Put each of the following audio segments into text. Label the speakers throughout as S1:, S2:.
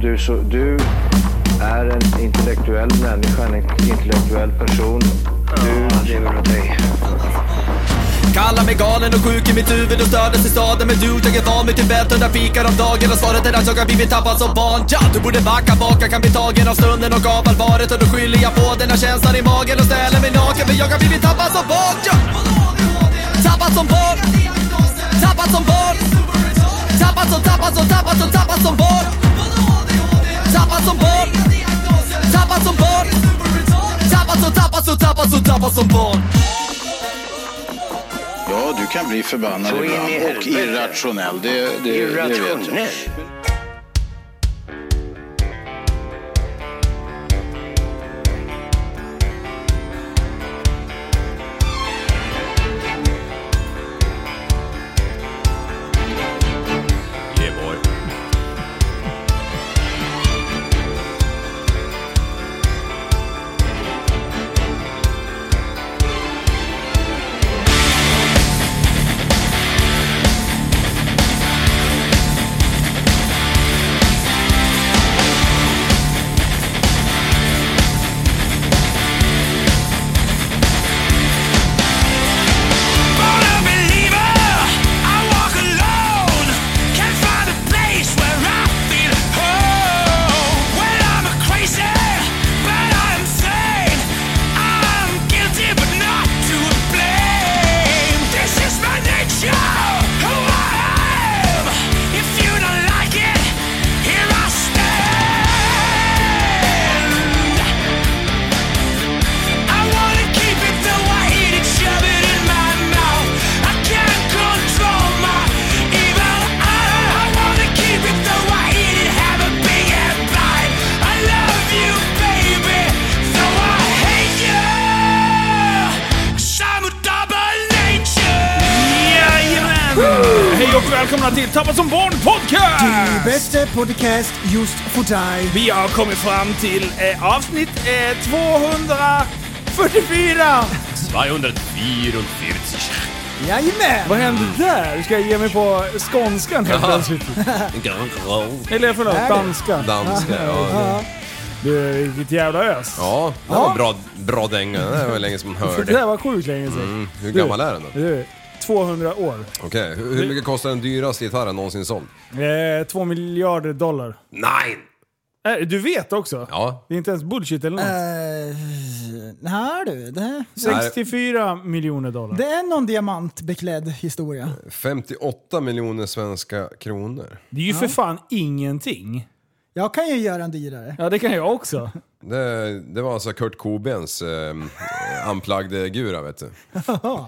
S1: du, så, du är en intellektuell människa, en intellektuell person. Du lever av dig.
S2: Kallar mig galen och sjuk i mitt huvud och stördes i staden Men du, jag är van vid Tibet och där fikar om dagen Och svaret är att jag har blivit tappad som barn ja, Du borde backa bak, jag kan bli tagen av stunden och av allvaret Och då skyller jag på den här känslan i magen och ställer mig naken För jag har blivit tappad som barn ja. Tappad som barn Tappad som barn Tappad som, tappad som, tappad som, tappad som barn Tappad som barn Tappad som barn Tappad som, tappad som, tappad som, tappad som barn
S3: Ja, du kan bli förbannad
S1: Så in i
S3: ibland och
S1: helvete.
S3: irrationell. Det, det, det vet jag.
S1: Irrationell.
S4: I wanna keep it though I eat it, shove it in my mouth. I can't control my evil eye. I wanna keep it though I eat it, have a big and bite. I love you, baby, though I hate you. i I'm a double nature.
S5: Hej och välkomna till Tappad som barn podcast!
S6: Bästa podcast just för dig.
S5: Vi har kommit fram till eh, avsnitt eh, 244!
S7: 244.
S6: Jajamän!
S5: Vad hände där? Ska jag ge mig på skånskan helt plötsligt?
S7: Grand Grand.
S5: Eller förlåt,
S6: det?
S5: danska.
S7: Danska, ja.
S5: Du, vilket jävla ös.
S7: Ja, det var bra, bra dänga. Det var länge som man
S5: Det där
S7: hörde.
S5: var sjukt länge sedan.
S7: Mm, hur gammal är den då?
S5: Du, 200 år.
S7: Okej, hur hur mycket kostar den dyraste gitarren någonsin såld?
S5: Eh, 2 miljarder dollar.
S7: Nej!
S5: Eh, du vet också.
S7: Ja,
S5: Det är inte ens bullshit eller något.
S6: Eh, Nej du, det,
S5: 64 miljoner dollar.
S6: det är någon diamantbeklädd historia.
S7: 58 miljoner svenska kronor.
S5: Det är ju för fan ingenting.
S6: Jag kan ju göra en dyrare.
S5: Ja, det kan jag också.
S7: Det, det var alltså Kurt Cobens eh, unplugged gura vet du.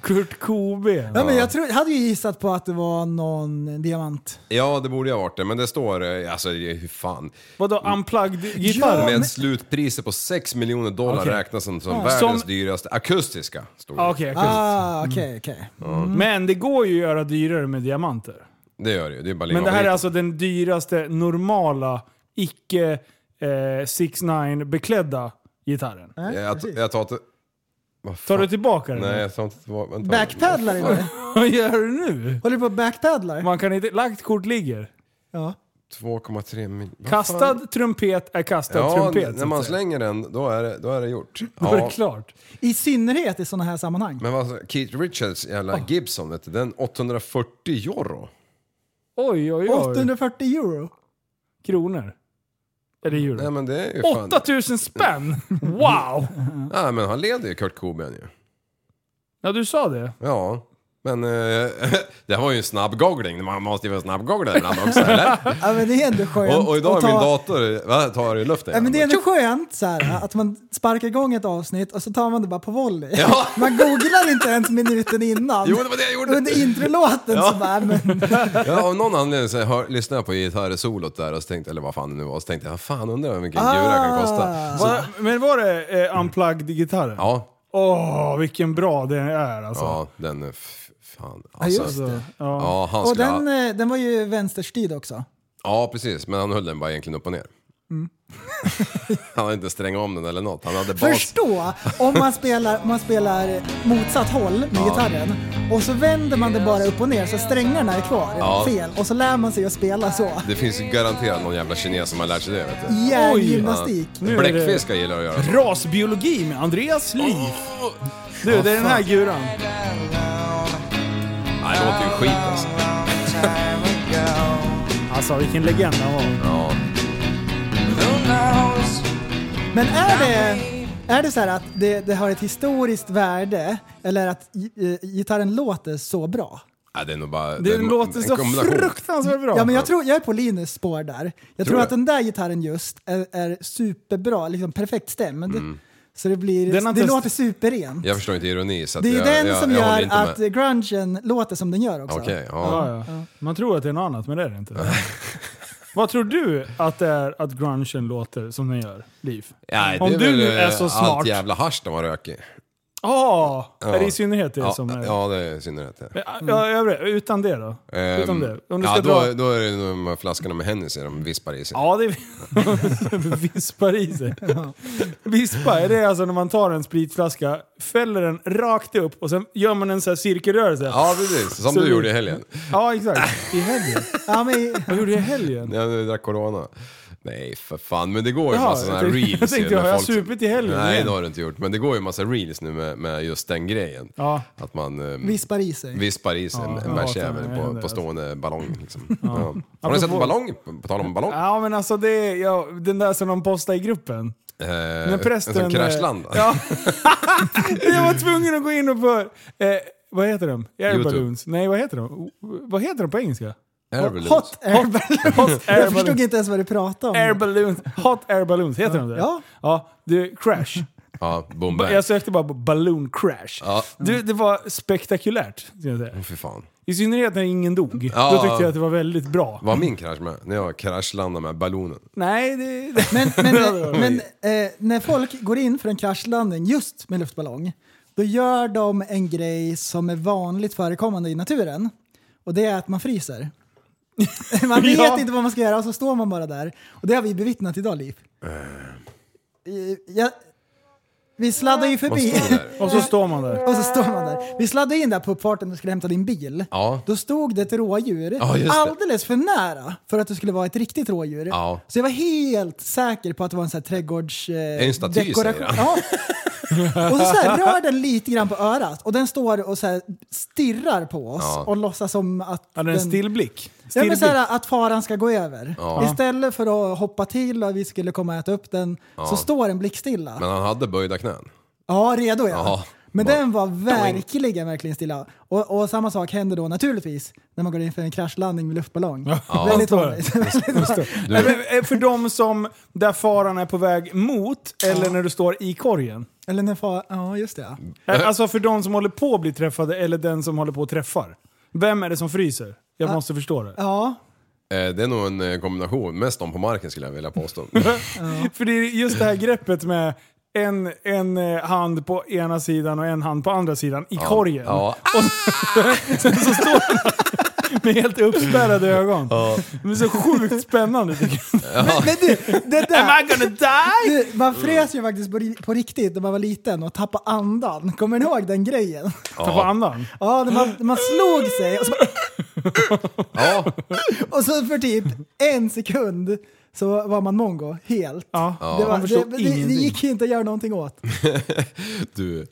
S5: Kurt Coben.
S6: Ja, men jag tror, hade ju gissat på att det var någon diamant.
S7: Ja, det borde ju ha varit det, men det står, eh, alltså hur fan.
S5: Vadå, unplugged gitarr?
S7: Med slutpriser på 6 miljoner dollar
S5: Okej.
S7: räknas som, som
S5: Ja.
S7: världens
S5: Som-
S7: dyraste akustiska. Stod det.
S5: Ja, Okej, akust.
S6: Ah,
S7: Mm.
S6: okej, okej.
S5: Men det går ju att göra dyrare med diamanter.
S7: Det gör det ju, det är bara
S5: Men det här är
S7: skit.
S5: alltså den dyraste normala, icke 6 9 beklädda gitarren.
S6: Nej,
S7: Jag,
S6: precis.
S7: jag tar inte... Vad
S5: alltså- Tar
S7: fan?
S5: du tillbaka den?
S7: Nej, jag tar inte tillbaka... Vänta.
S6: Backpaddlar är det.
S5: Vad gör du nu?
S6: Håller du på och backpaddlar?
S5: Man kan inte... Lagt kort ligger.
S6: Ja.
S7: 2,3 miljoner...
S5: Kastad trumpet är kastad
S7: ja,
S5: trumpet. så
S7: när
S5: att
S7: man
S5: säga.
S7: slänger den, då är det, då är det gjort.
S5: Då är det
S7: Ja.
S5: klart.
S6: I synnerhet i sådana här sammanhang.
S7: Men vad, Keith Richards jävla
S6: Ah.
S7: Gibson, vet du, den 840 euro.
S5: Oj, oj, oj.
S6: 840 euro.
S5: kronor. Är det euro?
S7: Nej men det är ju fan...
S5: 8000 spänn! Wow!
S7: Nej men han leder ju Kurt Cobain ju.
S5: Ja, du sa det.
S7: Ja. Men eh, det här var ju en snabb googling. Man måste ju vara snabbgooglad ibland också, eller?
S6: Ja, men det är ändå skönt.
S7: Och, och idag är
S6: att ta-
S7: min dator... Va? Tar i luften?
S6: Ja, men det är ändå skönt så här, att man sparkar igång ett avsnitt och så tar man det bara på volley.
S7: Ja.
S6: Man googlar inte ens minuten innan.
S7: Jo, det var det jag gjorde.
S6: Under introlåten så bara, men,
S7: Ja, av någon anledning så hör, lyssnade jag på gitarrsolot där och så tänkte, eller vad fan det nu var, och så tänkte jag, fan undrar hur mycket en gura kan kosta. Så,
S5: Va, men var det eh, unplugged-gitarren?
S7: Alltså- ja,
S5: Åh, vilken bra den är alltså.
S7: ja, den är f- fan.
S6: just
S7: Alltså,
S6: det.
S5: Så, ja.
S7: ja, han
S6: och
S7: skulle ha,
S6: den, eh, den var ju vänsterstyrd också.
S7: ja, precis, men han höll den bara egentligen upp och ner. Han hade inte strängat om den eller något. Han hade bas.
S6: Förstå om man spelar, om man spelar motsatt håll med gitarren och så vänder man det bara upp och ner så strängarna är kvar
S7: Ja.
S6: fel och så lär man sig att spela så.
S7: Det finns ju garanterat någon jävla kines som har lärt sig det vet du.
S6: Järngymnastik.
S5: Nu är det-
S7: Bläckfiskar gillar att göra så.
S5: Rasbiologi med Andreas Liv. Du, det är den här guran.
S7: Nej, det låter ju skit alltså.
S5: Alltså vilken legend han var.
S7: Ja.
S6: Men är det, är det så här att det, det har ett historiskt värde eller att gi- eh, gitarren låter så bra?
S7: Nej, det är nog bara...
S5: Det
S7: är nog
S5: låter
S7: en
S5: så
S7: kombination.
S5: fruktansvärt bra.
S6: Ja, men jag, tror, jag är på Linus spår där. Jag tror,
S7: du?
S6: att den där gitarren just är, är superbra, liksom perfekt stämd. Så det, blir,
S5: Den har
S6: det
S5: inte-
S6: låter superrent.
S7: Mm. Jag förstår inte ironi så att
S6: Det är ju
S7: jag,
S6: den
S7: jag,
S6: som
S7: jag håller
S6: gör
S7: inte
S6: att
S7: med.
S6: grungen låter som den gör också.
S7: Okej, ja.
S5: Ja, ja. Man tror att det är något annat, men det är det inte. Vad tror du att det är att grungen låter som den gör, Liv?
S7: Nej, det
S5: Om
S7: är
S5: du
S7: väl,
S5: nu är
S7: eh,
S5: så smart.
S7: Allt jävla hasch de har rökit.
S5: Ah, Är det i synnerhet det
S7: Ja,
S5: som är...
S7: ja, det är i synnerhet det.
S5: Ja, övriga, utan det då? utan det? Om du ska
S7: Ehm, ja, då,
S5: dra...
S7: då är det de här flaskorna med Hennessy de vispar i sig.
S5: Ja, det är... vispar i sig. Vispa, det är alltså när man tar en spritflaska, fäller den rakt upp och sen gör man en så här cirkelrörelse.
S7: Ja, precis. Som
S5: Så
S7: du
S5: det-
S7: gjorde i helgen.
S5: Ja, exakt. I helgen.
S6: Ja, men,
S5: Vad gjorde jag i helgen?
S7: När jag drack corona. Nej, för fan. Men det går ju
S5: Jaha,
S7: massa sådana här
S5: jag tänkte-
S7: reels
S5: jag tänkte,
S7: ju när
S5: har jag
S7: folk-
S5: supit i helgen
S7: Nej,
S5: igen?
S7: det har du inte gjort. Men det går ju massa reels nu med, med just den grejen.
S5: Ja.
S7: Att man eh,
S6: vispar i sig.
S7: vispar i sig
S5: Ja,
S7: en
S5: jag
S7: bärsjävel
S5: hatar när det
S7: på,
S5: händer,
S7: på stående ballong. Liksom. Ja. Har ni
S5: Apropå-
S7: sett en ballong? På- På tal om ballong.
S5: Ja, men alltså det är, ja, den där som de postade i gruppen.
S7: Eh,
S5: När prästen... eh,
S7: En sån kraschlandade.
S5: Ja. jag var tvungen att gå in och för... Eh, vad heter de? Air
S7: YouTube.
S5: balloons. Nej, vad heter de? Vad heter de på engelska?
S7: Airbus.
S6: Hot air balloon.
S5: Hot air
S6: Jag förstod
S5: balloons.
S6: inte ens vad du pratade om.
S5: Air balloons. Hot air balloons, heter de det?
S6: Ja.
S5: Ja, du, crash.
S7: Ja, boom
S5: Ba-
S7: bang.
S5: Jag sökte bara på balloon crash.
S7: Ja.
S5: Du, det var spektakulärt, ska jag säga.
S7: Fy fan.
S5: I synnerhet när ingen dog.
S7: Ja.
S5: Då tyckte jag att det var väldigt bra.
S7: Var min krasch med? När jag kraschlandade med ballonen.
S5: Nej, det... det.
S6: Men, men, men eh, när folk går in för en kraschlandning just med luftballong, då gör de en grej som är vanligt förekommande i naturen. Och det är att man fryser. Man vet
S5: Ja.
S6: inte vad man ska göra och så står man bara där. Och det har vi bevittnat idag, Liv. Eh, Ja, vi sladdar ju
S7: Man
S6: förbi.
S7: står där.
S5: Och så står man där.
S6: Och så står man där. Vi sladdade in där på uppfarten och skulle hämta din bil.
S7: Ja.
S6: Då stod det ett rådjur
S7: Ja, just det.
S6: alldeles för nära för att det skulle vara ett riktigt rådjur.
S7: Ja.
S6: Så jag var helt säker på att det var en sån här trädgårds... Eh,
S7: En staty,
S6: dekoration.
S7: säger
S6: ja. Och så, så här, rör den lite grann på örat och den står och så här, stirrar på oss
S7: Ja.
S6: och låtsas som att...
S5: Hade en stillblick?
S6: Ja, men
S5: Stillblick.
S6: så här, att faran ska gå över.
S7: Ja.
S6: Istället för att hoppa till och vi skulle komma och äta upp den så står den blickstilla.
S7: Men han hade böjda knän.
S6: Ja, redo ja.
S7: Ja.
S6: Men
S7: Bara-
S6: den var verkligen, verkligen stilla. Och, och samma sak händer då naturligtvis när man går in för en kraschlandning med luftballong. Väldigt
S5: Förstår.
S6: vanligt. Väldigt vanligt.
S5: Nej, men, eh, För de som, där faran är på väg mot, eller när du står i korgen.
S6: Eller när far... Ja, just det. ja.
S5: Eh, Alltså för de som håller på att bli träffade, eller den som håller på att träffar. Vem är det som fryser? Jag måste förstå det.
S6: Ja,
S7: Eh, Det är nog en eh, kombination. Mest de på marken skulle jag vilja påstå.
S5: För det är just det här greppet med en, en eh, hand på ena sidan och en hand på andra sidan i korgen.
S7: Ja.
S5: Så står han med helt uppspärrade ögon. Men så sjukt spännande tycker jag.
S6: Men, men du, det där.
S5: Am I gonna die?
S6: Du, man frös ju faktiskt på, ri- på riktigt när man var liten och tappade andan. Kommer ni ihåg den grejen?
S5: Tappa andan.
S6: Ja, när man, när man slog sig och så, bara-
S7: Ja,
S6: och så för typ en sekund så var man mongo helt.
S5: Ja.
S6: Det, var,
S5: Man förstår
S6: det, det, det
S5: ingenting.
S6: gick inte att göra någonting åt.
S7: du.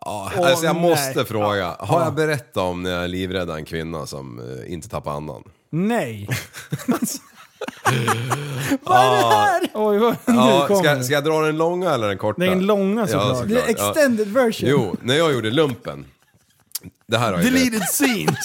S7: Ja,
S5: Åh,
S7: alltså jag
S5: nej.
S7: måste fråga. Har jag berättat om när jag livräddade en kvinna som eh, inte tappade andan?
S5: Nej.
S6: Vad är det här?
S5: Oj, vad,
S7: Ja,
S5: nu kommer
S7: ska,
S5: det.
S7: ska jag dra den långa eller den korta?
S5: Nej, den långa såklart.
S7: såklart.
S6: Det är extended version.
S7: Jo, när jag gjorde lumpen. Det här har jag ju
S5: Deleted scenes.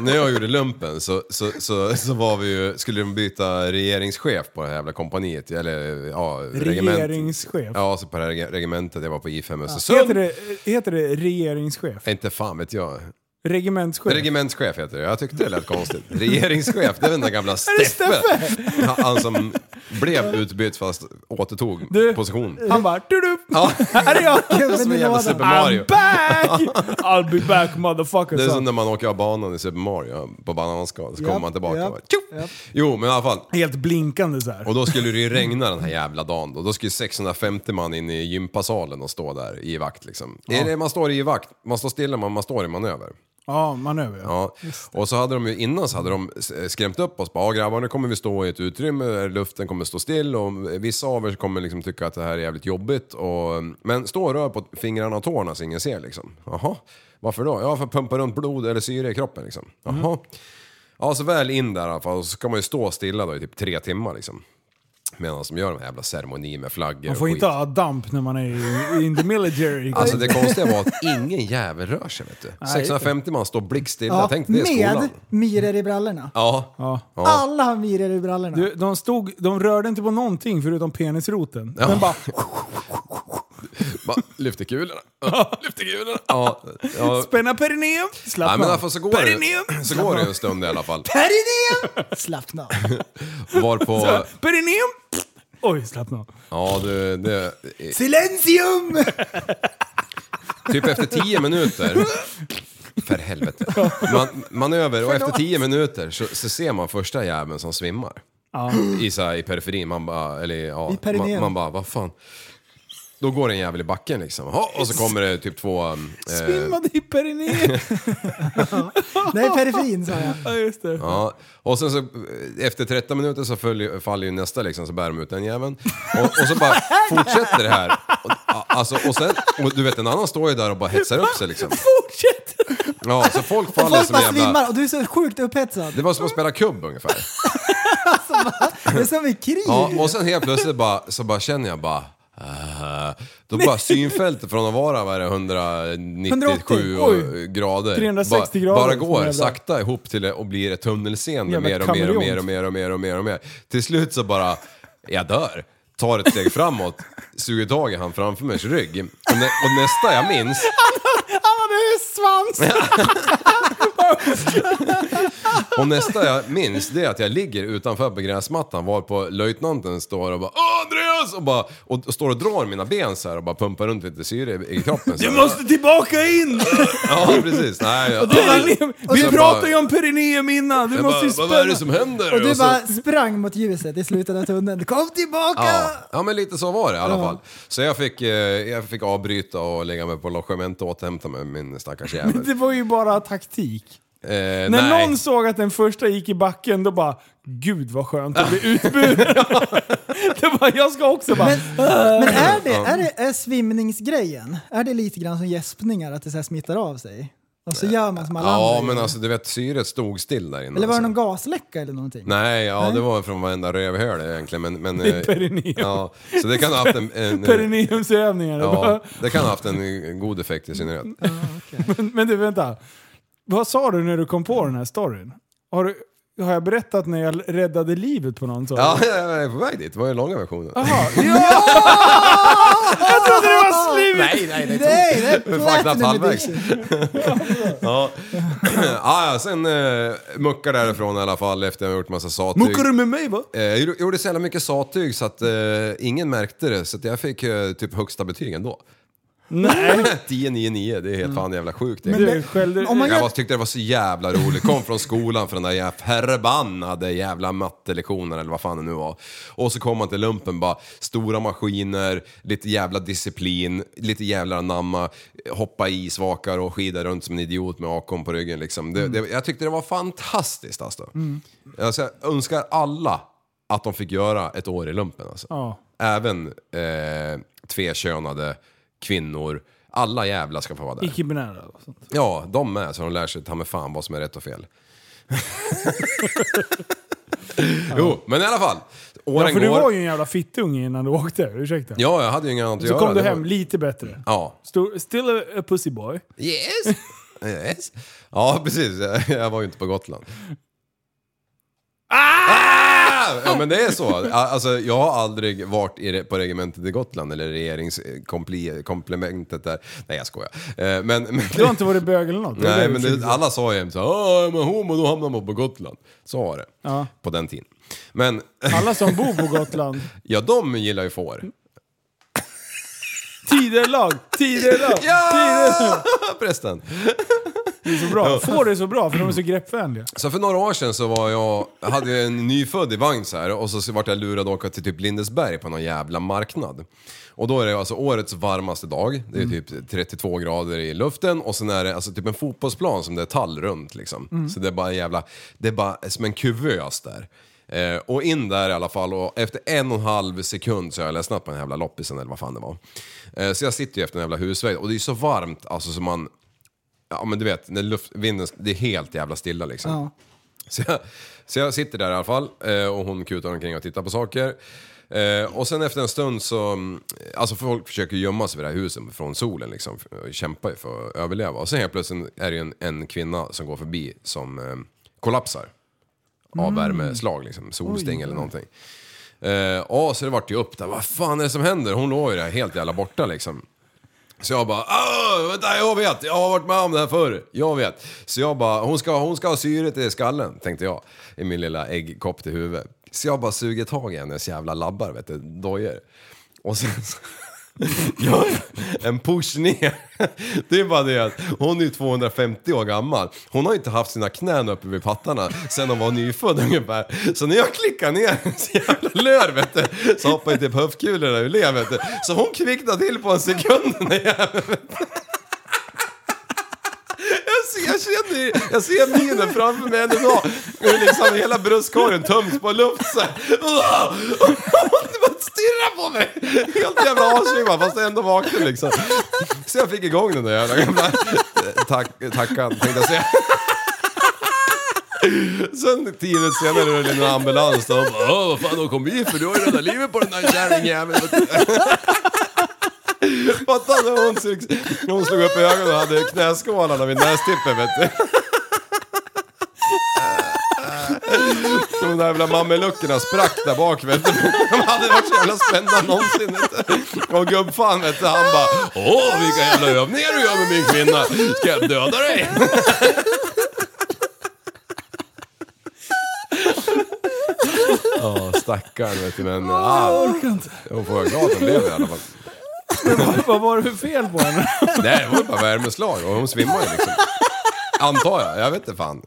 S7: När jag gjorde lumpen så, så, så, så var vi ju, skulle de byta regeringschef på det här jävla kompaniet, eller ja, regiment.
S5: Regeringschef.
S7: Ja, så på det här reg- regementet jag var på I5 Östersund.
S5: Heter det, heter det regeringschef?
S7: Inte fan vet jag.
S5: Regementschef.
S7: Regementschef heter det. Jag tyckte det lät konstigt. Regeringschef, det är väl den där gamla
S5: det
S7: Steffe. Ja, Han som blev utbytt fast återtog
S5: Du.
S7: position.
S5: Han bara du ja. Här är jag!
S6: Gubben
S7: Som
S6: i
S7: en jävla
S6: lådan.
S7: Super Mario.
S5: I'm back! I'll be back motherfucker.
S7: Det är
S5: sa
S7: som
S5: han.
S7: när man åker av banan i Super Mario på bananskal. Så kommer
S6: Japp,
S7: man tillbaka
S6: japp,
S7: och bara, tjoff! Jo, men i alla fall.
S5: Helt blinkande så här.
S7: Och då skulle det ju regna den här jävla dagen då. Då skulle 650 man in i gympasalen och stå där i vakt liksom. Eller man står i vakt, man står stilla men man står i manöver.
S5: Ja, manöver ja.
S7: Ja. Och så hade de ju innan så hade de eh, skrämt upp oss. Bara, "Ja, grabbar nu kommer vi stå i ett utrymme där luften kommer stå still och vissa av er kommer liksom tycka att det här är jävligt jobbigt. Och, men stå och rör på fingrarna och tårna så ingen ser liksom. Jaha, varför då? Ja, för att pumpa runt blod eller syre i kroppen liksom.
S5: Mm.
S7: Jaha. Ja, så väl in där i alla fall och så ska man ju stå stilla då i typ tre timmar liksom. Medan de gör de här jävla ceremonier med flaggor
S5: Man får
S7: och
S5: inte
S7: skit.
S5: ha damp när man är i- in the military.
S7: Alltså det konstiga var att ingen jävel rör sig vet du. 650 man står blickstilla,
S6: Ja,
S7: tänk dig det i skolan.
S6: med myror i brallorna.
S7: Ja.
S6: Alla har myror i brallorna.
S5: Du, de, stod, de rörde inte på någonting förutom penisroten.
S7: Ja.
S5: Den bara
S7: Bara lyfter kulorna. Ja, lyfter kulorna. Ja, ja.
S5: spänna perineum,
S7: Nej,
S5: slappna
S7: men
S5: av.
S7: alltså, så, går det, så går det en stund i alla fall.
S6: Perineum! Slappna av.
S7: Var på...
S5: Perineum! Oj, slappna av.
S7: Ja, det, det,
S6: Silensium!
S7: Eh. typ efter tio minuter. För helvete. Man, manöver och efter tio minuter så, så ser man första jäveln som svimmar. I, så här, I periferin. Man bara, eller ja,
S6: I perineum.
S7: man, man bara, vad fan. Då går det en jävel i backen liksom. Ja, och så kommer det typ två... Eh,
S5: Svimmade i perineum.
S6: Nej, periferin sa jag.
S5: Ja, just det.
S7: Ja, och sen så eh, efter 13 minuter så följer, faller ju nästa liksom, så bär de ut den jäveln. Och, och så bara fortsätter det här. Och, ja, alltså, och sen, och du vet en annan står ju där och bara hetsar upp sig liksom.
S5: Fortsätt!
S7: Ja, så folk
S6: Och
S7: faller
S6: folk
S7: som
S6: bara svimmar
S7: jävla...
S6: och du är så sjukt upphetsad.
S7: Det var som att spela kubb ungefär.
S6: Det är som i krig.
S7: Ja, och sen helt plötsligt bara, så bara känner jag bara... ah. då bara synfältet från att vara vad är det, 197 och,
S5: 180,
S7: grader,
S5: 360
S7: bara, bara
S5: grader, som
S7: går
S5: jävla-
S7: sakta ihop till det och blir ett tunnelseende
S5: Jävla
S7: mer och mer och mer och
S5: kameleont.
S7: mer och mer och mer och mer. Till slut så bara, jag dör. Tar ett steg framåt, suger tag i han framför mig rygg. Och, nä, och nästa jag minns,
S5: Han hade hästsvans!
S7: och nästa jag minns det är att jag ligger utanför på gräsmattan varpå löjtnanten står och bara "Åh, Andreas! Och, bara, och, och står och drar mina ben så här och bara pumpar runt lite syre i, i kroppen. så
S5: Du
S7: här.
S5: måste tillbaka in!
S7: Ja, precis. Nej, jag,
S5: Perineum. liksom- Vi
S7: Jag
S5: pratade
S7: bara-
S5: ju om perineum innan. Du
S7: jag
S5: måste
S7: bara,
S5: ju
S7: vad är det
S5: spänna.
S7: som händer?
S6: Och du
S7: Och så-
S6: bara sprang mot ljuset i slutet av tunneln. Kom tillbaka!
S7: Ja. ja, men lite så var det i alla fall. Så jag fick, eh, jag fick avbryta och lägga mig på logement och återhämta mig, min stackars jävel.
S5: Det var ju bara taktik.
S7: Eh,
S5: När
S7: nej.
S5: någon såg att den första gick i backen, då bara Gud vad skönt att bli utburen. det bara, jag ska också bara...
S6: Men är, det, är, det, är svimningsgrejen, är det lite grann som gäspningar, att det så här smittar av sig? Och så gör man som alla andra
S7: Eh, Ja,
S6: gör.
S7: men alltså du vet, syret stod still där inne.
S6: Eller var det
S7: alltså.
S6: någon gasläcka eller någonting?
S7: Nej, ja det var från varenda rövhöl egentligen. Men, men, det
S5: är perineum.
S7: Ja, så det kan ha haft en... en
S5: Perineumsövningar.
S7: ja, det kan ha haft en god effekt i synnerhet.
S5: Men, men du, vänta. Vad sa du när du kom på den här storyn? Har, du, har jag berättat när jag räddade livet på någon? sa du?
S7: Ja, jag är på väg dit. Det var ju långa versionen.
S5: Jaha. Ja! jag trodde det var slut!
S7: Nej, nej,
S6: Nej,
S7: nej.
S6: det är
S7: Vi var knappt
S6: platinum
S7: halvvägs.
S6: edition.
S7: Ja. ja, ja, sen eh, muckar därifrån i alla fall efter jag gjort massa sattyg.
S5: med mig va?
S7: Eh, jag gjorde- gjorde så jävla mycket sattyg så att eh, ingen märkte det, så att jag fick eh, typ högsta betyg ändå.
S5: Nej.
S7: 10-9-9, det är helt fan jävla sjukt.
S5: Men du, skällde...
S6: Om man
S7: Jag
S6: gör,
S7: bara tyckte det var så jävla roligt. Kom från skolan för den där jävla förbannade jävla mattelektionen eller vad fan det nu var. Och så kom man till lumpen bara, stora maskiner, lite jävla disciplin, lite jävla anamma, hoppa i svakar och skida runt som en idiot med akon på ryggen liksom. Det, det, jag tyckte det var fantastiskt alltså. alltså. Jag önskar alla att de fick göra ett år i lumpen alltså.
S5: Ja.
S7: Även eh, tvekönade kvinnor, alla jävla ska få vara där.
S5: Icke-binära och sånt.
S7: Ja, de med, så de lär sig ta med fan vad som är rätt och fel. jo, men i alla fall. Åren
S5: Ja, för
S7: går.
S5: du var ju en jävla fittunge innan du åkte, ursäkta.
S7: Ja, jag hade ju inget annat att
S5: Så
S7: göra.
S5: kom du
S7: Det
S5: hem
S7: Var...
S5: lite bättre.
S7: Ja.
S5: Stor, still a, a pussy boy.
S7: Yes. yes. Ja, precis. Jag var ju inte på Gotland. Ah! Ja men det är så. A- Alltså, jag har aldrig varit i, re- på regementet i Gotland eller regeringskomplementet där. Nej jag skojar. Eh, Men, men,
S5: Du har inte varit bög eller något? Det är
S7: nej,
S5: du
S7: men
S5: försöker
S7: det,
S5: säga.
S7: alla sa ju jämt såhär, men homo då hamnar man på Gotland. Så var det.
S5: Ja.
S7: På den tiden. Men
S5: alla som bor på Gotland.
S7: ja, de gillar ju får.
S5: Tidelag! Tidelag!
S7: Ja! Prästen.
S5: Det är så bra. Får det så bra för de är så greppvänliga.
S7: Så för några år sedan så var jag, hade jag en nyfödd i vagn så här och så vart jag lurad att åka till typ Lindesberg på någon jävla marknad. Och då är det alltså årets varmaste dag, det är typ 32 grader i luften och sen är det alltså typ en fotbollsplan som det är tall runt liksom. Så det är bara en jävla, det är bara som en kuvös där. Eh, och in där i alla fall och efter en och en halv sekund så har jag ledsnat på den jävla loppisen eller vad fan det var. Eh, så jag sitter ju efter den jävla husväggen och det är ju så varmt alltså som man Ja men du vet, när luft, vinden, det är helt jävla stilla liksom. Så, jag, så jag sitter där i alla fall eh, och hon kutar omkring och tittar på saker. Eh, Och sen efter en stund så, mm, alltså folk försöker gömma sig vid det här huset från solen liksom. och Kämpar ju för att överleva. Och sen helt plötsligt är det ju en, en kvinna som går förbi som eh, kollapsar. Av värmeslag liksom, solsting eller någonting. Eh, Ja, så det vart ju upp där, vad fan är det som händer? Hon låg ju där helt jävla borta liksom. Så jag bara, "Åh, vänta jag vet, jag har varit med om det här förr, jag vet. Så jag bara, hon ska, hon ska ha syret i skallen, tänkte jag. I min lilla äggkopp till huvudet. Så jag bara suger tag i hennes jävla labbar, vet du, dojer. Och sen så... Gör en push ner. Det är bara det att hon är ju 250 år gammal. Hon har ju inte haft sina knän uppe vid pattarna sen hon var nyfödd ungefär. Så när jag klickar ner hennes jävla lör vet du, så hoppar ju typ höftkulorna ur led vet du. Så hon kvicknar till på en sekund när jag jag ser, jag känner, jag ser minen framför mig än idag. Hur liksom hela bröstkorgen töms på luft så här. Hon bara stirrar på mig. Helt jävla avsvimmad fast ändå vaken liksom. Så jag fick igång den där jävla gamla tack, tackan tänkte jag säga. Sen tio minuter senare rullade en ambulans och de bara "Åh, vad fan de kom vi för? Du har ju räddat livet på den där kärringjäveln. Fatta när hon, slog, när hon slog upp ögonen och hade knäskålarna vid nästippen vet du. Så De där jävla mammeluckorna sprack där bak vet du. De hade varit så jävla spända någonsin vet du. Och gubbfan vet du, han bara Åh vilka jävla övningar du gör med min kvinna. Ska jag döda dig? Ja, stackarn vet du men... Ah,
S6: Jag kan inte.
S7: hon får vara glad att hon lever i alla fall.
S5: Vad var det för fel på henne?
S7: Nej, det var bara värmeslag och hon svimmade liksom. Antar jag, jag vet inte fan.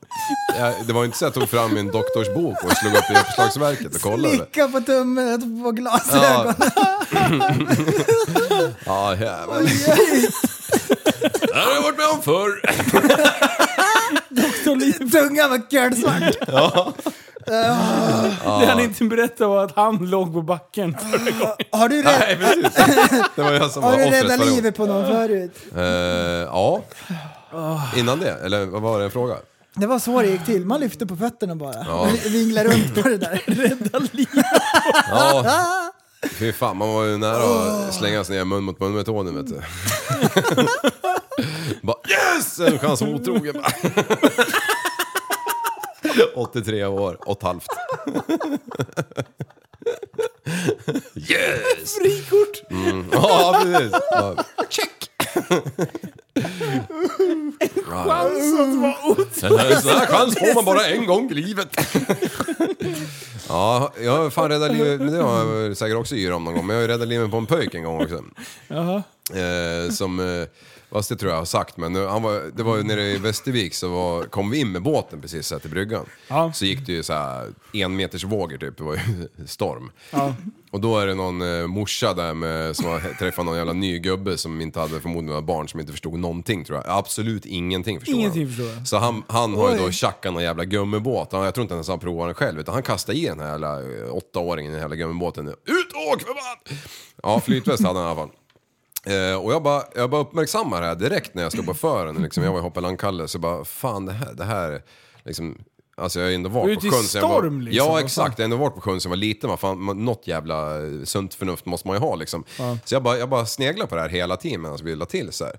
S7: Jag, det var inte så att jag tog fram min doktorsbok och slog upp i uppslagsverket och kollade.
S6: Slicka på tummen och på glasögonen.
S7: Ja, ja jävlar. Det här har jag varit med om förr.
S6: Tungan var kölsvart.
S5: Det han inte berättade var att han låg på backen.
S6: Har du, rädd,
S7: Nej, precis. Det var jag som var
S6: har du
S7: offret
S6: räddat
S7: förra gången.
S6: livet på någon förut?
S7: Eh, ja. Innan det, eller vad var det en fråga?
S6: Det var så det gick till. Man lyfte på fötterna bara. Och Vinglar runt på det där. Rädda livet.
S7: Ja. Fy fan, man var ju nära att slängas ner mun mot mun-metoden vet du. Bara yes! En chans att vara otrogen. bara. 83 år och ett halvt. Yes! Frikort! Mm. Ja, precis. Bara, Check! En sån här chans får man bara en gång i livet. Ja, jag har fan räddat livet, men det har jag väl säkert också yr om någon gång, men jag har ju räddat livet på en pöjk en gång också. Eh, som, eh, fast det tror jag har sagt, men nu, han var, det var ju nere i Västervik så var, kom vi in med båten precis här till bryggan.
S5: Ja.
S7: Så gick det ju så här en meters vågor typ, det var ju storm. Och då är det någon eh, morsa där med, som har träffat någon jävla ny gubbe som inte hade förmodligen några barn som inte förstod någonting tror jag. Absolut ingenting förstod
S5: Ingenting
S7: han.
S5: förstod jag.
S7: Så han, han har ju då tjackat någon jävla gummibåt. Han- Jag tror inte ens han provade den själv. Utan han kastade i den här jävla eh, åttaåringen i den jävla gummibåten. Ut och åk för fan! Ja, flytväst hade han i alla fall. Eh, och jag bara, jag bara uppmärksammar det här direkt när jag stod på fören. Liksom, jag var i Hoppelandkalle så bara, fan det här, det här liksom, Alltså jag har ändå
S5: Du är
S7: varit
S5: ute i
S7: på sjön sen jag var...
S5: storm, liksom,
S7: Ja
S5: vad
S7: exakt,
S5: fan.
S7: jag har ändå varit på sjön sen jag var liten. Va? Fan, man, något jävla eh, sunt förnuft måste man ju ha liksom. Så jag bara, jag bara sneglar på det här hela tiden medan vi la till så här.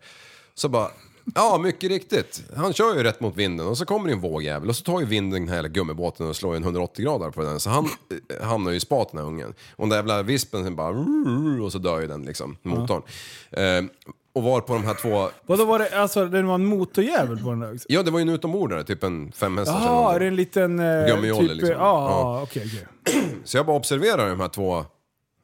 S7: Så bara, Ja, mycket riktigt. Han kör ju rätt mot vinden och så kommer det en vågjävel och så tar ju vinden hela gummibåten och slår ju en 180 grader på den. Så han eh, hamnar ju i spat den här ungen. Och den där jävla vispen sen bara... Och så dör ju den liksom, motorn. Eh, och var på de här två...
S5: Vadå var det, alltså det var en motorjävel på den där också?
S7: Ja, det var ju en utombordare, typ en femhästars eller
S5: Jaha, är
S7: någonting.
S5: det en liten... Eh,
S7: Gummiolle, liksom.
S5: Ja,
S7: Ja.
S5: okej, okej.
S7: Så jag bara observerar de här två,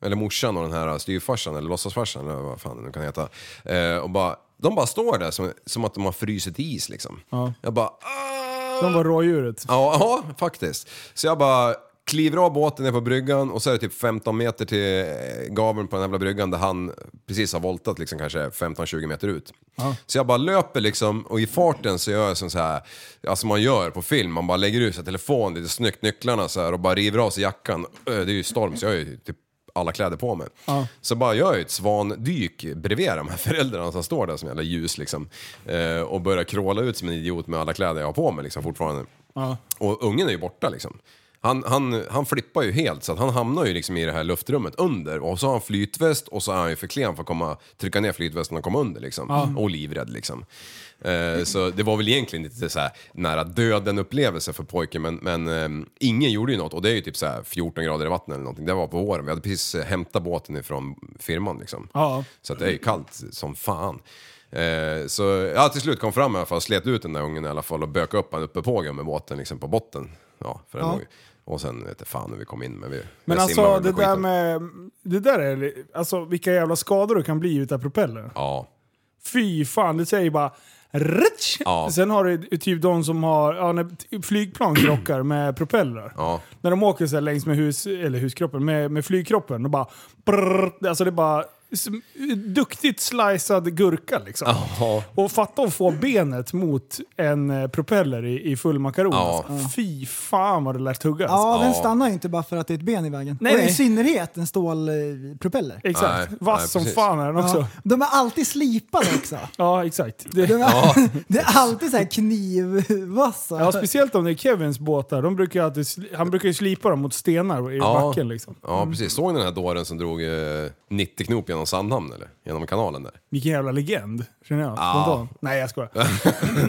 S7: eller morsan och den här styvfarsan eller låtsasfarsan eller vad fan det nu kan heta. Eh, och bara, de bara står där som, som att de har frusit is liksom. Jag bara... "Ah!"
S5: De var rådjuret.
S7: Ja, ja, faktiskt. Så jag bara kliver av båten ner på bryggan och så är det typ 15 meter till eh, gaveln på den jävla bryggan där han precis har voltat liksom kanske 15-20 meter ut. Så jag bara löper liksom och i farten så gör jag som så här, alltså man gör på film, man bara lägger ut sig telefon lite snyggt, nycklarna så här och bara river av sig jackan. Ö, Det är ju storm så jag är ju typ alla kläder på mig. Så bara gör jag ett svandyk bredvid de här föräldrarna som står där som jävla ljus liksom. Eh, och börjar kråla ut som en idiot med alla kläder jag har på mig liksom fortfarande. Och ungen är ju borta liksom. Han, han, han flippar ju helt så att han hamnar ju liksom i det här luftrummet under och så har han flytväst och så är han ju för klen för att komma, trycka ner flytvästen och komma under liksom. Och livrädd liksom. Eh, så det var väl egentligen lite så här nära döden upplevelse för pojken men, men eh, ingen gjorde ju något och det är ju typ så här 14 grader i vattnet eller någonting. Det var på våren, vi hade precis eh, hämtat båten ifrån firman liksom.
S5: Ja.
S7: Så att det är ju kallt som fan. Eh, så ja, till slut kom fram i alla fall, slet ut den där ungen i alla fall och bökade upp han uppe på med båten liksom på botten. Ja, för den
S6: Ja.
S7: låg ju- Och sen vet jag fan hur vi kom in men vi
S5: Men
S7: jag simmade
S5: alltså
S7: väl
S5: det där
S7: skiten.
S5: med... Det där är... li- Alltså vilka jävla skador det kan bli utav propeller.
S7: Ja,
S5: Fy fan, det säger bara... Ritsch!
S7: Ja.
S5: Sen har du typ de som har... Ja, när t- flygplan krockar med propellrar.
S7: ja.
S5: När de åker så här längs med hus, eller huskroppen, med, med flygkroppen och bara... Brrr, alltså det är bara sm- duktigt slicead gurka liksom.
S7: Ja.
S5: Och fatta att få benet mot en eh, propeller i, i full makaron.
S7: Ja.
S5: Alltså. Fy fan vad det lär tugga. alltså.
S6: Ja, den stannar ju inte bara för att det är ett ben i vägen.
S5: Nej,
S6: och i
S5: nej.
S6: synnerhet en stålpropeller.
S5: Exakt.
S7: Nej,
S5: Vass
S7: nej,
S5: som
S7: precis.
S5: fan är den också.
S6: Ja,
S5: Ja,
S6: de är alltid slipade också.
S5: exakt. Det,
S6: De är, det är alltid så här knivvassa.
S7: Alltså-
S5: Ja, speciellt om det är Kevins båtar. De brukar ju alltid, sli- han brukar ju slipa dem mot stenar i
S7: Ja.
S5: backen liksom.
S7: ja, precis. Såg ni den här dåren som drog eh, 90 knop genom Sandhamn eller? Genom kanalen där?
S5: Vilken jävla legend, känner jag. spontant. Nej, jag skojar.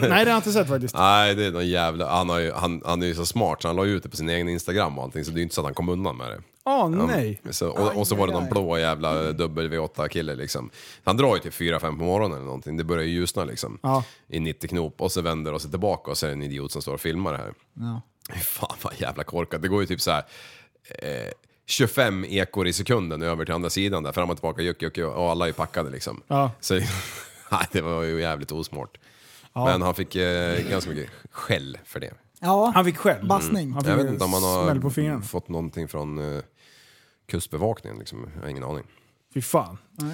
S5: Nej, det har jag inte sett faktiskt.
S7: Nej, det är någon jävla... Han, har ju, han, han är ju så smart så han la ju ut det på sin egen Instagram och allting så det är ju inte så att han kom undan med det.
S5: Åh nej.
S7: Så, och, och så var det någon blå jävla
S5: Mm.
S7: W8-kille liksom. Han drar ju till 4-5 på morgonen eller någonting. Det börjar ju ljusna liksom.
S5: Ja.
S7: I 90 knop och så vänder och sig tillbaka och så är det en idiot som står och filmar det här. Fy Fan vad jävla korkat. Det går ju typ så här. Eh, 25 ekor i sekunden över till andra sidan där. Fram och tillbaka, juck, juck, juck, och alla är packade liksom.
S5: Ja.
S7: Så nej, det var ju jävligt osmart. Men han fick eh, ganska mycket skäll för det.
S6: Ja,
S5: Han fick skäll.
S6: Bassning.
S5: Han fick
S7: Jag vet inte om han
S5: smäll på
S7: har
S5: fingrarna.
S7: fått någonting från eh, kustbevakningen liksom. Jag har ingen aning.
S5: Fy fan. Ja.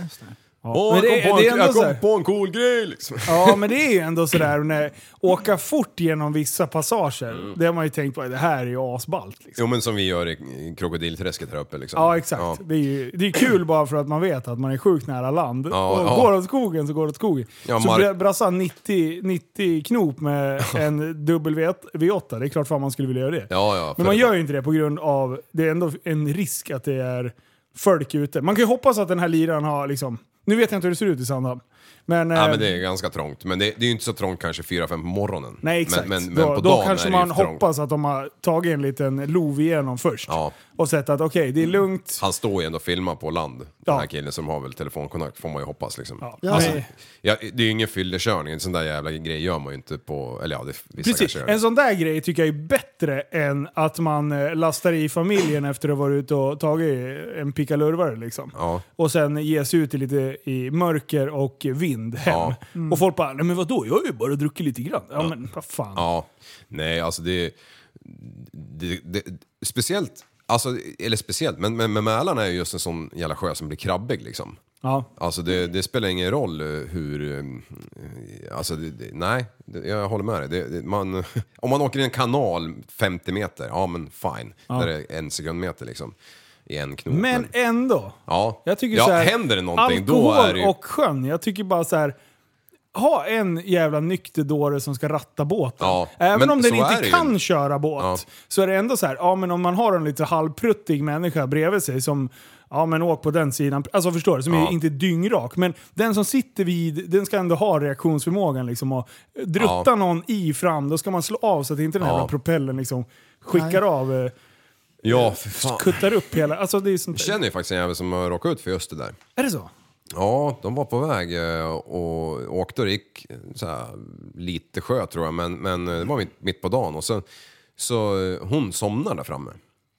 S7: Åh,
S5: men det,
S7: jag kom, på,
S5: det är
S7: en,
S5: ändå
S7: jag
S5: så
S7: kom
S5: här,
S7: på en cool grej liksom.
S5: Ja, men det är ju ändå sådär när åka fort genom vissa passager.
S7: Mm.
S5: Det har man ju tänkt på, det här är ju asballt. Liksom.
S7: Jo men som vi gör i, i krokodilträsket här uppe liksom.
S5: Ja, exakt. Det, är ju, det är kul bara för att man vet att man är sjukt nära land.
S7: Ja,
S5: och
S7: ja.
S5: går åt skogen så går det åt skogen.
S7: Ja,
S5: så
S7: Mark-
S5: Mar- brassan 90, 90 knop med en W8, det är klart fan man skulle vilja göra det.
S7: Ja, ja,
S5: Men
S7: för-
S5: man gör ju inte det på grund av, det är ändå en risk att det är folk ute. Man kan ju hoppas att den här liran har liksom, nu vet jag inte hur det ser ut i Sandhamn. Men,
S7: Ja
S5: eh,
S7: men det är ganska trångt. Men det, det är ju inte så trångt kanske 4-5 på morgonen.
S5: Nej exakt.
S7: Men, men,
S5: då,
S7: men på
S5: då
S7: dagen
S5: kanske
S7: är det ju
S5: man
S7: för trångt.
S5: hoppas att de har tagit en liten lov igenom först.
S7: Ja.
S5: Och sett att okej, det är lugnt.
S7: Han står ju ändå och filmar på land,
S5: Ja.
S7: den här killen som har väl telefonkontakt, får man ju hoppas liksom.
S5: Ja.
S7: Ja. Alltså,
S5: Nej.
S7: ja, det är ju ingen fyllekörning, en sån där jävla grej gör man ju inte på, eller ja, det, vissa
S5: Precis,
S7: kanske gör
S5: en
S7: det.
S5: sån där grej tycker jag är bättre än att man eh, lastar i familjen efter att ha varit ute och tagit en pickalurvare liksom.
S7: Ja.
S5: Och sen ger sig ut i lite i mörker och vind hem.
S7: Ja. Mm.
S5: Och folk bara “Nej men vadå, jag har ju bara druckit lite grann”. Ja, men vad fan.
S7: Ja, nej alltså det, det, det speciellt, alltså, eller speciellt, men, men, men Mälaren är ju just en sån jävla sjö som blir krabbig liksom.
S5: Ja.
S7: Alltså det, det spelar ingen roll eh, hur... eh, Alltså det, det, nej, det, jag håller med dig. Det, det, man, om man åker i en kanal 50 meter, ja men fine. Där är det en sekundmeter liksom. I en knop.
S5: Men ändå.
S7: ja,
S5: Jag tycker
S7: ja,
S5: så här,
S7: händer det någonting då
S5: alkohol
S7: är det ju...
S5: och sjön. Jag tycker bara så här. ha en jävla nykterdåre som ska ratta båten.
S7: Ja, men
S5: Även om den
S7: så är
S5: inte
S7: det ju.
S5: kan köra båt.
S7: Ja.
S5: Så är det ändå så här, ja men om man har en lite halvpruttig människa bredvid sig som Ja men åk på den sidan. Alltså förstår du? Som
S7: Ja.
S5: är inte dyngrak. Men den som sitter vid, den ska ändå ha reaktionsförmågan liksom. Och drutta
S7: Ja.
S5: någon i fram, då ska man slå av så att inte den här
S7: Ja.
S5: jävla propellern liksom skickar
S6: Nej.
S5: av, eh,
S7: Ja, för fan.
S5: kuttar upp hela. Alltså det är sånt
S7: Jag känner ju faktiskt en jävel som har råkat ut för just det där.
S5: Är det så?
S7: Ja, de var på väg eh, och åkte och det gick eh, så här, lite sjö tror jag, men, men eh, det var mitt, mitt på dagen. Och sen, så eh, hon somnar där framme.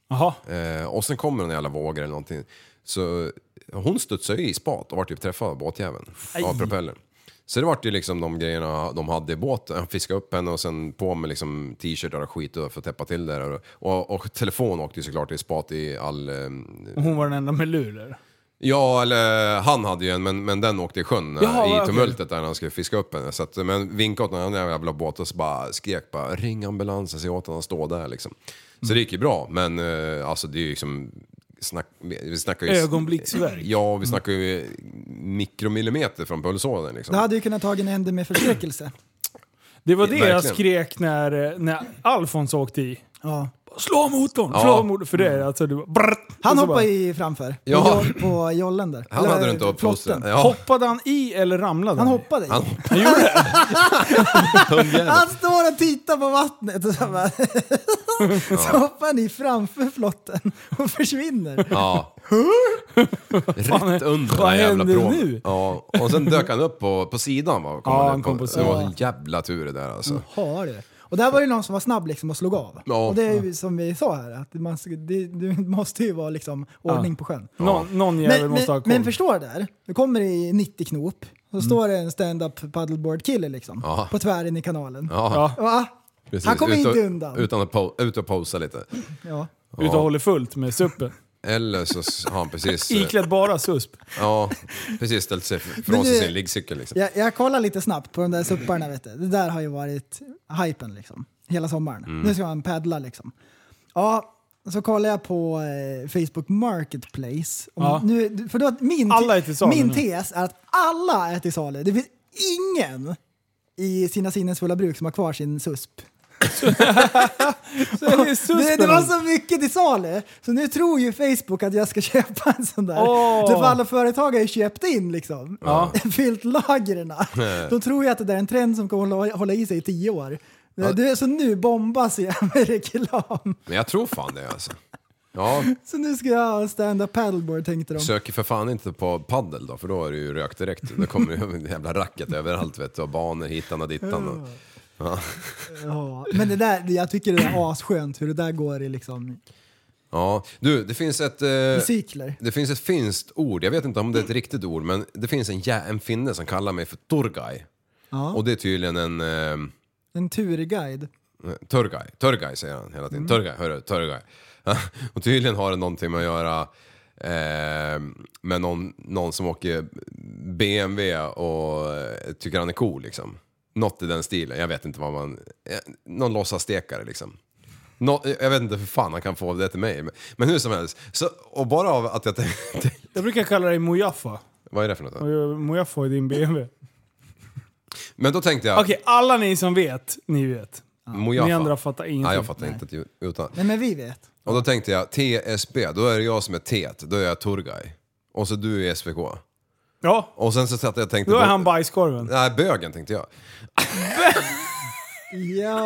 S5: Jaha.
S7: Eh, och sen kommer en jävla vågor eller någonting. Så eh, hon studsade ju i spat och vart typ träffad av båtjäveln. Av propellern. Så det vart ju liksom de grejerna de hade i båten. Jag fiskade upp henne och sen på med liksom t-shirtar och skit för att täppa till det. där. Och, och telefon åkte ju såklart i spat i all... Eh,
S5: Och hon var den enda med lur eller?
S7: Ja, eller han hade ju en, men, men den åkte i sjön när-
S5: Jaha, okej.
S7: i tumultet där när han skulle fiska upp henne. Så att, men vinkade åt någon annan jävla båt och så bara skrek bara ring ambulansen, se åt honom att stå där liksom. Så det gick ju bra, men eh, alltså det är ju liksom... Snack, vi snackar ju...
S5: Ögonblicksverk.
S7: Ja, vi snackar ju mikromillimeter från pulsådern liksom.
S6: Det hade ju kunnat ta en ände med förskräckelse.
S5: Det var det jag
S7: Verkligen.
S5: skrek när, eh, när Alfons åkte i.
S6: Ja.
S5: Slå motorn!
S7: Ja. Mm.
S5: Slå motorn! För det är alltså du bara, brrrt,
S6: Han
S5: Och så
S6: hoppade
S5: bara-
S6: i framför.
S7: Ja.
S6: På- På jollen där.
S7: Han hade
S6: Eller
S7: du inte
S6: flotten.
S7: uppfostrat. Ja,
S5: Hoppade han i eller ramlade
S6: Han
S5: i?
S6: hoppade i.
S7: Han
S6: Han,
S7: tungjävel.
S6: står och tittar på vattnet och så, bara så hoppar han i framför flotten och försvinner.
S7: Ja. Rätt under
S5: vad
S7: den jävla
S5: händer
S7: pråmen.
S5: nu?
S7: Ja, och sen dök han upp på, på sidan va? Kom
S5: Ja,
S7: upp
S5: han kom på Mm.
S7: Det var
S6: sidan.
S7: en jävla tur det där alltså.
S6: Har du? Och där var det någon som var snabb liksom och slog av.
S7: Ja.
S6: Och det är ju som vi sa här, att man, det, det måste ju vara liksom ordning på sjön.
S5: Nå, någon jävel
S6: Men,
S5: måste ha
S6: men,
S5: koll.
S6: men förstår det där, du kommer i 90 knop, så står det en stand-up paddleboard-kille liksom,
S7: Ja.
S6: på tvären i kanalen.
S7: Ja,
S5: Ja.
S6: Va?
S7: precis.
S6: Han kommer
S7: Ut och-
S6: inte undan.
S7: Utan att po- ut och posa lite.
S6: Ja.
S5: Ut och håller fullt med suppen.
S7: Eller så s- har han precis... eh,
S5: Iklädd bara susp.
S7: ja, precis ställt sig f- från
S6: Men
S7: sig
S6: det-
S7: sin liggcykel liksom.
S6: Alltså, Jag, jag kollar lite snabbt på de där supparna vet du. Det där har ju varit hypen liksom. Hela sommaren.
S5: Mm.
S6: Nu ska man paddla liksom. Ja, så kollar jag på eh, Facebook Marketplace. Om,
S5: Ja.
S6: nu, för då, min,
S5: Alla är till salu
S6: min
S5: nu.
S6: tes är att alla är till salu. Det finns ingen i sina sinnens fulla bruk som har kvar sin susp.
S5: Så är det
S6: Det,
S5: suspen.
S6: det var så mycket till salu, så nu tror ju Facebook att jag ska köpa en sån där.
S5: Åh.
S6: Oh. För alla företag har ju köpt in liksom.
S5: Ja.
S6: Fyllt lagren. De tror ju att det där är en trend som kommer hålla, hålla i sig i tio år.
S7: Ja.
S6: Det, så nu bombas jag med reklam.
S7: Men jag tror fan det alltså. Ja,
S6: Så nu ska jag ha en stand-up paddleboard tänkte de.
S7: söker för fan inte på paddel då, för då är det ju rökt direkt. Då kommer ju en jävla racket överallt vet du, och banor hitan och dittan. Och,
S6: Ja. Men det där, jag tycker det är asskönt hur det där går i liksom
S7: ja, du, det finns ett... eh,
S6: i cykler.
S7: Det finns ett finskt ord, jag vet inte om det är ett riktigt ord, men det finns en, jä- en finne som kallar mig för Torgaj. Och det är tydligen en... Eh,
S6: En turguide.
S7: Turgay, Turgay säger han hela tiden. Turgay, hörru, Turgay. och tydligen har det någonting med att göra eh, med någon, någon som åker BMW och eh, tycker han är cool liksom. Något i den stilen, jag vet inte vad man... Eh, någon låtsasstekare liksom. Nå, jag vet inte hur fan han kan få det till mig. Men, men hur som helst, så, och bara av att jag tänkte...
S5: Jag brukar kalla dig Mojaffa.
S7: vad är det för något? då?
S5: Och Mojaffa är din BMW.
S7: Men då tänkte jag...
S5: Okej, alla ni som vet, ni vet.
S7: Mojafa.
S5: Ni andra fattar ingenting.
S7: Nej, jag fattar inte ett ljud utan.
S6: Nej men vi vet.
S7: Och då tänkte jag TSB, då är det jag som är T, då är jag Turgay. Och så du är SVK.
S5: Ja,
S7: Och sen så satt jag och tänkte...
S5: då är han bajskorven.
S7: Nej, bögen tänkte jag.
S6: Ja,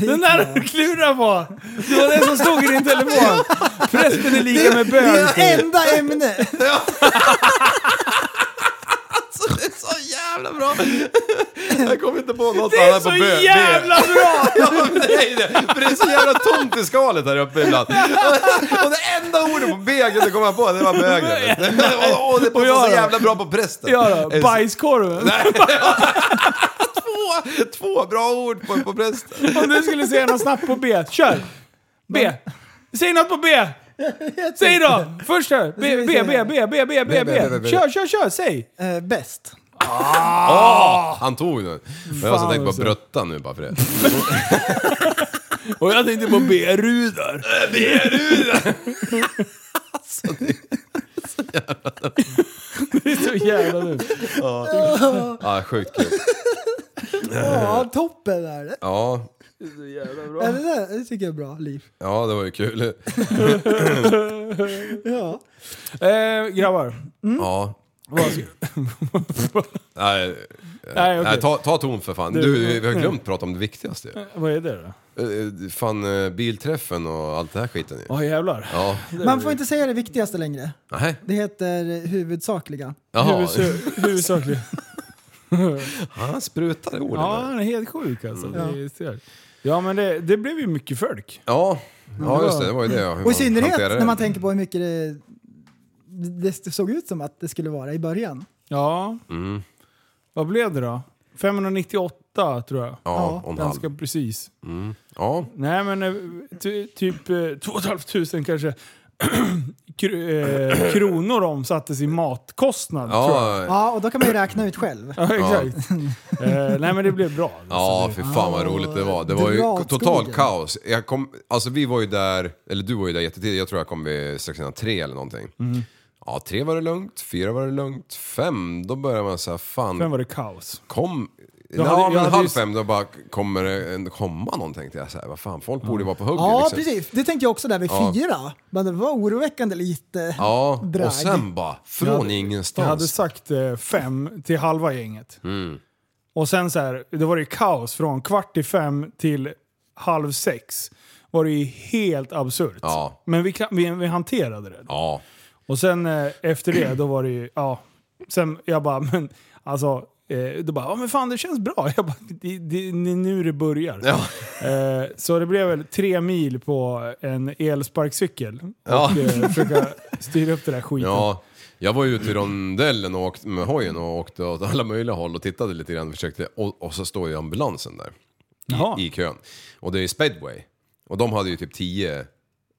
S5: Den där du klurar på! Det var den som stod i din telefon. Prästen är lika med
S6: det
S5: bög.
S6: är enda ämne.
S7: Det är så jävla bra! Jag kommer inte på något
S5: Det är
S7: annat på
S5: så
S7: bö- B.
S5: jävla bra!
S7: Ja, men det är det. För det är så jävla tomt i skalet här uppe ibland. Och det enda ordet på B jag kunde komma på, det var bögen. Och, och det
S5: Och jag
S7: passar så
S5: då?
S7: jävla bra på prästen.
S5: Ja då,
S7: Eh,
S5: bajskorven.
S7: Två, två bra ord på, på prästen.
S5: Om du skulle säga något snabbt på B, kör! B! Säg något på B! Säg då! Först här! B, B, B, B, B, B, B, B. Kör, kör, kör! Säg!
S6: Eh, bäst.
S7: Ah! Han tog den. Men jag har så
S5: Fan
S7: tänkt på
S5: också.
S7: brötta nu bara för det.
S5: Och jag tänkte på B-rudar. Alltså, B-rudar! Det är så jävla dumt.
S7: Ja, Ah, sjukt kul.
S6: Ja, toppen är det.
S7: Ja,
S6: Ja, det, där, det tycker jag är bra, Liv.
S7: ja, det var ju kul.
S6: Ja.
S5: Eh, grabbar.
S7: Ja.
S5: Vad ska-
S7: Nej,
S5: Nej, okej.
S7: nej ta, ta ton för fan. Du, vi har glömt prata om det viktigaste.
S5: Vad är det då?
S7: Eh, Fan, eh, bilträffen och allt det här skiten ju.
S5: Åh jävlar.
S7: Ja.
S6: Man får inte säga det viktigaste längre.
S7: Nej.
S6: Det heter huvudsakliga.
S7: Jaha.
S5: Huvudsa- Huvudsakligen.
S7: Han sprutar i orden.
S5: Ja,
S7: där.
S5: han är helt sjuk alltså.
S7: Mm.
S5: Det är stört. ja, men det, det blev ju mycket folk.
S7: Ja. ja, just det. Det var ju det. ja, hur
S6: Och i
S7: man
S6: synnerhet
S7: hanterar det.
S6: när man tänker på hur mycket det, det det såg ut som att det skulle vara i början.
S5: Ja.
S7: Mm.
S5: Vad blev det då? 598 tror jag.
S7: Ja, om halv.
S5: Ganska precis.
S7: Ja,
S5: Nej men eh, ty, typ eh, 2 500 kanske kr- eh, kronor omsattes i matkostnad tror jag.
S7: ja,
S6: Ja, och då kan man ju räkna ut själv.
S5: Ja, exakt. eh, nej men Alltså, det blev bra.
S7: Ja,
S5: Så
S7: fy fan vad roligt det var. Det var ju
S6: Dra åt
S7: total
S6: skogen.
S7: kaos. Jag kom, alltså vi var ju där, eller du var ju där jättetidigt, jag tror jag kom vid strax innan tre eller någonting.
S5: Mm.
S7: Ja, tre var det lugnt, fyra var det lugnt, fem, då börjar man säga fan,
S5: det- Sen var det kaos.
S7: kom...
S5: Jag
S7: Ja,
S5: hade- jag
S7: men
S5: hade
S7: halv
S5: ju-
S7: fem då bara kommer det en- komma någon tänkte jag så här, vad fan, folk borde ju vara på hugget
S6: Ja,
S7: liksom.
S6: precis. Det tänkte jag också där vid
S7: Ja.
S6: fyra. Men det var oroväckande lite
S7: Ja,
S6: drag.
S7: och sen bara, från
S5: Jag hade- Jag
S7: ingenstans.
S5: hade sagt eh, fem till halva gänget.
S7: Mm.
S5: Och sen så här, det var det ju kaos från kvart i fem till halv sex. Var det ju helt absurt.
S7: Ja.
S5: Men vi, kan- vi, vi hanterade det.
S7: Ja,
S5: Och sen eh, efter det, då var det ju, ja. Sen jag bara, men alltså. Eh, då bara, ja men fan det känns bra. Jag bara, det, det, det är nu det börjar.
S7: Ja.
S5: Eh, så det blev väl tre mil på en elsparkcykel. Och
S7: Ja.
S5: eh, försöka styra upp det där skiten.
S7: ja. Jag var ju ute i rondellen och åkte med hojen och åkte åt alla möjliga håll och tittade lite grann och försökte, och, och så står ju ambulansen där.
S5: Jaha.
S7: i kön. Och det är speedway. Och de hade ju typ 10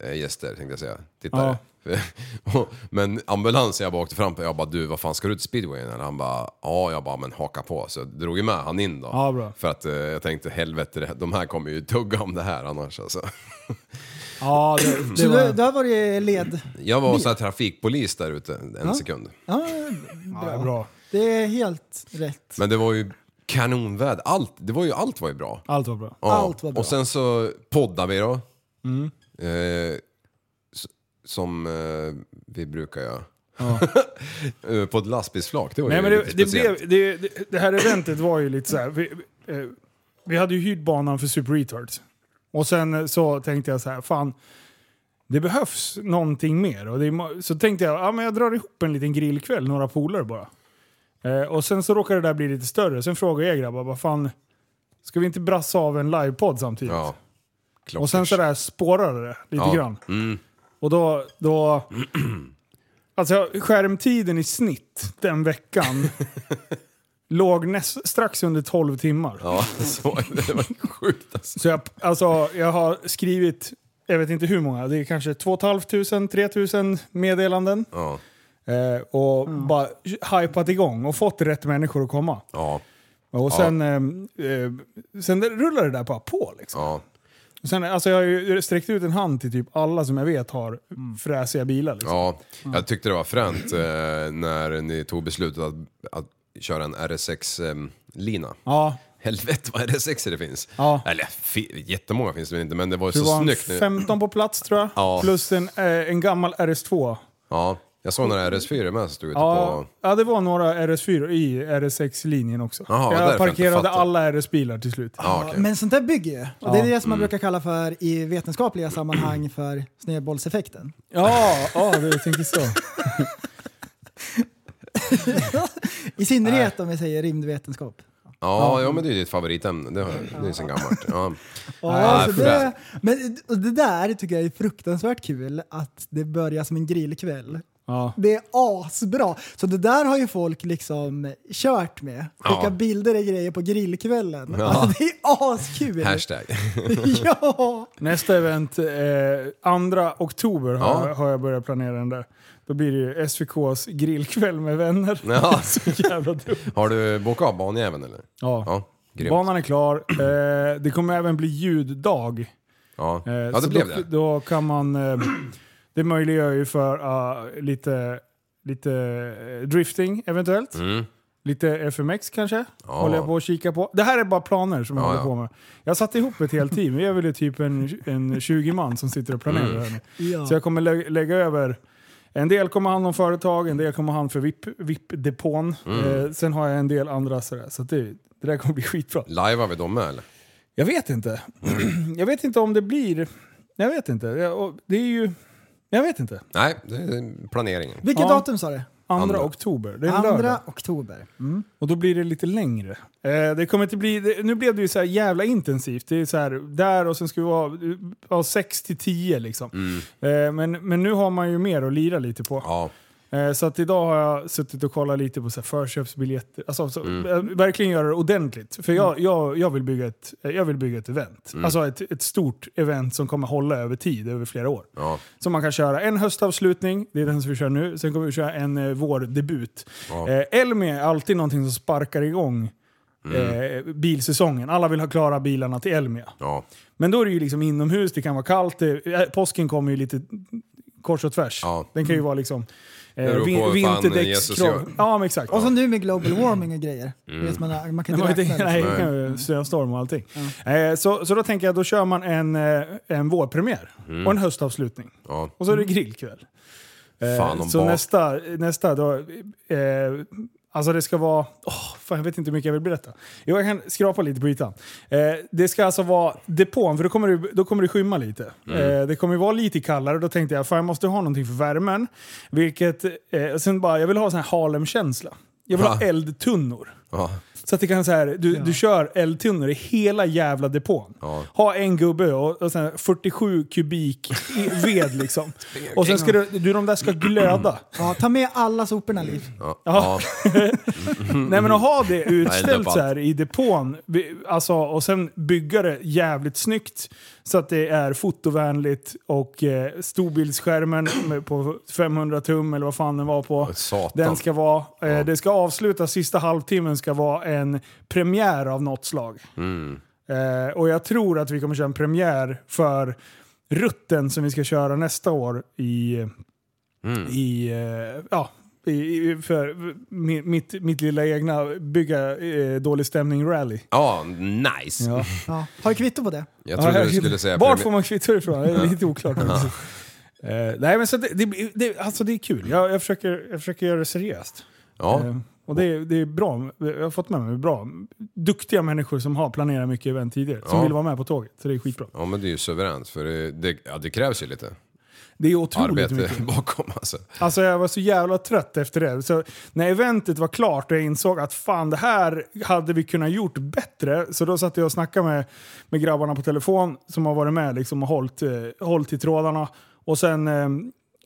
S7: eh, gäster tänkte jag säga, tittare. Och- men ambulansen jag bara åkte fram på, jag bara du vad fan ska du till speedwayen eller? Han bara ja, jag bara men haka på. Så jag drog ju med han in då.
S5: Ja, bra.
S7: För att eh, jag tänkte helvete, det- de här kommer ju tugga om det här annars alltså.
S5: Ja, det, det
S6: Så
S5: var...
S6: du, du har varit led.
S7: Jag var så här trafikpolis där ute en sekund.
S6: Ja,
S5: Ja, bra.
S6: det är helt rätt.
S7: Men det var ju kanonväder, allt, det var ju, allt var ju bra.
S5: Allt var bra.
S7: Ja.
S6: Allt var bra.
S7: Och sen så poddar vi då. Eh, s- som eh, vi brukar göra. Eh, På ett lastbilsflak, det var
S5: Nej,
S7: ju
S5: men
S7: lite
S5: det, det,
S7: speciellt.
S5: blev, det, det- det här eventet var ju lite så här. Vi, eh, vi hade ju hyrt banan för Super Retards. Och sen eh, så tänkte jag så här, fan. Det behövs någonting mer. Och det, är ma- så tänkte jag, ja, men jag drar ihop en liten grillkväll, några polare bara. Eh, och sen så råkade det där bli lite större. Sen frågade jag grabbar, vad fan, ska vi inte brassa av en livepodd samtidigt?
S7: Ja.
S5: Och sen sådär spårade det lite
S7: Ja. Mm.
S5: grann. Och då... då alltså skärmtiden i snitt den veckan låg näst, strax under 12 timmar.
S7: Ja, så, det var sjukt alltså.
S5: Så jag, alltså, jag har skrivit, jag vet inte hur många, det är kanske 2 500-3 000 meddelanden.
S7: Ja.
S5: Eh, och bara hypat igång och fått rätt människor att komma.
S7: Ja,
S5: Och sen, eh, eh, sen rullar det där bara på liksom.
S7: ja.
S5: Sen, alltså jag har ju sträckt ut en hand till typ alla som jag vet har fräsiga bilar. Liksom.
S7: ja, jag tyckte det var fränt eh, när ni tog beslutet att, att köra en RS6-lina.
S5: Ja.
S7: eh, Helvete vad RS6 det finns.
S5: Ja.
S7: Eller fi, jättemånga finns det väl inte, men det var ju
S5: Det
S7: så
S5: var en
S7: snyggt. nu.
S5: 15 på plats tror jag,
S7: Ja.
S5: plus en, eh, en gammal RS2.
S7: Ja, jag såg några RS4 med som stod ute
S5: Ja,
S7: på...
S5: ja, det var några RS4 i RS6-linjen också.
S7: Jaha, därför jag
S5: jag
S7: inte
S5: parkerade
S7: fattar.
S5: alla RS-bilar till slut.
S7: Ja, okej. Mm.
S6: Men sånt där bygger ju. Och det är det som man brukar kalla för i vetenskapliga sammanhang för snedbollseffekten.
S5: Ja, ja det, jag tänker så.
S6: I synnerhet om vi säger rymdvetenskap.
S7: Ja, ja, men det är ju ditt favoritämne. Det, har, det är ju sen gammalt. Ja.
S6: Ja,
S7: Nej,
S6: så
S7: för
S6: det, men och det där tycker jag är fruktansvärt kul, att det börjar som en grillkväll.
S5: Ja.
S6: Det är asbra! Så det där har ju folk liksom kört med. Skicka
S7: Ja.
S6: bilder och grejer på grillkvällen.
S7: Ja.
S6: Alltså, det är askul!
S7: Hashtag.
S6: Ja!
S5: Nästa event, eh, 2 oktober har,
S7: Ja.
S5: jag- har jag börjat planera den där. Då blir det ju SVKs grillkväll med vänner.
S7: Ja.
S5: Så jävla dumt.
S7: Har du bokat av banjäveln eller?
S5: Ja.
S7: Ja, grymt.
S5: Banan är klar. Eh, det kommer även bli ljuddag.
S7: Ja,
S5: Eh,
S7: ja
S5: så
S7: det blev
S5: då,
S7: det.
S5: Då kan man... Eh, det möjliggör ju för ah, lite lite eh, drifting eventuellt.
S7: Mm.
S5: Lite FMX kanske, håller jag på att kika på. Det här är bara planer som jag
S7: Ja,
S5: håller
S7: ja.
S5: på med. Jag satte ihop ett helt team, vi är väl typ en, en 20 man som sitter och
S7: Mm.
S5: planerar här nu.
S6: Ja.
S5: Så jag kommer lä lägga över. En del kommer hand om företag, en del kommer hand för VIP- VIP-depån.
S7: Mm.
S5: eh, sen har jag en del andra sådär. Så att det, det där kommer bli skitbra.
S7: Lajvar vi dem med eller?
S5: Jag vet inte. jag vet inte om det blir... Jag vet inte. Jag, och det är ju... Jag vet inte.
S7: Nej, det är planeringen.
S6: Vilket
S5: Ja.
S6: datum sa du?
S5: Andra,
S7: Andra.
S5: oktober. Det är en lördag.
S6: Andra oktober.
S5: Och då blir det lite längre. Eh, det kommer inte bli, det, nu blev det ju så här jävla intensivt. Det är så här, där och sen ska vi vara ja, 6 till 10 liksom. Eh, men, men nu har man ju mer att lira lite på.
S7: Ja.
S5: Eh, så att idag har jag suttit och kollat lite på så här förköpsbiljetter. Alltså, så, eh, verkligen göra det ordentligt. För jag, jag, jag, vill, bygga ett, eh, jag vill bygga ett event. Alltså ett, ett stort event som kommer hålla över tid, över flera år.
S7: Ja.
S5: Som man kan köra en höstavslutning, det är den som vi kör nu. Sen kommer vi köra en eh, vårdebut.
S7: Ja.
S5: Eh, Elmi är alltid någonting som sparkar igång eh, bilsäsongen. Alla vill ha klara bilarna till Elmia.
S7: ja.
S5: Men då är det ju liksom inomhus, det kan vara kallt. Det, eh, påsken kommer ju lite kors och tvärs.
S7: Ja. Mm.
S5: Den kan ju vara liksom eh,
S7: beror på
S5: vin-
S7: vad fan
S5: vinterdäcks...
S7: Jesus gör.
S5: Ja, men exakt.
S6: Och så nu med global warming och grejer. Vet man, man kan
S5: Det
S6: inte
S5: var
S6: räkna.
S5: inte,
S6: liksom.
S5: nej, nej. snöstorm och allting. Eh, så, så då tänker jag, då kör man en, eh, en vårpremiär
S7: Mm.
S5: och en höstavslutning.
S7: ja.
S5: Och så är det grillkväll. Eh,
S7: Mm. Fan om
S5: så
S7: bak-
S5: nästa, nästa då, eh, alltså det ska vara, åh, fan, jag vet inte hur mycket jag vill berätta. Jo, jag kan skrapa lite på ytan. Eh, det ska alltså vara depån, för då kommer det, då kommer det skymma lite.
S7: Mm.
S5: Eh, det kommer ju vara lite kallare, då tänkte jag, fan jag måste ha någonting för värmen. Vilket, eh, sen bara, jag vill ha sån här Harlem-känsla. Jag vill ha
S7: Ja.
S5: eldtunnor.
S7: ja.
S5: Så att det kan så här, du, du kör eldtunnor i hela jävla depån. Ha en gubbe och, och sen 47 kubik i ved liksom. och sen ska du, du, de där ska glöda.
S6: Ja, ta med alla soporna Liv.
S7: ja.
S5: Ja.
S7: ja.
S5: Mm. Nej men att ha det
S7: Nej, det är
S5: utställt
S7: bara-
S5: så här i depån vi- alltså, och sen bygga det jävligt snyggt så att det är fotovänligt och eh, storbildsskärmen med- på 500 tum eller vad fan den var på.
S7: Satan.
S5: Den ska vara, eh, det ska avslutas, sista halvtimmen ska vara en premiär av något slag.
S7: Mm.
S5: Eh, och jag tror att vi kommer köra en premiär för rutten som vi ska köra nästa år i,
S7: Mm.
S5: i eh, ja, i, i, för mi- mitt, mitt lilla egna bygga eh, dålig stämning-rally.
S7: ja, nice.
S5: Ja.
S6: Ja. Har du kvitto på det?
S7: Jag trodde du skulle säga...
S5: Vart
S7: premi-
S5: får man kvitto ifrån? Det är lite oklart. Eh, nej men så det, det, blir- det, alltså det är kul. Jag, jag, försöker, jag försöker göra det seriöst. Eh,
S7: Ja.
S5: Och det, är- det är bra. Jag har fått med mig bra. Duktiga människor som har planerat mycket event tidigare. Som
S7: Ja.
S5: vill vara med på tåget. Så det är skitbra.
S7: ja, men det är ju suveränt för det, det, ja, det krävs ju lite
S5: Det är otroligt mycket.
S7: arbete bakom alltså.
S5: Alltså jag var så jävla trött efter det. Så när eventet var klart och jag insåg att fan det här hade vi kunnat gjort bättre. Så då satt jag och snackade med, med grabbarna på telefon som har varit med liksom, och hållit, eh, hållit i trådarna. Och sen, eh,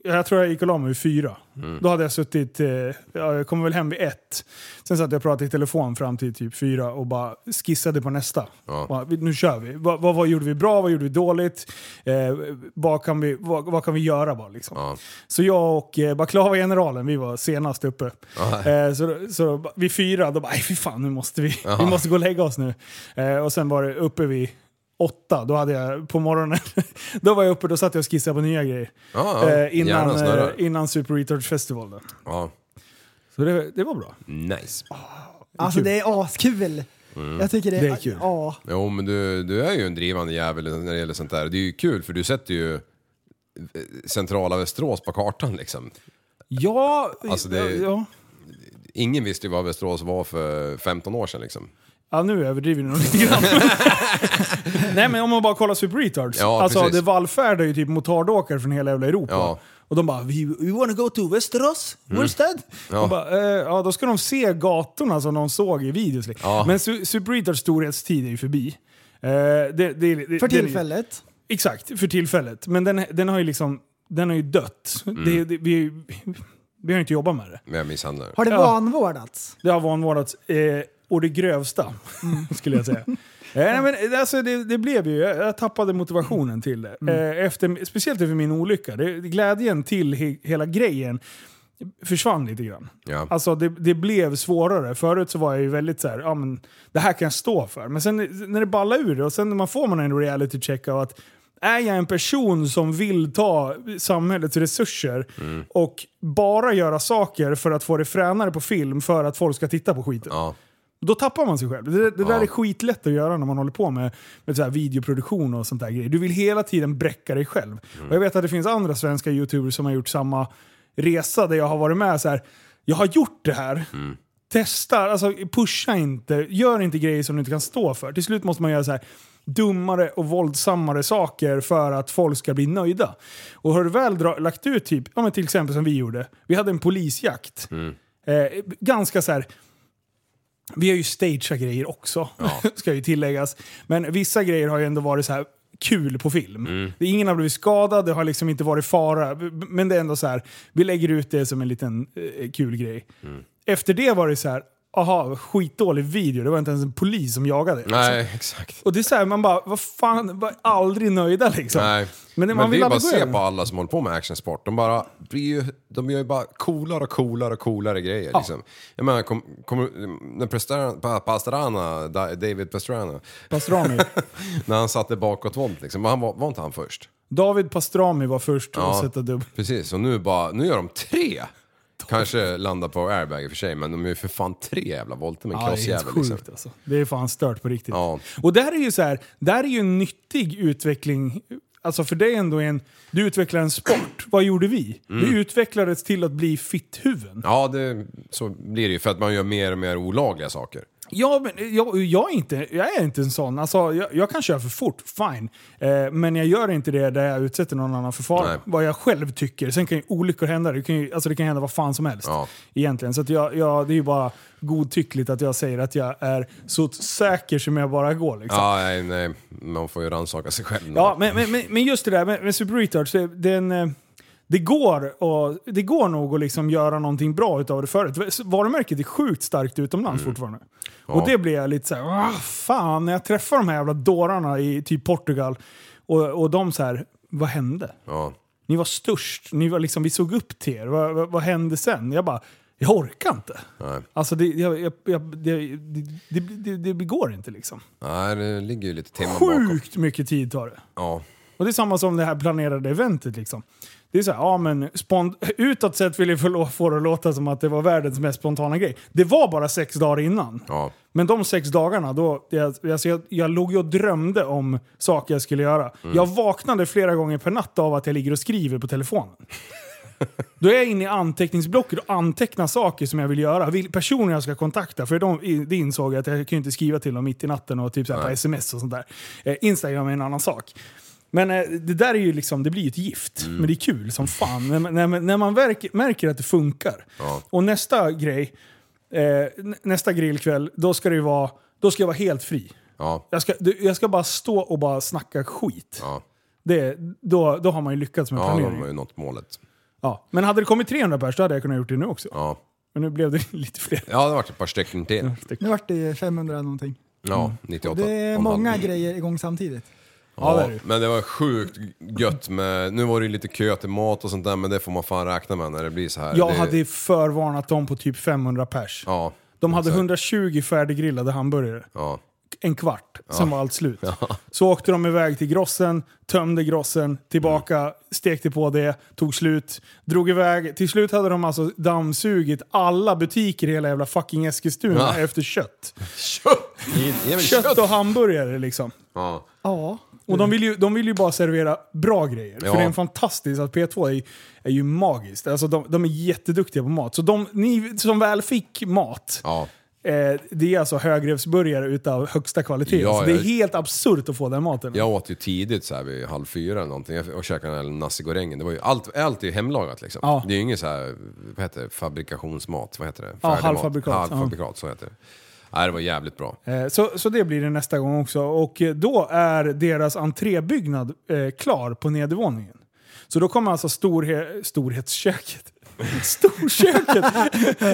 S5: jag tror jag gick och la mig vid fyra.
S7: Mm.
S5: Då hade jag suttit, eh, ja, jag kom väl hem vid ett. Sen satt jag och pratade i telefon fram till typ fyra och bara skissade på nästa.
S7: Ja.
S5: Bara, vi- nu kör vi. Vad, vad, vad gjorde vi bra? Vad gjorde vi dåligt? Eh, vad, kan vi, vad, vad kan vi göra bara liksom?
S7: Ja.
S5: Så jag och eh, Baklava-generalen, vi var senast uppe.
S7: Ja.
S5: Eh, så, så vi fyra, då bara, "Aj, fy fan nu måste vi, vi måste gå och lägga oss nu. Eh, och sen var det uppe vid åtta, då hade jag på morgonen, då var jag uppe, då satt jag och skissade på nya grejer.
S7: Ja, ja.
S5: eh,
S7: Hjärnan
S5: innan, eh,
S7: snurrar.
S5: innan Super Retard Festival. Då.
S7: Ja.
S5: Så det, det var bra.
S7: Nice.
S6: Alltså
S5: kul.
S6: det är askul. Jag tycker det är,
S5: Det är kul.
S6: Ja.
S7: Jo, men du, du är ju en drivande jävel när det gäller sånt där. Det är ju kul för du sätter ju eh, centrala Västerås på kartan liksom.
S5: Ja,
S7: Alltså, det-
S5: ja,
S7: Ingen visste ju vad Västerås var för 15 år sedan liksom.
S5: Ja, nu överdriver ni nog lite grann. Nej, men om man bara kollar Super Retards.
S7: Ja,
S5: alltså,
S7: precis.
S5: det vallfärdar ju typ motardåkare från hela jävla Europa.
S7: Ja. Mm.
S5: Och de bara “We, we wanna go to Västerås, where's that?”
S7: Ja.
S5: Och bara, eh, ja, då ska de se gatorna som de såg i videos. liksom.
S7: Ja.
S5: Men su Super Retards storhetstid är ju förbi. Eh, det, det, det,
S6: För
S5: den är-
S6: tillfället.
S5: Exakt, för tillfället. Men den, den har ju liksom den har ju dött.
S7: Mm.
S5: Det, det, vi, vi har ju inte jobbat med det.
S7: Men jag misshandlar.
S6: Har det
S5: Ja.
S6: vanvårdats?
S5: Det har vanvårdats eh, och det grövsta, skulle jag säga. Eh, nej, men, alltså, det, det blev ju, jag jag tappade motivationen till det.
S7: Mm.
S5: Eh, efter, speciellt efter min olycka. Det, glädjen till he, hela grejen försvann lite grann.
S7: Ja.
S5: Alltså det, det blev svårare. Förut så var jag ju väldigt så här, ja men det här kan jag stå för. Men sen när det ballar ur det och sen när man får man en reality check av att är jag en person som vill ta samhällets resurser
S7: Mm.
S5: och bara göra saker för att få det fränare på film för att folk ska titta på skiten.
S7: Ja.
S5: Då tappar man sig själv. Det, det där är skitlätt att göra när man håller på med, med så här videoproduktion och sånt där grejer. Du vill hela tiden bräcka dig själv. Och jag vet att det finns andra svenska youtubers som har gjort samma resa där jag har varit med så här. Jag har gjort det här. Testar, alltså pusha inte. Gör inte grejer som du inte kan stå för. Till slut måste man göra så här dummare och våldsammare saker för att folk ska bli nöjda. Och har du väl dra- lagt ut typ, ja men till exempel som vi gjorde. Vi hade en polisjakt. Eh, ganska så här vi har ju stageat grejer också, ska ju tilläggas. Men vissa grejer har ju ändå varit så här kul på film.
S7: Mm.
S5: Det, ingen har blivit skadad, det har liksom inte varit fara. B- b- Men det är ändå så här, vi lägger ut det som en liten eh, kul grej.
S7: Mm.
S5: Efter det var det så här, aha, skitdålig video. Det var inte ens en polis som jagade. liksom.
S7: Nej, exakt.
S5: Och det är så här, man bara, vad fan, var aldrig nöjda liksom.
S7: Nej.
S5: Men
S7: Men,
S5: det-
S7: det,
S5: man vill
S7: är bara
S5: aldrig
S7: att
S5: gå
S7: se
S5: över.
S7: på alla som håller på med actionsport. De, bara blir ju, de gör ju bara coolare och coolare och coolare grejer. Liksom. Jag menar, kom, kom, när Pastrana- Pa- Pastrana, Da- David Pastrana,
S5: Pastrami.
S7: när han satte bakåtvolt liksom, han var, var inte han först?
S5: David Pastrami var först att sätta dubb.
S7: Precis, och nu, bara, nu gör de tre. Kanske landar på airbag i och för sig, men de är ju för fan tre jävla volter med en
S5: Ja, det är helt
S7: krossjävel.
S5: sjukt
S7: Liksom.
S5: alltså. Det är fan stört på riktigt.
S7: Ja.
S5: Och där är ju så här, där är ju en nyttig utveckling. Alltså för det är ändå en... Du utvecklar en sport. Vad gjorde vi?
S7: Mm.
S5: Vi utvecklades till att bli fitthuvuden.
S7: Ja, det, så blir det ju för att man gör mer och mer olagliga saker.
S5: Ja, men jag, jag, är inte, jag är inte en sån. Alltså, jag, jag kan köra för fort, fine. Eh, men jag gör inte det där jag utsätter någon annan för fara.
S7: Nej.
S5: Vad jag själv tycker. Sen kan ju olyckor hända. Det kan, ju, alltså, det kan hända vad fan som helst.
S7: Ja.
S5: Egentligen. Så att jag, jag, det är ju bara godtyckligt att jag säger att jag är så säker som jag bara går. Liksom.
S7: Ja, nej, nej, man får ju rannsaka sig själv.
S5: Ja, men, men, men- men just det där med, med Super Retard, så den, eh, det, går och, det går nog att liksom göra någonting bra utav det förut. Varumärket är sjukt starkt utomlands
S7: Mm.
S5: fortfarande. Och det blir jag lite såhär, ah, fan, när jag träffar de här jävla dårarna i typ Portugal och, och de så här, vad hände?
S7: Ja.
S5: Ni var störst, ni var liksom, vi såg upp till er, vad, vad, vad hände sen? Jag bara, jag orkar inte.
S7: Nej.
S5: Alltså det, jag, jag, jag, det, det, det, det, det går inte liksom.
S7: Nej, det ligger ju lite timmar bakom.
S5: Sjukt mycket tid tar det.
S7: Ja.
S5: Och det är samma som det här planerade eventet liksom. Det är så här, ja men spont- utåt sett vill jag förlå- få det att låta som att det var världens mest spontana grej. Det var bara sex dagar innan.
S7: Ja.
S5: Men de sex dagarna, då, jag, alltså jag, jag låg ju och drömde om saker jag skulle göra. Jag vaknade flera gånger per natt av att jag ligger och skriver på telefonen. Då är jag inne i anteckningsblocket och antecknar saker som jag vill göra. Vil- Personer jag ska kontakta. För de, det insåg jag att jag kan ju inte skriva till dem mitt i natten och typ så här på sms och sånt där. Eh, Instagram är en annan sak. Men eh, det där är ju liksom, det blir ju ett gift.
S7: Mm.
S5: Men det är kul som fan. när, man- när, man- när man verk, märker att det funkar. Och nästa grej, eh, n- nästa grillkväll, då ska det ju vara, då ska jag vara helt fri.
S7: Ja.
S5: Jag ska, du- jag ska bara stå och bara snacka skit.
S7: Ja.
S5: Det, då, då har man ju lyckats med
S7: Ja, de
S5: planeringen.
S7: har ju nått målet.
S5: Ja. Men hade det kommit 300 pers, då hade jag kunnat gjort det nu också.
S7: Ja,
S5: Men nu blev det lite fler.
S7: ja det har varit ett par stycken till.
S6: Nu vart det 500 någonting.
S5: Mm.
S7: Ja, 98.
S6: Det är
S7: Om
S6: många
S7: halv.
S6: grejer igång samtidigt.
S5: Ja, det är
S7: Ja,
S5: det ju.
S7: men det var sjukt gött med... Nu var det ju lite kö till mat och sånt där, men det får man fan räkna med när det blir så här.
S5: Jag
S7: det,
S5: hade förvarnat dem på typ 500 pers.
S7: Ja.
S5: De hade
S7: exakt.
S5: 120 färdiggrillade hamburgare.
S7: Ja.
S5: En kvart, sen var allt slut. Så åkte de iväg till grossen, tömde grossen, tillbaka, stekte på det, tog slut, drog iväg. Till slut hade de alltså dammsugit alla butiker i hela jävla fucking Eskilstuna
S7: Ja.
S5: efter kött.
S7: Kött! Ge mig
S5: Kött och hamburgare liksom.
S7: Ja.
S6: Ja,
S5: Och de vill, ju, de vill ju bara servera bra grejer.
S7: Ja.
S5: För det är en fantastisk att P2 är, är ju magiskt. Alltså de, de är jätteduktiga på mat. Så de ni som väl fick mat,
S7: Ja.
S5: eh, det är alltså högrevsburgare utav högsta kvalitet.
S7: Ja,
S5: alltså, det är
S7: ja.
S5: helt absurt att få den maten.
S7: Jag åt ju tidigt så här vid halv fyra eller någonting Jag- och käkade den här nasi goreng. Det var ju allt, allt är ju hemlagat liksom.
S5: Ja.
S7: Det är ju ingen så här, vad heter det, fabrikationsmat, vad heter det?
S5: Ja,
S7: Färdigmat.
S5: halvfabrikat, ja.
S7: Halvfabrikat, så heter det. Nej, det var jävligt bra.
S5: Eh, Så, så det blir det nästa gång också. Och eh, då är deras entrébyggnad eh, klar på nedervåningen. Så då kommer alltså storhe- storhetsköket. Storköket!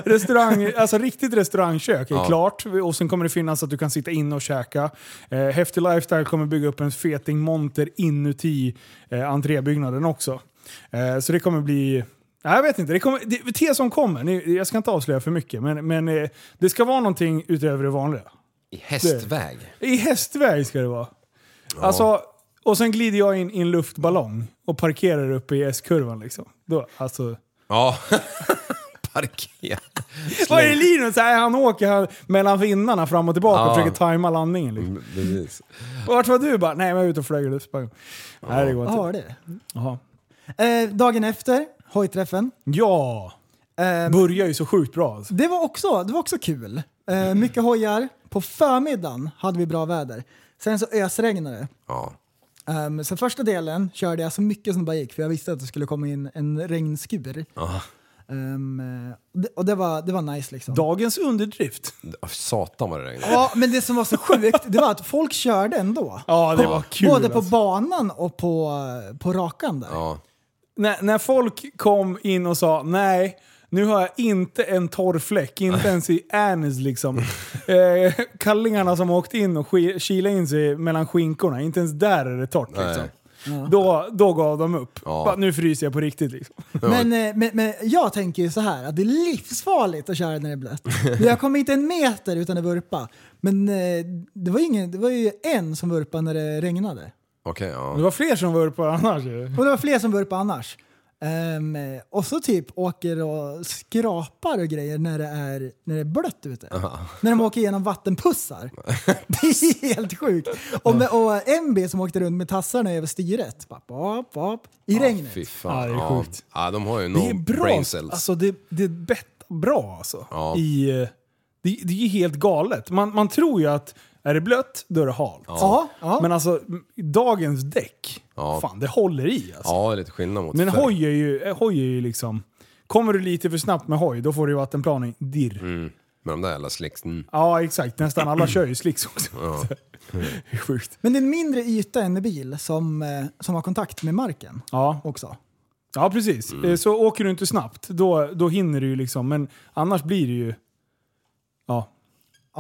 S5: Restaurang, alltså riktigt restaurangkök är klart. Och sen kommer det finnas att du kan sitta inne och käka. Eh, Häftig Lifestyle kommer bygga upp en feting monter inuti eh, entrébyggnaden också. Eh, så det kommer bli... Nej, jag vet inte. Det kommer, det, te som kommer. Ni, jag ska inte avslöja för mycket. Men, men eh, det ska vara någonting utöver det vanliga.
S7: I hästväg.
S5: I hästväg ska det vara. Alltså, Och sen glider jag in i en luftballong och parkerar uppe i S-kurvan liksom. Då, alltså...
S7: Ja. Parkera.
S5: Vad är det Linus? Nej, han åker här mellan vinnarna fram och tillbaka
S7: Ja.
S5: och försöker tajma landningen. Liksom.
S7: Precis.
S5: Vart var du? Bara, nej, men jag är ute och flög i luftballong. Nej, det går
S6: Ja,
S5: inte.
S6: har det.
S5: Jaha.
S6: Eh, dagen efter, hojträffen.
S5: Ja!
S6: Eh,
S5: Börjar ju så sjukt bra alltså.
S6: det, var också, det var också kul. Eh, mycket hojar. På förmiddagen hade vi bra väder. Sen så ösregnade det.
S7: Ja.
S6: Ehm, så första delen körde jag så mycket som det bara gick för jag visste att det skulle komma in en regnskur. Ehm, eh, och det, och det var, det var nice liksom.
S5: Dagens underdrift.
S7: Satan vad det regnade.
S6: Ja, men det som var så sjukt det var att folk körde ändå.
S5: Ja, det var kul
S6: Både på
S5: alltså.
S6: banan och på, på rakan där.
S7: Ja.
S5: när, när folk kom in och sa nej, nu har jag inte en torr fläck, inte ens i Annis liksom. Eh, kallingarna som har åkt in och sk- kilat in sig mellan skinkorna, inte ens där är det torrt liksom. Då, då gav de upp.
S7: Ja.
S5: Bara, nu fryser jag på riktigt liksom.
S6: Men, eh, men, men jag tänker ju så här att det är livsfarligt att köra när det är blött. Jag kom inte en meter utan att vurpa. Men eh, det var, ingen, det var ju en som vurpade när det regnade.
S7: Okej,
S5: Det
S7: ja.
S5: var fler som var uppe annars ju.
S6: Och det var fler som vurpade annars. Ehm, och så typ åker och skrapar och grejer när det är, när det är blött ute. När de åker igenom vattenpussar. det är helt sjukt. Och, med, och MB som åkte runt med tassarna över styret. Bara, bap, bap, I regnet.
S7: Fy
S5: Ja,
S7: fan.
S5: det är
S7: Ja,
S5: sjukt.
S7: ja, de har ju
S5: Det är
S7: no
S5: bra.
S7: brain cells.
S5: Alltså det, det är bett bra alltså.
S7: Ja.
S5: I, eh, det, det är ju helt galet. Man, man tror ju att är det blött, då är det halt.
S6: Ja, ja.
S5: Men alltså, m- dagens däck,
S7: Ja.
S5: fan det håller i alltså.
S7: Ja, det är lite skillnad mot
S5: Men
S7: förr.
S5: hoj är, ju, eh, hoj är ju liksom... Kommer du lite för snabbt med hoj, då får du ju vattenplaning dirr.
S7: Mm. Med de där jävla slicksen.
S5: Ja, exakt. Nästan alla kör ju slicks också. det är sjukt.
S6: Men det är en mindre yta än en bil som, eh, som har kontakt med marken
S5: Ja,
S6: också.
S5: ja precis.
S7: Mm.
S5: Eh, Så åker du inte snabbt, då, då hinner du ju liksom. Men annars blir det ju... Ja.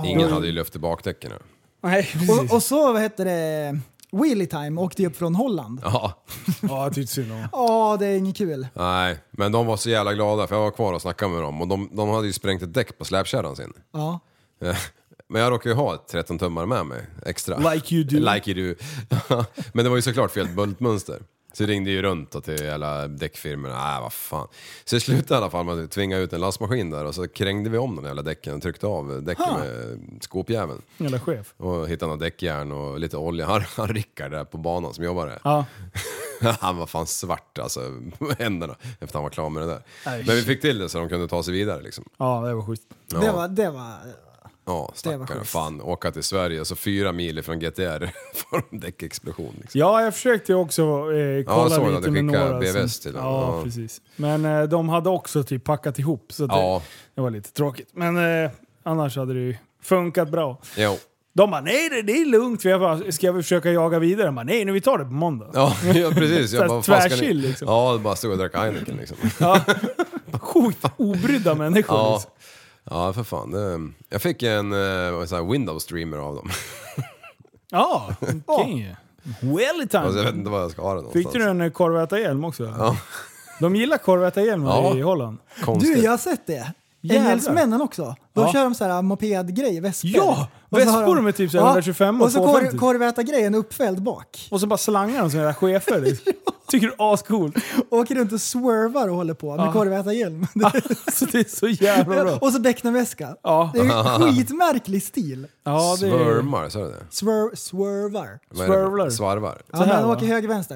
S7: Ingen hade ju luft i bakdäcken. nu.
S5: Nej, precis.
S6: Och, och så, vad heter det, Wheelie Time åkte ju upp från Holland.
S7: Ja.
S5: Ja, jag tyckte synd om.
S6: Ja, det är inget kul.
S7: Nej, men de var så jävla glada för jag var kvar och snackade med dem och de, de hade ju sprängt ett däck på släpkärran sin.
S6: Ja.
S7: Eh, Men jag råkar ju ha ett 13 tummar med mig extra.
S5: Like you do.
S7: Like you do. men det var ju såklart fel bultmönster. Så jag ringde ju runt och till alla däckfirmorna. Nej, vad fan. Så i slutet i alla fall man tvingade ut en lastmaskin där och så krängde vi om de jävla däcken och tryckte av däcken med skåpjäveln.
S5: Jävla chef.
S7: Och hittade några däckjärn och lite olja. Han, han Rickard där på banan som jobbade. där.
S5: Ja.
S7: han var fan svart alltså, på händerna efter han var klar med det där. Men vi fick till det så de kunde ta sig vidare liksom.
S5: ja, det var schysst.
S6: Det var, det var
S7: Ja,
S6: var
S7: stackarn.
S6: schysst.
S7: Fan, åka till Sverige så fyra mil ifrån GTR får de däckexplosion. Liksom.
S5: Ja, jag försökte ju också eh,
S7: jag
S5: kolla
S7: såg att
S5: lite
S7: du
S5: med
S7: skickade
S5: några.
S7: BVS
S5: som-
S7: till dem.
S5: ja,
S7: Ja.
S5: precis. Men eh, de hade också typ packat ihop, så det,
S7: Ja.
S5: det var lite tråkigt. Men eh, annars hade det ju funkat bra.
S7: Jo.
S5: De bara, nej det, det är lugnt, vi bara, ska vi försöka jaga vidare? De bara, nej nu vi tar det på måndag.
S7: Ja, ja, precis.
S5: Så här
S7: Jag bara, vad fan ska ni...
S5: tvärchill, liksom.
S7: Ja, det bara stod och drack Heineken liksom.
S5: Sjukt obrydda människor.
S7: Ja.
S5: liksom.
S7: ja, för fan. det- Jag fick en eh, sån här Windows-streamer av dem.
S5: ja okej. ju. Well
S7: Alltså, jag vet
S5: time.
S7: inte vad jag ska ha den någonstans.
S5: Fick du en eh, korvätarhjälm också?
S7: Ja.
S5: De gillar korvätarhjälmar
S7: Ja.
S5: i Holland.
S7: Konstigt.
S6: Du, jag har sett det.
S5: Jävlar.
S6: Engelsmännen också. De
S5: Ja.
S6: kör de så här mopedgrej, väskor.
S5: Ja,
S6: Och så har
S5: väskor med typ så här 125 och
S6: Och så kor,
S5: 250.
S6: korvätargrejen uppfälld bak.
S5: Och så bara slangar de som era chefer. Liksom. Tycker du är ascoolt?
S6: Åker runt och swervar och håller på med
S5: Ja.
S6: korvätarhjälm.
S5: Alltså det är så jävla bra.
S6: och så becknarväska.
S5: Ja.
S6: Det är ju skitmärklig stil.
S5: Ja, det är...
S7: Svörmar, sa du det?
S6: Swerv, swervar.
S7: Vad är det?
S5: Swervlar.
S7: Svarvar.
S6: Ja,
S5: Så här,
S6: men de
S5: va?
S6: åker höger vänster.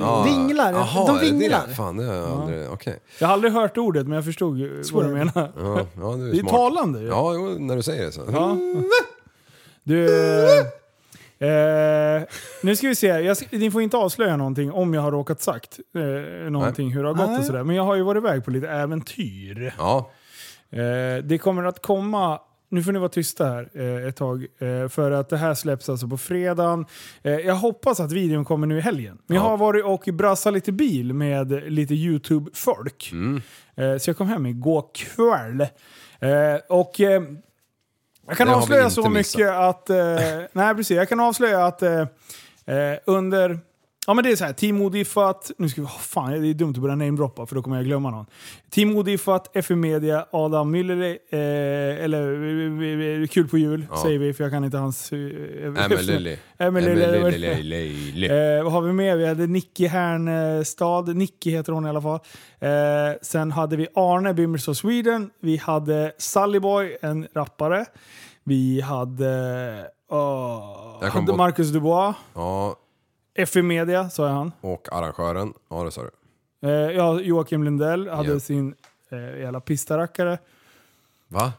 S7: Ja.
S6: Vinglar.
S7: Jaha, är
S6: de
S7: det det?
S6: vinglar.
S7: Fan, det har jag aldrig... Okej.
S5: Jag har aldrig hört ordet men jag förstod ju vad du
S6: Swerve.
S5: menar.
S7: Ja, ja, du är
S5: Det är
S7: smart.
S5: talande ju.
S7: Ja, jo, när du säger det så.
S5: Ja. Du... eh, Eh, nu ska vi se, jag, ska- ni får inte avslöja någonting om jag har råkat sagt eh, någonting hur det har gått och
S6: Nej.
S5: sådär. Men jag har ju varit iväg på lite äventyr.
S7: Ja,
S5: Eh, det kommer att komma, nu får ni vara tysta här eh, ett tag, eh, för att det här släpps alltså på fredagen. Eh, jag hoppas att videon kommer nu i helgen. Men jag
S7: Ja.
S5: har varit och brassat lite bil med lite YouTube-folk.
S7: Mm.
S5: Eh, så jag kom hem igår kväll. Eh, och eh, jag kan
S7: Det har vi
S5: avslöja
S7: inte
S5: så
S7: missat.
S5: mycket att... Eh, nej, precis. Jag kan avslöja att eh, eh, under Ja men det är så här, Team Odifat, nu ska vi, oh, fan det är dumt att börja namedroppa för då kommer jag glömma någon. Team Odifat, FU Media, Adam Müller, eh, eller eh, Kul på jul
S7: Ja.
S5: säger vi för jag kan inte hans... Eh,
S7: Emelili.
S5: Emelili, eller vad det är.
S7: Emelili.
S5: Eh, vad har vi mer? Vi hade Nicky Härnstad. Nicky heter hon i alla fall. Eh, sen hade vi Arne Bimmers of Sweden. Vi hade Sallyboy, en rappare. Vi hade, åh,
S7: Jag kom
S5: hade
S7: på-
S5: Marcus Dubois.
S7: Ja,
S5: FI Media, sa jag han.
S7: och arrangören. Ja, det sa du.
S5: Eh, ja, Joakim Lindell hade
S7: Ja.
S5: sin eh, jävla pistarackare.
S7: Va?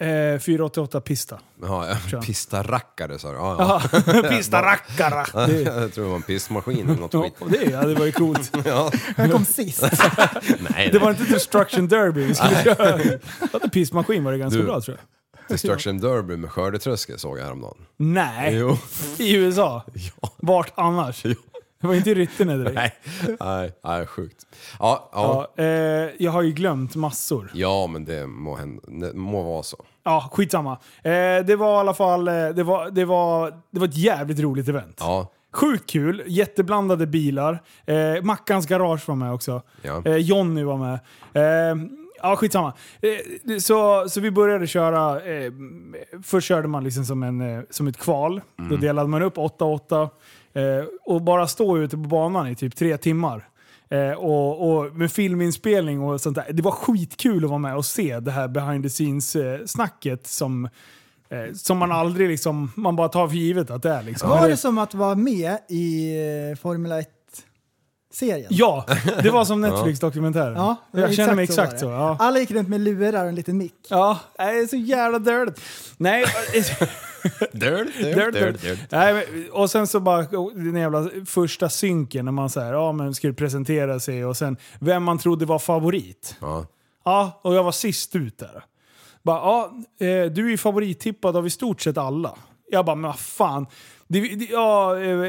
S5: Eh, 488 Pista.
S7: Ja,
S5: Kör.
S7: pistarrackare sa du. Ja, ja.
S5: Ja. Pistarackare! Det,
S7: Jag tror det var en pissmaskin eller något
S5: ja,
S7: skit.
S5: det, ja, det var ju coolt.
S6: Jag kom sist.
S7: Nej,
S5: Det var inte Destruction Derby vi skulle köra. Ja, det Pissmaskin var det ganska
S7: Du.
S5: bra tror jag.
S7: Destruction Derby med skördetröskel såg jag häromdagen.
S5: Nej,
S7: Jo.
S5: i USA. Vart annars? Det var inte i Ryttene direkt.
S7: Nej, nej, nej sjukt. Ja, ja.
S5: Ja, eh, jag har ju glömt massor.
S7: ja, men det må, hända, det må vara så.
S5: Ja, skitsamma. Eh, det var i alla fall eh, det var, det var, det var ett jävligt roligt event.
S7: Ja,
S5: Sjukt kul, jätteblandade bilar. Eh, Mackans garage var med också.
S7: Ja.
S5: Eh, Jonny var med. Eh, ja, skitsamma. Eh, så, så vi började köra, eh, först körde man liksom som, en, eh, som ett kval. Då delade man upp 8-8 eh, och bara stå ute på banan i typ tre timmar. Eh, och, och med filminspelning och sånt där. Det var skitkul att vara med och se det här behind the scenes-snacket som, eh, som man aldrig liksom, man bara tar för givet att det är. Liksom. Men
S6: Var
S5: det-
S6: det som att vara med i eh, Formel 1-serien?
S5: Ja, det var som Netflix-dokumentären.
S6: Ja, det var
S5: jag känner mig
S6: var
S5: exakt så.
S6: det.
S5: ja.
S6: Alla gick runt med lurar och en liten mick.
S5: Ja, nej, det är så jävla dödligt. Nej, eh,
S7: Dörd,
S5: död, död.
S7: dörd, dörd, dörd.
S5: Nej, men- och sen så bara oh, den jävla första synken när man så här, ja, men skulle presentera sig och sen vem man trodde var favorit.
S7: Ja.
S5: Ja, och jag var sist ut där. Bara, ja, eh, du är ju favorittippad av i stort sett alla. Jag bara, men vad fan. Det, det, ja, eh,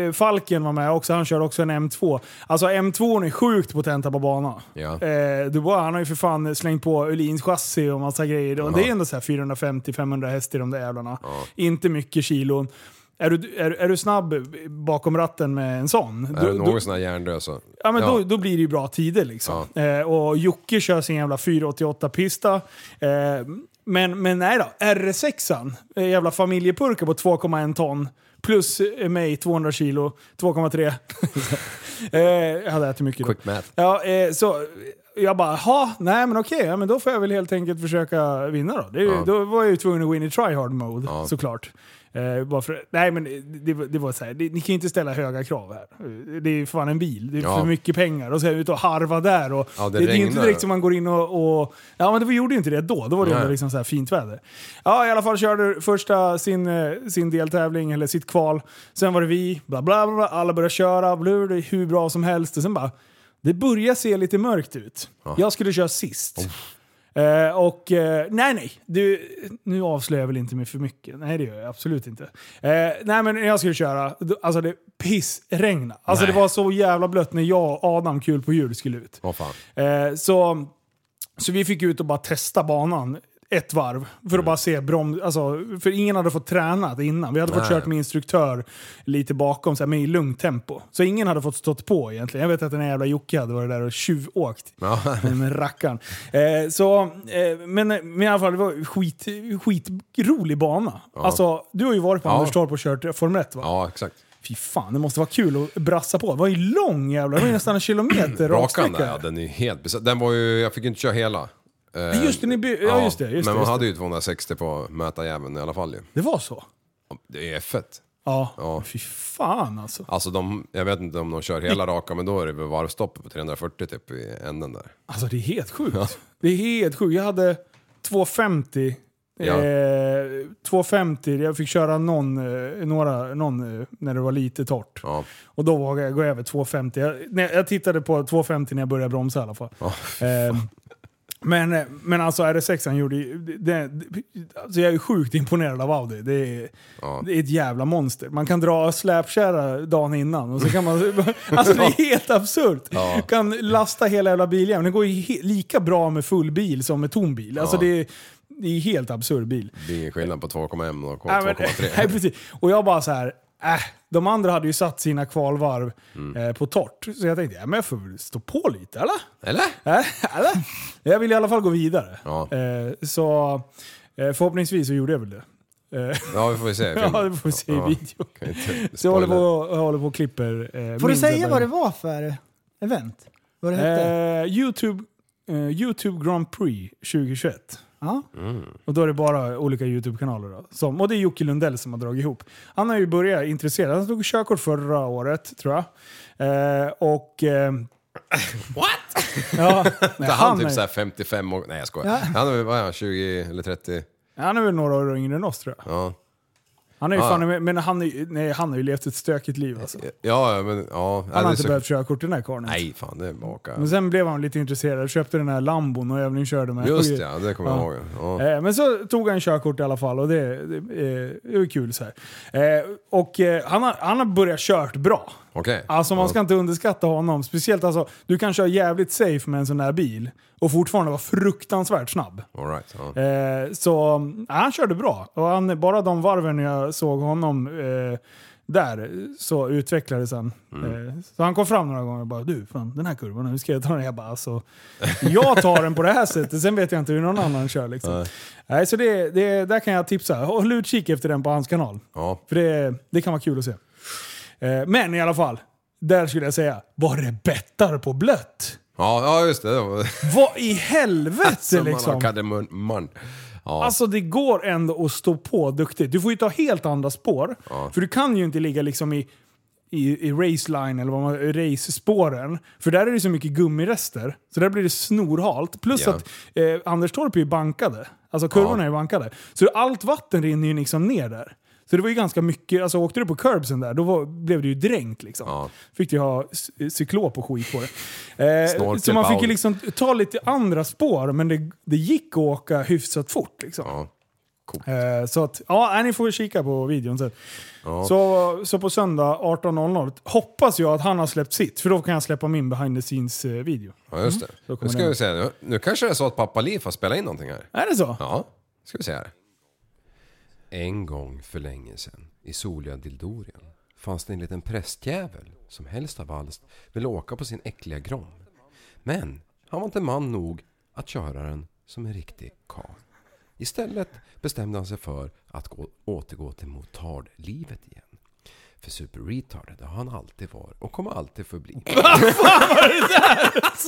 S5: eh, Falken var med också, han körde också en M2. Alltså M2 är sjukt potenta på banan.
S7: Ja.
S5: Eh, du bara, han har ju för fan slängt på Öhlins chassi och massa grejer. Och det är ändå så här 450-500 häst i de där jävlarna. Inte mycket kilon. Är du, är, är du snabb bakom ratten med en sån?
S7: Är
S5: då-
S7: du
S5: då-
S7: någon sån här hjärndöd så...
S5: Ja, men Då, då blir det ju bra tider liksom. Eh, och Jocke kör sin jävla 488-pista. Eh, men, men nej då, RS6an, eh, jävla familjepurka på 2,1 ton. Plus eh, mig 200 kilo, 2,3. eh, jag hade ätit mycket då.
S7: Quick math.
S5: Ja, eh, så jag bara, ha, nej men okej, ja, men då får jag väl helt enkelt försöka vinna då. Det är, ju- Då var jag ju tvungen att gå in i try-hard mode såklart. Eh, bara för, nej men det, var- det var så här, det, ni kan ju inte ställa höga krav här. Det är ju fan en bil, det är
S7: Ja.
S5: för mycket pengar. Och så är jag ute och harva där. Och
S7: Ja,
S5: det,
S7: det
S5: det, är ju inte
S7: regnar.
S5: direkt som man går in och... och ja men det gjorde ju inte det då, då var det
S7: Nej.
S5: ändå liksom så här fint väder. Ja i alla fall körde första sin, eh, sin deltävling, eller sitt kval. Sen var det vi, bla bla bla, bla. alla började köra, blev det hur bra som helst. Och sen bara, det börjar se lite mörkt ut. Jag skulle köra sist. Eh, och eh, nej, nej. Du, nu avslöjar jag väl inte mig för mycket. Nej, det gör jag absolut inte. Eh, nej, men när jag skulle köra, då- alltså det pissregnade. Alltså det var så jävla blött när jag och Adam Kul på jul skulle ut.
S7: Vad fan.
S5: Eh, så, så vi fick ut och bara testa banan ett varv för att
S7: Mm.
S5: bara se brom, alltså, för ingen hade fått tränat innan. Vi hade fått
S7: Nej.
S5: kört med instruktör lite bakom, så här, men i lugnt tempo. Så ingen hade fått stått på egentligen. Jag vet att den här jävla Jocke hade varit där och tjuvåkt.
S7: Ja.
S5: Men med rackaren. Eh, så, eh, men, men i alla fall, det var skit, skitrolig bana. Alltså, du har ju varit på
S7: Ja.
S5: Anderstorp och kört Formel 1 va?
S7: Ja, exakt.
S5: Fy fan, det måste vara kul att brassa på. Det var ju lång jävla, det var ju nästan en kilometer
S7: Rakan
S5: raksträcka.
S7: där, ja, den är ju helt besatt. Den var ju... Jag fick ju inte köra hela. Eh,
S5: Just det, ni by- ja, just det, just
S7: men
S5: det,
S7: man
S5: just
S7: hade ju 260 på mätarjäveln i alla fall ju.
S5: Det var så?
S7: Det är fett.
S5: Ja.
S7: Ja.
S5: Fy fan alltså.
S7: Alltså de, jag vet inte om de kör hela raka, men då är det väl varvstopp på 340 typ i änden där.
S5: Alltså det är helt sjukt. Det är helt sjukt. Jag hade 250.
S7: Ja.
S5: Eh, 250, jag fick köra någon, eh, några, någon eh, när det var lite torrt.
S7: Ja.
S5: Och då vågade jag gå över 250. Jag, nej, jag tittade på 250 när jag började bromsa i alla fall. eh, men, eh, men alltså RS6 gjorde ju- det, det, alltså Jag är sjukt imponerad av Audi. Det är, det är ett jävla monster. Man kan dra släpkärra dagen innan. Och så kan man, alltså det är helt absurt. kan lasta hela jävla biljäveln. Det går ju he, lika bra med full bil som med tom bil. Alltså
S7: Ja.
S5: det, är- det är en helt absurd bil.
S7: Det är ingen skillnad på 2,1 och
S5: Nej, men-
S7: 2,3.
S5: Nej, precis. Och jag bara så här, äh, De andra hade ju satt sina kvalvarv
S7: Mm.
S5: eh, på torrt. Så jag tänkte, ja, men jag får väl stå på lite eller?
S7: Eller?
S5: Äh, eller? Jag vill i alla fall gå vidare.
S7: Ja.
S5: Eh, så eh, förhoppningsvis så gjorde jag väl det. Eh,
S7: Ja, vi får se.
S5: ja, det får vi se i
S7: Ja.
S5: video.
S7: Kan inte
S5: Så jag håller på,
S7: spoila.
S5: jag håller på och klipper. Eh,
S6: Får du
S5: minst
S6: säga
S5: en-
S6: vad det var för event? Vad det hette?
S5: Eh, Youtube, eh, Youtube Grand Prix 2021.
S6: ja.
S7: Mm.
S5: Och då är det bara olika YouTube-kanaler. Då. Som, och det är Jocke Lundell som har dragit ihop. Han har ju börjat intressera Han tog körkort förra året, tror jag. Eh, och... What? ja, nej,
S7: Inte han
S5: är-
S7: typ såhär 55 år... Nej jag skojar.
S6: Ja.
S7: Han är väl, vad är han, 20 eller 30?
S5: han är väl några år yngre än oss tror jag.
S7: Ja.
S5: Han är ju
S7: Ja.
S5: fan, med- men han, är, ju- nej, han har ju levt ett stökigt liv alltså.
S7: Ja, ja, men ja.
S5: Han
S7: det
S5: har
S7: är
S5: inte
S7: så-
S5: behövt körkort den här karln. ens.
S7: Nej, fan det är baka.
S5: Men sen blev han lite intresserad, köpte den här Lambon och övningskörde med.
S7: Just det, ja, det kommer jag
S5: Ja.
S7: ihåg. Ja.
S5: Eh, Men så tog han körkort i alla fall och det, det, eh, det var kul så här. Eh, Och eh, han har, han har börjat kört bra.
S7: Okej.
S5: Alltså man ska
S7: Ja.
S5: inte underskatta honom. Speciellt alltså, du kan köra jävligt safe med en sån här bil och fortfarande vara fruktansvärt snabb.
S7: All right, ja.
S5: Eh, så ja, han körde bra. Och han, bara de varven jag såg honom eh, där så utvecklades han.
S7: Mm.
S5: Eh, så han kom fram några gånger och bara du, fan, den här kurvan, hur ska jag ta den? Jag bara alltså, jag tar den på det här sättet, sen vet jag inte hur någon annan kör. Liksom. Nej. så det, det, där kan jag tipsa. Håll utkik efter den på hans kanal.
S7: ja.
S5: För det, det kan vara kul att se. Eh, men i alla fall, där skulle jag säga, var det bettar på blött?
S7: Ja, ja, just det. det. var-
S5: Vad i helvete
S7: Som Alltså, man har
S5: liksom?
S7: kardemumman. Ja.
S5: Alltså det går ändå att stå på duktigt. Du får ju ta helt andra spår. För du kan ju inte ligga liksom i, i, i raceline eller vad man race-spåren. För där är det så mycket gummirester. Så där blir det snorhalt. Plus
S7: Ja.
S5: att eh, Anderstorp är ju bankade. Alltså kurvorna
S7: Ja.
S5: är ju bankade. Så allt vatten rinner ju liksom ner där. Så det var ju ganska mycket, alltså åkte du på curbsen där, då var, blev du ju dränkt liksom.
S7: Ja.
S5: Fick du ju ha c- eh, cyklop och skit på det. Eh,
S7: Snorkel,
S5: så man fick ju
S7: baul.
S5: liksom ta lite andra spår, men det, det gick att åka hyfsat fort liksom.
S7: Ja.
S5: Eh, Så att, ja, nej, ni får kika på videon sen.
S7: Ja.
S5: Så, så på söndag 18.00 hoppas jag att han har släppt sitt, för då kan jag släppa min behind the eh, scenes-video.
S7: ja, just det.
S5: Mm, Då kommer
S7: Nu ska
S5: den.
S7: vi se. Nu, nu kanske det är så att pappa Liv har spelat in någonting här.
S5: Är det så?
S7: Ja, ska vi se här. En gång för länge sedan i soliga Dildorien fanns det en liten prästjävel som helst av allt ville åka på sin äckliga grom. Men han var inte man nog att köra den som en riktig karl. Istället bestämde han sig för att gå, återgå till motardlivet igen. För Super Retard, det har han alltid varit och kommer alltid förbli. Vad fan var det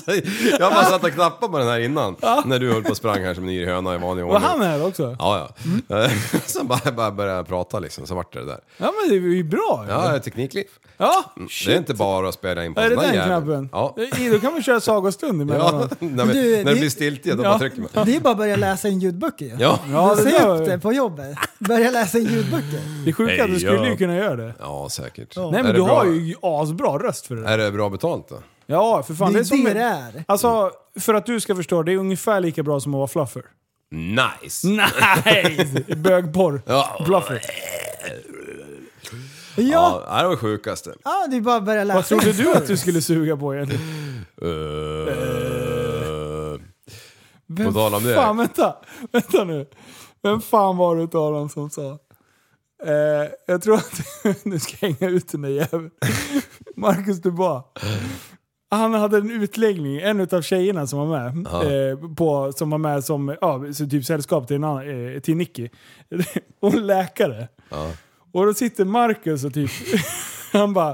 S7: där? Jag bara satt och knappade på den här innan. När du höll på och sprang här som en yr höna i vanlig
S5: Var
S7: ordning.
S5: han här också? Ja,
S7: Ja, ja. Sen bara, bara började jag prata liksom, så vart det det där.
S5: men det är ju bra ju.
S7: Ja, Mm, det är teknikliv.
S5: Ja,
S7: Det är
S5: Mm. shit.
S7: inte bara att spela in på
S5: Är det
S7: sån där
S5: den
S7: jävel.
S5: knappen? Eh,
S7: Ja.
S5: I- Då kan man köra sagostund
S7: ja.
S5: emellanåt.
S7: när, vi,
S6: Du,
S7: när det
S6: det-
S7: blir stiltje, då
S5: Ja.
S7: bara trycker man.
S6: Det är bara att börja läsa in ljudböcker ju.
S7: Ja.
S5: Eh. Ja, det,
S6: Säg upp det
S5: där,
S6: på jobbet. Börja läsa in ljudböcker.
S5: det sjuka är att du
S7: Hej,
S5: skulle
S7: ja.
S5: ju kunna göra det.
S7: ja, säkert.
S5: Nej
S7: Är
S5: men
S7: det
S5: du
S7: bra-
S5: har ju asbra röst för det där.
S7: Är det bra betalt då?
S5: Ja, för fan.
S6: Det är
S5: som
S6: det
S5: en-
S6: det är.
S5: Alltså, för att du ska förstå, det är ungefär lika bra som att vara fluffer. Mm.
S7: Nice!
S5: Nej! Bögporr.
S7: Ja.
S5: Fluffer.
S6: Ja,
S7: Ja, det var det sjukaste.
S6: ja det är bara att börja läsa
S5: Vad trodde
S6: in.
S5: du att du skulle suga på egentligen?
S7: Eh,
S5: Vem
S7: tal om det.
S5: Fan, vänta. Vänta nu. Vem fan var det utav dem som sa... Eh, jag tror att... nu ska jag hänga ut den där jäveln. Marcus Dubois. Han hade en utläggning, en utav tjejerna som var med, eh, på, som var med som ja, så typ sällskap till, en annan, eh, till Nicky. Hon är läkare. Och då sitter Marcus och typ... han bara...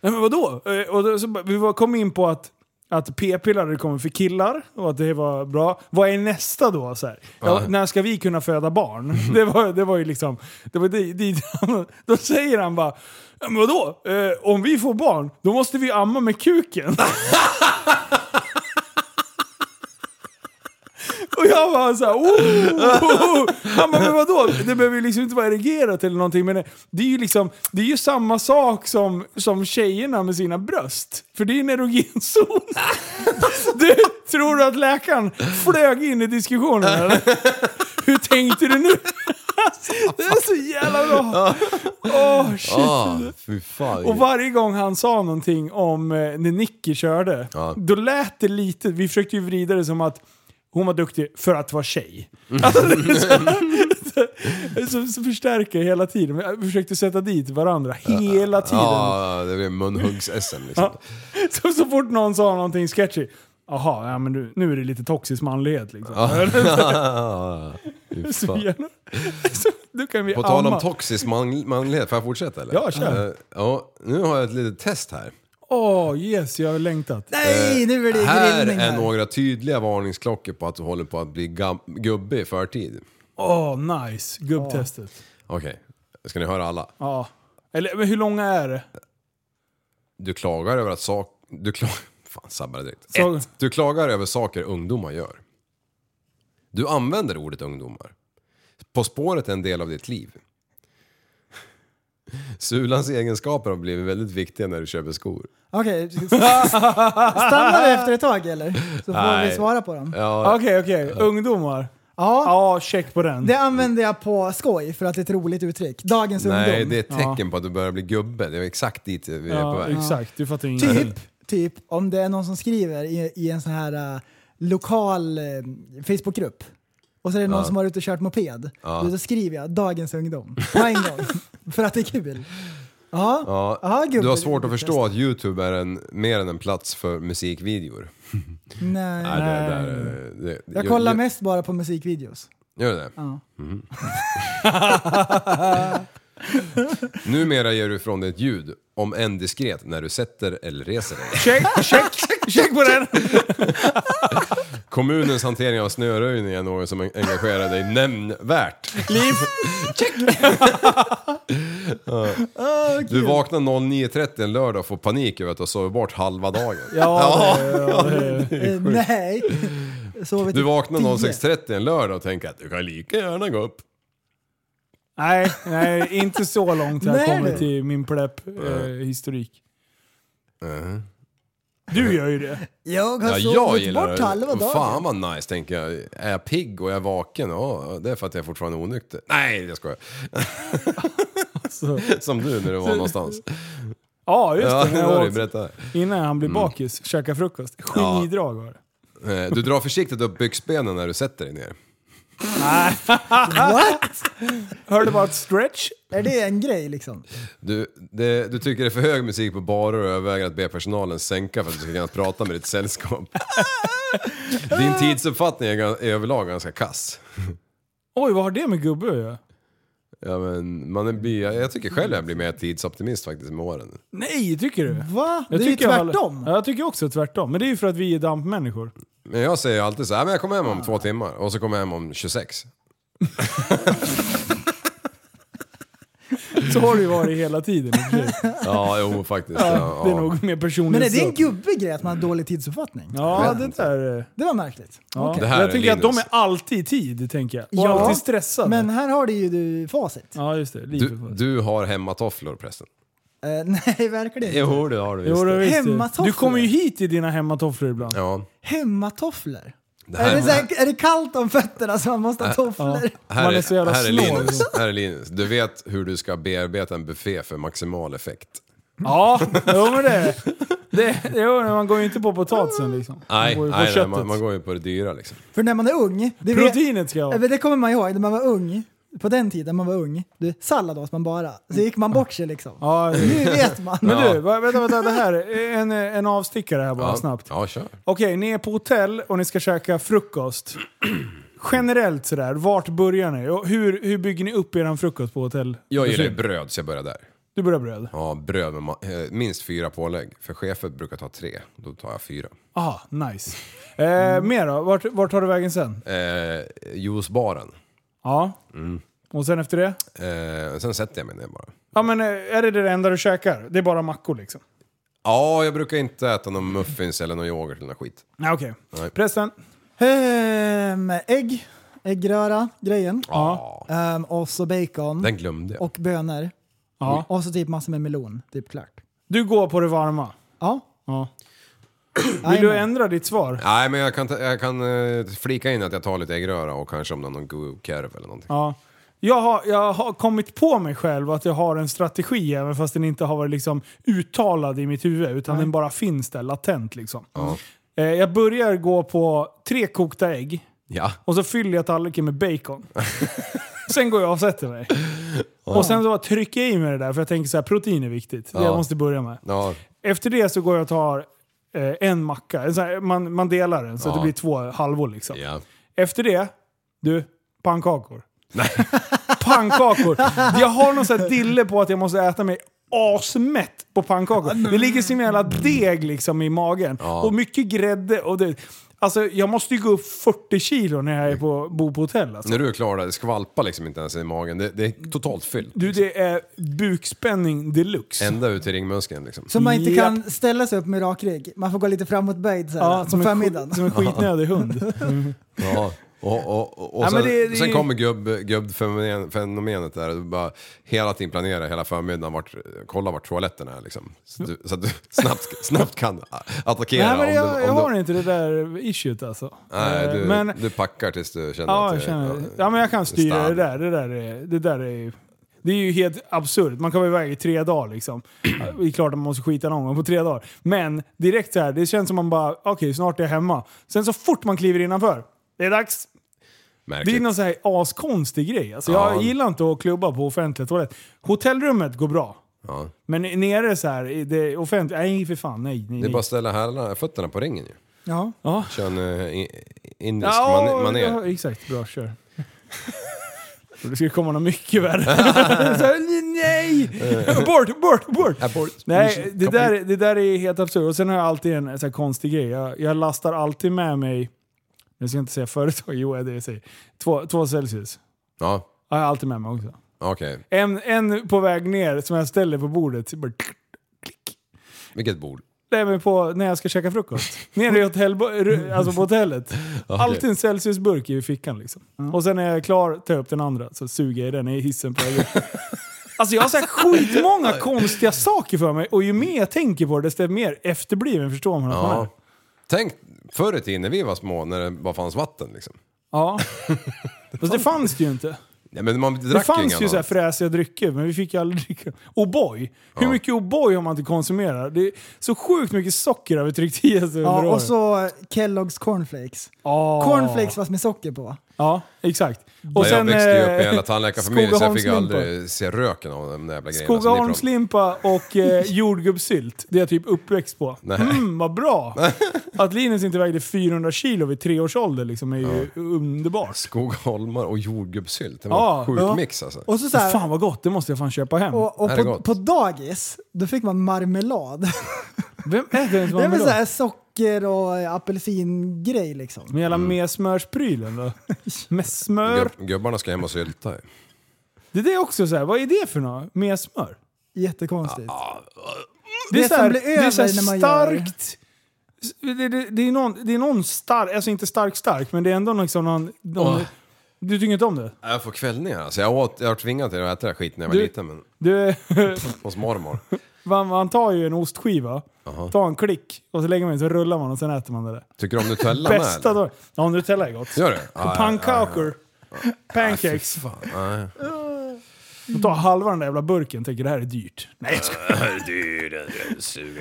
S5: Nej men vadå? Eh, Och då, så, bara- vi var- kom in på att, att p-piller hade kommit för killar och att det var bra. Vad är nästa då? Så här? Ja, När ska vi kunna föda barn? Det var, det var ju liksom... Det var dit, dit han, då säger han bara... "Ja, Men vadå? Eh, om vi får barn, då måste vi amma med kuken. Och jag bara såhär, oh! Han bara, men vadå? Det behöver ju liksom inte vara erigerat eller någonting. Men det är ju liksom, det är ju samma sak som, som tjejerna med sina bröst. För det är en erogen zon. Du, tror du att läkaren flög in i diskussionen eller? Hur tänkte du nu? Alltså, Det är så jävla bra! Åh shit!
S7: Ah, fy fan.
S5: Och varje gång han sa någonting om eh, när Nicky körde,
S7: Ja.
S5: då lät det lite,
S7: Mm.
S5: vi försökte ju vrida det som att hon var duktig för att vara tjej. Alltså, det är så här, så, så förstärker jag hela tiden. Jag försökte sätta dit varandra hela tiden.
S7: Ja, det blir munhuggs-SM liksom.
S5: Ja. Så, så fort någon sa någonting sketchy. Jaha, ja, men du, nu är det lite toxisk manlighet liksom.
S7: Fy
S5: så
S7: fan.
S5: gärna. Så, då kan vi
S7: På tal om
S5: amma.
S7: toxisk man- manlighet, får jag fortsätta eller?
S5: Ja, kör.
S7: Eh, ja, nu har jag ett litet test här.
S5: Åh, yes, jag har längtat.
S6: Nej, nu är
S5: Eh,
S6: det
S7: här
S6: grillning
S7: är
S6: här.
S7: några tydliga varningsklockor på att du håller på att bli gam- gubbe i förtid.
S5: Åh, nice. Gubbtestet.
S7: Okej, ska ni höra alla?
S5: Ja. Eller men hur långa är det?
S7: Du klagar över att sak... Du klagar... Fan, sabbade direkt.
S5: Så-
S7: Ett, du klagar över saker ungdomar gör. Du använder ordet ungdomar. På spåret är en del av ditt liv. Sulans egenskaper har blivit väldigt viktiga när du köper skor.
S6: Okej, stannar vi efter ett tag eller? Så får
S7: Nej.
S6: vi svara på dem.
S7: Ja,
S5: Okej, okej. Ungdomar.
S6: Ja,
S5: Ja, check på den.
S6: det använder jag på skoj för att det är ett roligt uttryck. Dagens
S7: nej,
S6: ungdom.
S7: det är ett tecken på att du börjar bli gubbe. Det är exakt dit vi är på
S5: Ja,
S7: väg.
S5: exakt. Du fattar ingenting.
S6: Typ, typ om det är någon som skriver i, i en sån här eh, lokal eh, Facebookgrupp och så är det någon som har ute och kört moped. Då, då skriver jag “Dagens ungdom” på en gång. För att det är kul. Ja,
S7: Ja,
S6: Aha, gubbe,
S7: du har svårt
S6: det
S7: att
S6: är
S7: förstå att Youtube är en, mer än en plats för musikvideor.
S6: nej.
S7: Nej, det, där, är- det,
S6: Jag kollar
S7: gör,
S6: mest bara på musikvideos.
S7: Gör det? Mm.
S6: Ja.
S7: Numera ger du ifrån dig ett ljud, om än diskret, när du sätter eller reser dig.
S5: Check, check, check på den!
S7: Kommunens hantering av snöröjning är något som engagerar dig nämnvärt. Liv! Check! Du vaknar 09.30 en lördag och får panik över att du har sovit bort halva dagen.
S5: Ja, det- ja, det-
S6: Eh, nej. Sovit
S7: Du
S6: i
S7: vaknar
S6: tio.
S7: 06.30 en lördag och tänker att du kan lika gärna gå upp.
S5: nej, nej, inte så långt har jag
S6: Nej.
S5: kommit till min eh, plepp-historik.
S7: Uh-huh.
S5: Du gör ju det.
S6: Jag har
S7: Ja,
S5: Alltså,
S7: jag
S6: sovit
S7: gillar
S6: bort
S7: det.
S6: halva
S7: Och
S6: dagen.
S7: Fan vad nice, tänker jag. Är jag pigg och är jag vaken? Ja, det är för att jag fortfarande är onykter. Nej, jag skojar.
S5: Alltså. Så.
S7: Som du när du var någonstans.
S5: Ja, just
S7: Ja,
S5: det.
S7: nu
S5: När
S7: har du
S5: jag åt,
S7: berättat. Mm.
S5: innan han blir bakis, käka frukost. Genidrag var det.
S7: Eh, Du drar försiktigt upp byxbenen när du sätter dig ner.
S5: Hörde bara ett stretch.
S6: Är det en grej liksom?
S7: Du, det, du tycker det är för hög musik på barer och överväger att be personalen sänka för att du ska kunna prata med ditt sällskap. Din tidsuppfattning är gan- är överlag ganska kass.
S5: Oj, vad har det med gubbe att göra?
S7: Ja, men man är, blir- jag tycker själv jag blir mer tidsoptimist faktiskt med åren.
S5: Nej, tycker du?
S6: Va?
S5: Jag
S6: det är ju
S5: tycker jag har-
S6: tvärtom.
S5: Ja, jag tycker också tvärtom. Men det är ju för att vi är dampmänniskor.
S7: Men jag säger alltid så här, "Ja, men jag kommer hem om två timmar och så kommer jag hem om 26.
S5: Så har det ju varit hela tiden. i och för sig.
S7: Ja, jo faktiskt. Ja,
S5: Det är
S7: ja.
S5: nog mer personligt.
S6: Men är det
S5: så.
S6: en gubbig grej att man har dålig tidsuppfattning?
S5: Ja, det där... eh,
S6: Det var märkligt.
S5: Ja.
S7: Det här
S5: jag
S7: är
S5: tänker att de
S7: Linus.
S5: är alltid i tid, tänker jag. Och
S6: Ja,
S5: alltid stressade.
S6: Men här har du ju du facit.
S5: Ja, just det. Lite
S7: Du,
S5: för-
S7: du har hemmatofflor prästen.
S6: Eh, nej, verkligen inte.
S7: Jo, det har du
S5: Jo, det
S7: det.
S5: visste jag.
S6: Hemmatofflor.
S5: Du kommer ju hit i dina hemmatofflor ibland.
S7: Ja.
S6: Hemmatofflor.
S7: Det
S6: Är,
S7: här,
S6: det så här, är det kallt om fötterna så man måste ha tofflor?
S7: här,
S5: Man är så
S7: är,
S5: jävla
S7: här, är
S5: snål.
S7: Linus, här är Linus. Du vet hur du ska bearbeta en buffé för maximal effekt.
S5: Ja, jo men det... det jo, men man går ju inte på potatisen liksom.
S7: Nej,
S5: man går ju på
S7: nej, nej
S5: köttet.
S7: man, man går ju på det dyra liksom.
S6: För när man är ung, det, vet-
S5: Proteinet ska jag
S6: Ja,
S5: ha.
S6: men det kommer man ihåg när man var ung. På den tiden man var ung, du, sallad åt man bara. Så gick man bort sig liksom.
S5: Ja, det-
S6: Nu vet man.
S5: men du, va- vänta, vänta, det här. är En, eh, en avstickare här bara
S7: Ja,
S5: snabbt.
S7: Ja, kör.
S5: Okej, ni är på hotell och ni ska käka frukost. Generellt sådär, vart börjar ni? Och hur, hur bygger ni upp er frukost på hotell?
S7: Jag gillar ju bröd så jag börjar där.
S5: Du börjar bröd?
S7: Ja, bröd med ma- eh, minst fyra pålägg. För chefen brukar ta tre, då tar jag fyra.
S5: Ah, nice. Eh, Mer då? Vart, vart tar du vägen sen?
S7: Eh, juicebaren.
S5: Ja. Och sen efter det?
S7: Eh, sen sätter jag mig ner bara.
S5: Ja men eh, är det det enda du käkar? Det är bara mackor liksom?
S7: Ja, jag brukar inte äta någon muffins eller någon yoghurt eller någon skit.
S5: Nej okej.
S7: Nej.
S5: Prästen?
S6: Ehm, ägg, äggröra, grejen.
S7: Ja.
S6: Ehm, och så bacon
S7: Den glömde jag.
S6: och bönor.
S5: Ja.
S6: Och så typ massor med melon, typ klart.
S5: Du går på det varma?
S6: Ja.
S5: Ja. Vill
S6: Jajamän.
S5: du ändra ditt svar?
S7: Nej, men jag kan, ta, jag kan eh, flika in att jag tar lite äggröra och kanske om det är någon god korv eller någonting.
S5: Ja. Jag har, jag har kommit på mig själv att jag har en strategi även fast den inte har varit liksom uttalad i mitt huvud utan den bara finns där latent. Liksom. Eh, jag börjar gå på tre kokta ägg
S7: Ja.
S5: och så fyller jag tallriken med bacon. Sen går jag och sätter mig. Och sen så bara trycker jag i mig det där för jag tänker så här, protein är viktigt. Det
S7: Ja.
S5: jag måste börja med.
S7: Ja.
S5: Efter det så går jag och tar eh, en macka. En sån här, man, man delar den så att
S7: Ja.
S5: det blir två halvor liksom.
S7: Ja.
S5: Efter det, du, pannkakor. pannkakor! Jag har någon sån här dille på att jag måste äta mig asmätt på pannkakor. Det ligger som en jävla deg liksom i magen. Och mycket grädde och det. Alltså jag måste ju gå upp 40 kilo när jag är på, bor på hotell alltså.
S7: När du är klar där, det skvalpar liksom inte ens i magen. Det, det är totalt fyllt.
S5: Du, det är bukspänning deluxe.
S7: Ända ut i ringmuskeln liksom.
S6: Som man inte
S5: Japp.
S6: kan ställa sig upp med rak rygg. Man får gå lite framåtböjd så här,
S5: Ja,
S6: på
S5: som, en,
S6: förmiddagen.
S5: sk- som en skitnödig hund.
S7: Ja. Och, och, och, och
S5: Ja, men
S7: sen,
S5: det- det-
S7: sen kommer gubb, gubbfenomenet där. Du bara hela tiden planerar hela förmiddagen, vart, kolla vart toaletten är liksom. Så, du, så att du snabbt, snabbt kan attackera.
S5: Nej men
S7: om
S5: jag,
S7: du,
S5: jag
S7: om
S5: har
S7: du,
S5: inte det där issuet alltså.
S7: Nej,
S5: Eh,
S7: du,
S5: men,
S7: du packar tills du känner
S5: Ja,
S7: att
S5: jag
S7: det-
S5: känner Ja, men jag kan styra det där. Det där är, det där är, det är ju helt absurt. Man kan vara iväg i tre dagar liksom. Det är klart att man måste skita någon gång på tre dagar. Men direkt så här, det känns som man bara, okej snart är jag hemma. Sen så fort man kliver innanför, det är dags.
S7: Märkligt.
S5: Det är någon så här askonstig grej. Alltså,
S7: Ja.
S5: Jag gillar inte att klubba på offentlig toalett. Hotellrummet går bra.
S7: Ja.
S5: Men nere så här, i det offentliga, nej för fan, nej. nej,
S7: Det är
S5: nej.
S7: bara att ställa hälarna, fötterna på ringen ju.
S6: Ja.
S7: Kör en eh, i- indisk
S5: Ja,
S7: man, manér.
S5: ja, exakt. Bra, kör. Det skulle komma något mycket värre. Så här,
S7: Eh.
S5: nej! Bort, bort, bort!
S7: Abort.
S5: Nej, det där, det där är helt absurt. Och sen har jag alltid en så här konstig grej. Jag, jag lastar alltid med mig, nu ska jag inte säga företag, jo det är det jag säger. Två, två Celsius
S7: Ja,
S5: har jag alltid med mig också.
S7: okej.
S5: En, en på väg ner som jag ställer på bordet. Bara,
S7: Vilket bord.
S5: Nej, men på, när jag ska käka frukost. Nere i hotell, alltså på hotellet. Alltid en Celsius-burk i fickan liksom. Och sen när jag är klar tar jag upp den andra, så suger jag i den i hissen på vägen. Alltså jag har så här skitmånga konstiga saker för mig och ju mer jag tänker på det desto mer efterbliven förstår man att man är.
S7: Ja. Tänk förr i tiden när vi var små när det bara fanns vatten liksom.
S5: Ja. Fast det fanns det ju inte.
S7: Nej, men man drack
S5: Det
S7: ju
S5: fanns
S7: inga
S5: ju så här
S7: annat.
S5: fräsiga drycker, men vi fick ju aldrig dricka. O'boy! Hur mycket O'boy har man inte konsumerat? Det är så sjukt mycket socker har vi tryckt i oss under
S6: ja och
S5: åren.
S6: så Kellogg's cornflakes.
S5: Ah.
S6: Cornflakes fast med socker på.
S5: Ja, exakt. Och
S7: Ja, Mm. jag växte ju upp i
S5: eh,
S7: hela tandläkarfamiljen så jag fick ju
S5: Skogaholmslimpa.
S7: aldrig se röken av de där jävla grejerna som ni pratar om.
S5: Skogaholmslimpa och eh, jordgubbssylt, det är jag typ uppväxt på.
S7: Nej.
S5: Mm, vad bra! Att Linus inte vägde 400 kilo vid tre års ålder liksom, är ju underbart.
S7: Skogholmar och jordgubbssylt. Det var
S5: Ja,
S7: en sjuk
S5: ja.
S7: mix alltså.
S6: Och så, så här,
S5: Fan vad gott, det måste jag fan köpa hem.
S6: och, och
S7: Det här är
S6: på,
S7: gott.
S6: på dagis, då fick man marmelad.
S5: Vem äter ens
S6: Det är väl så
S5: marmelad?
S6: här socker och eh, apelsingrej liksom.
S5: Med hela
S7: Mm.
S5: messmörsprylen då? Messmör?
S7: Gubb, gubbarna ska hem och sylta ju.
S5: Det är det också så här. vad är det för något? Messmör?
S6: Jättekonstigt.
S5: Det är
S6: Det
S5: så
S6: som
S5: här,
S6: blir
S5: det är så här
S6: över när man gör-
S5: starkt... Det, det, det är någon, det är någon stark, alltså inte stark stark, men det är ändå liksom någon... någon
S7: Åh.
S5: Du tycker inte om det?
S7: Jag får kvällningar alltså. Jag, åt, jag har tvingat till att äta den här skiten när jag var
S5: Du-
S7: liten men
S5: Du,
S7: hos mormor.
S5: man, man tar ju en ostskiva, tar en klick och så lägger man in så rullar man och sen äter man det där.
S7: Tycker du om Nutella med?
S5: Bästa
S7: eller?
S5: då. Ja, Nutella är gott.
S7: Gör det?
S5: Och pannkakor. Pancakes.
S7: Äh, Fan, nej.
S5: De tar halva den där jävla burken tänker det här är dyrt. Nej, jag skojar.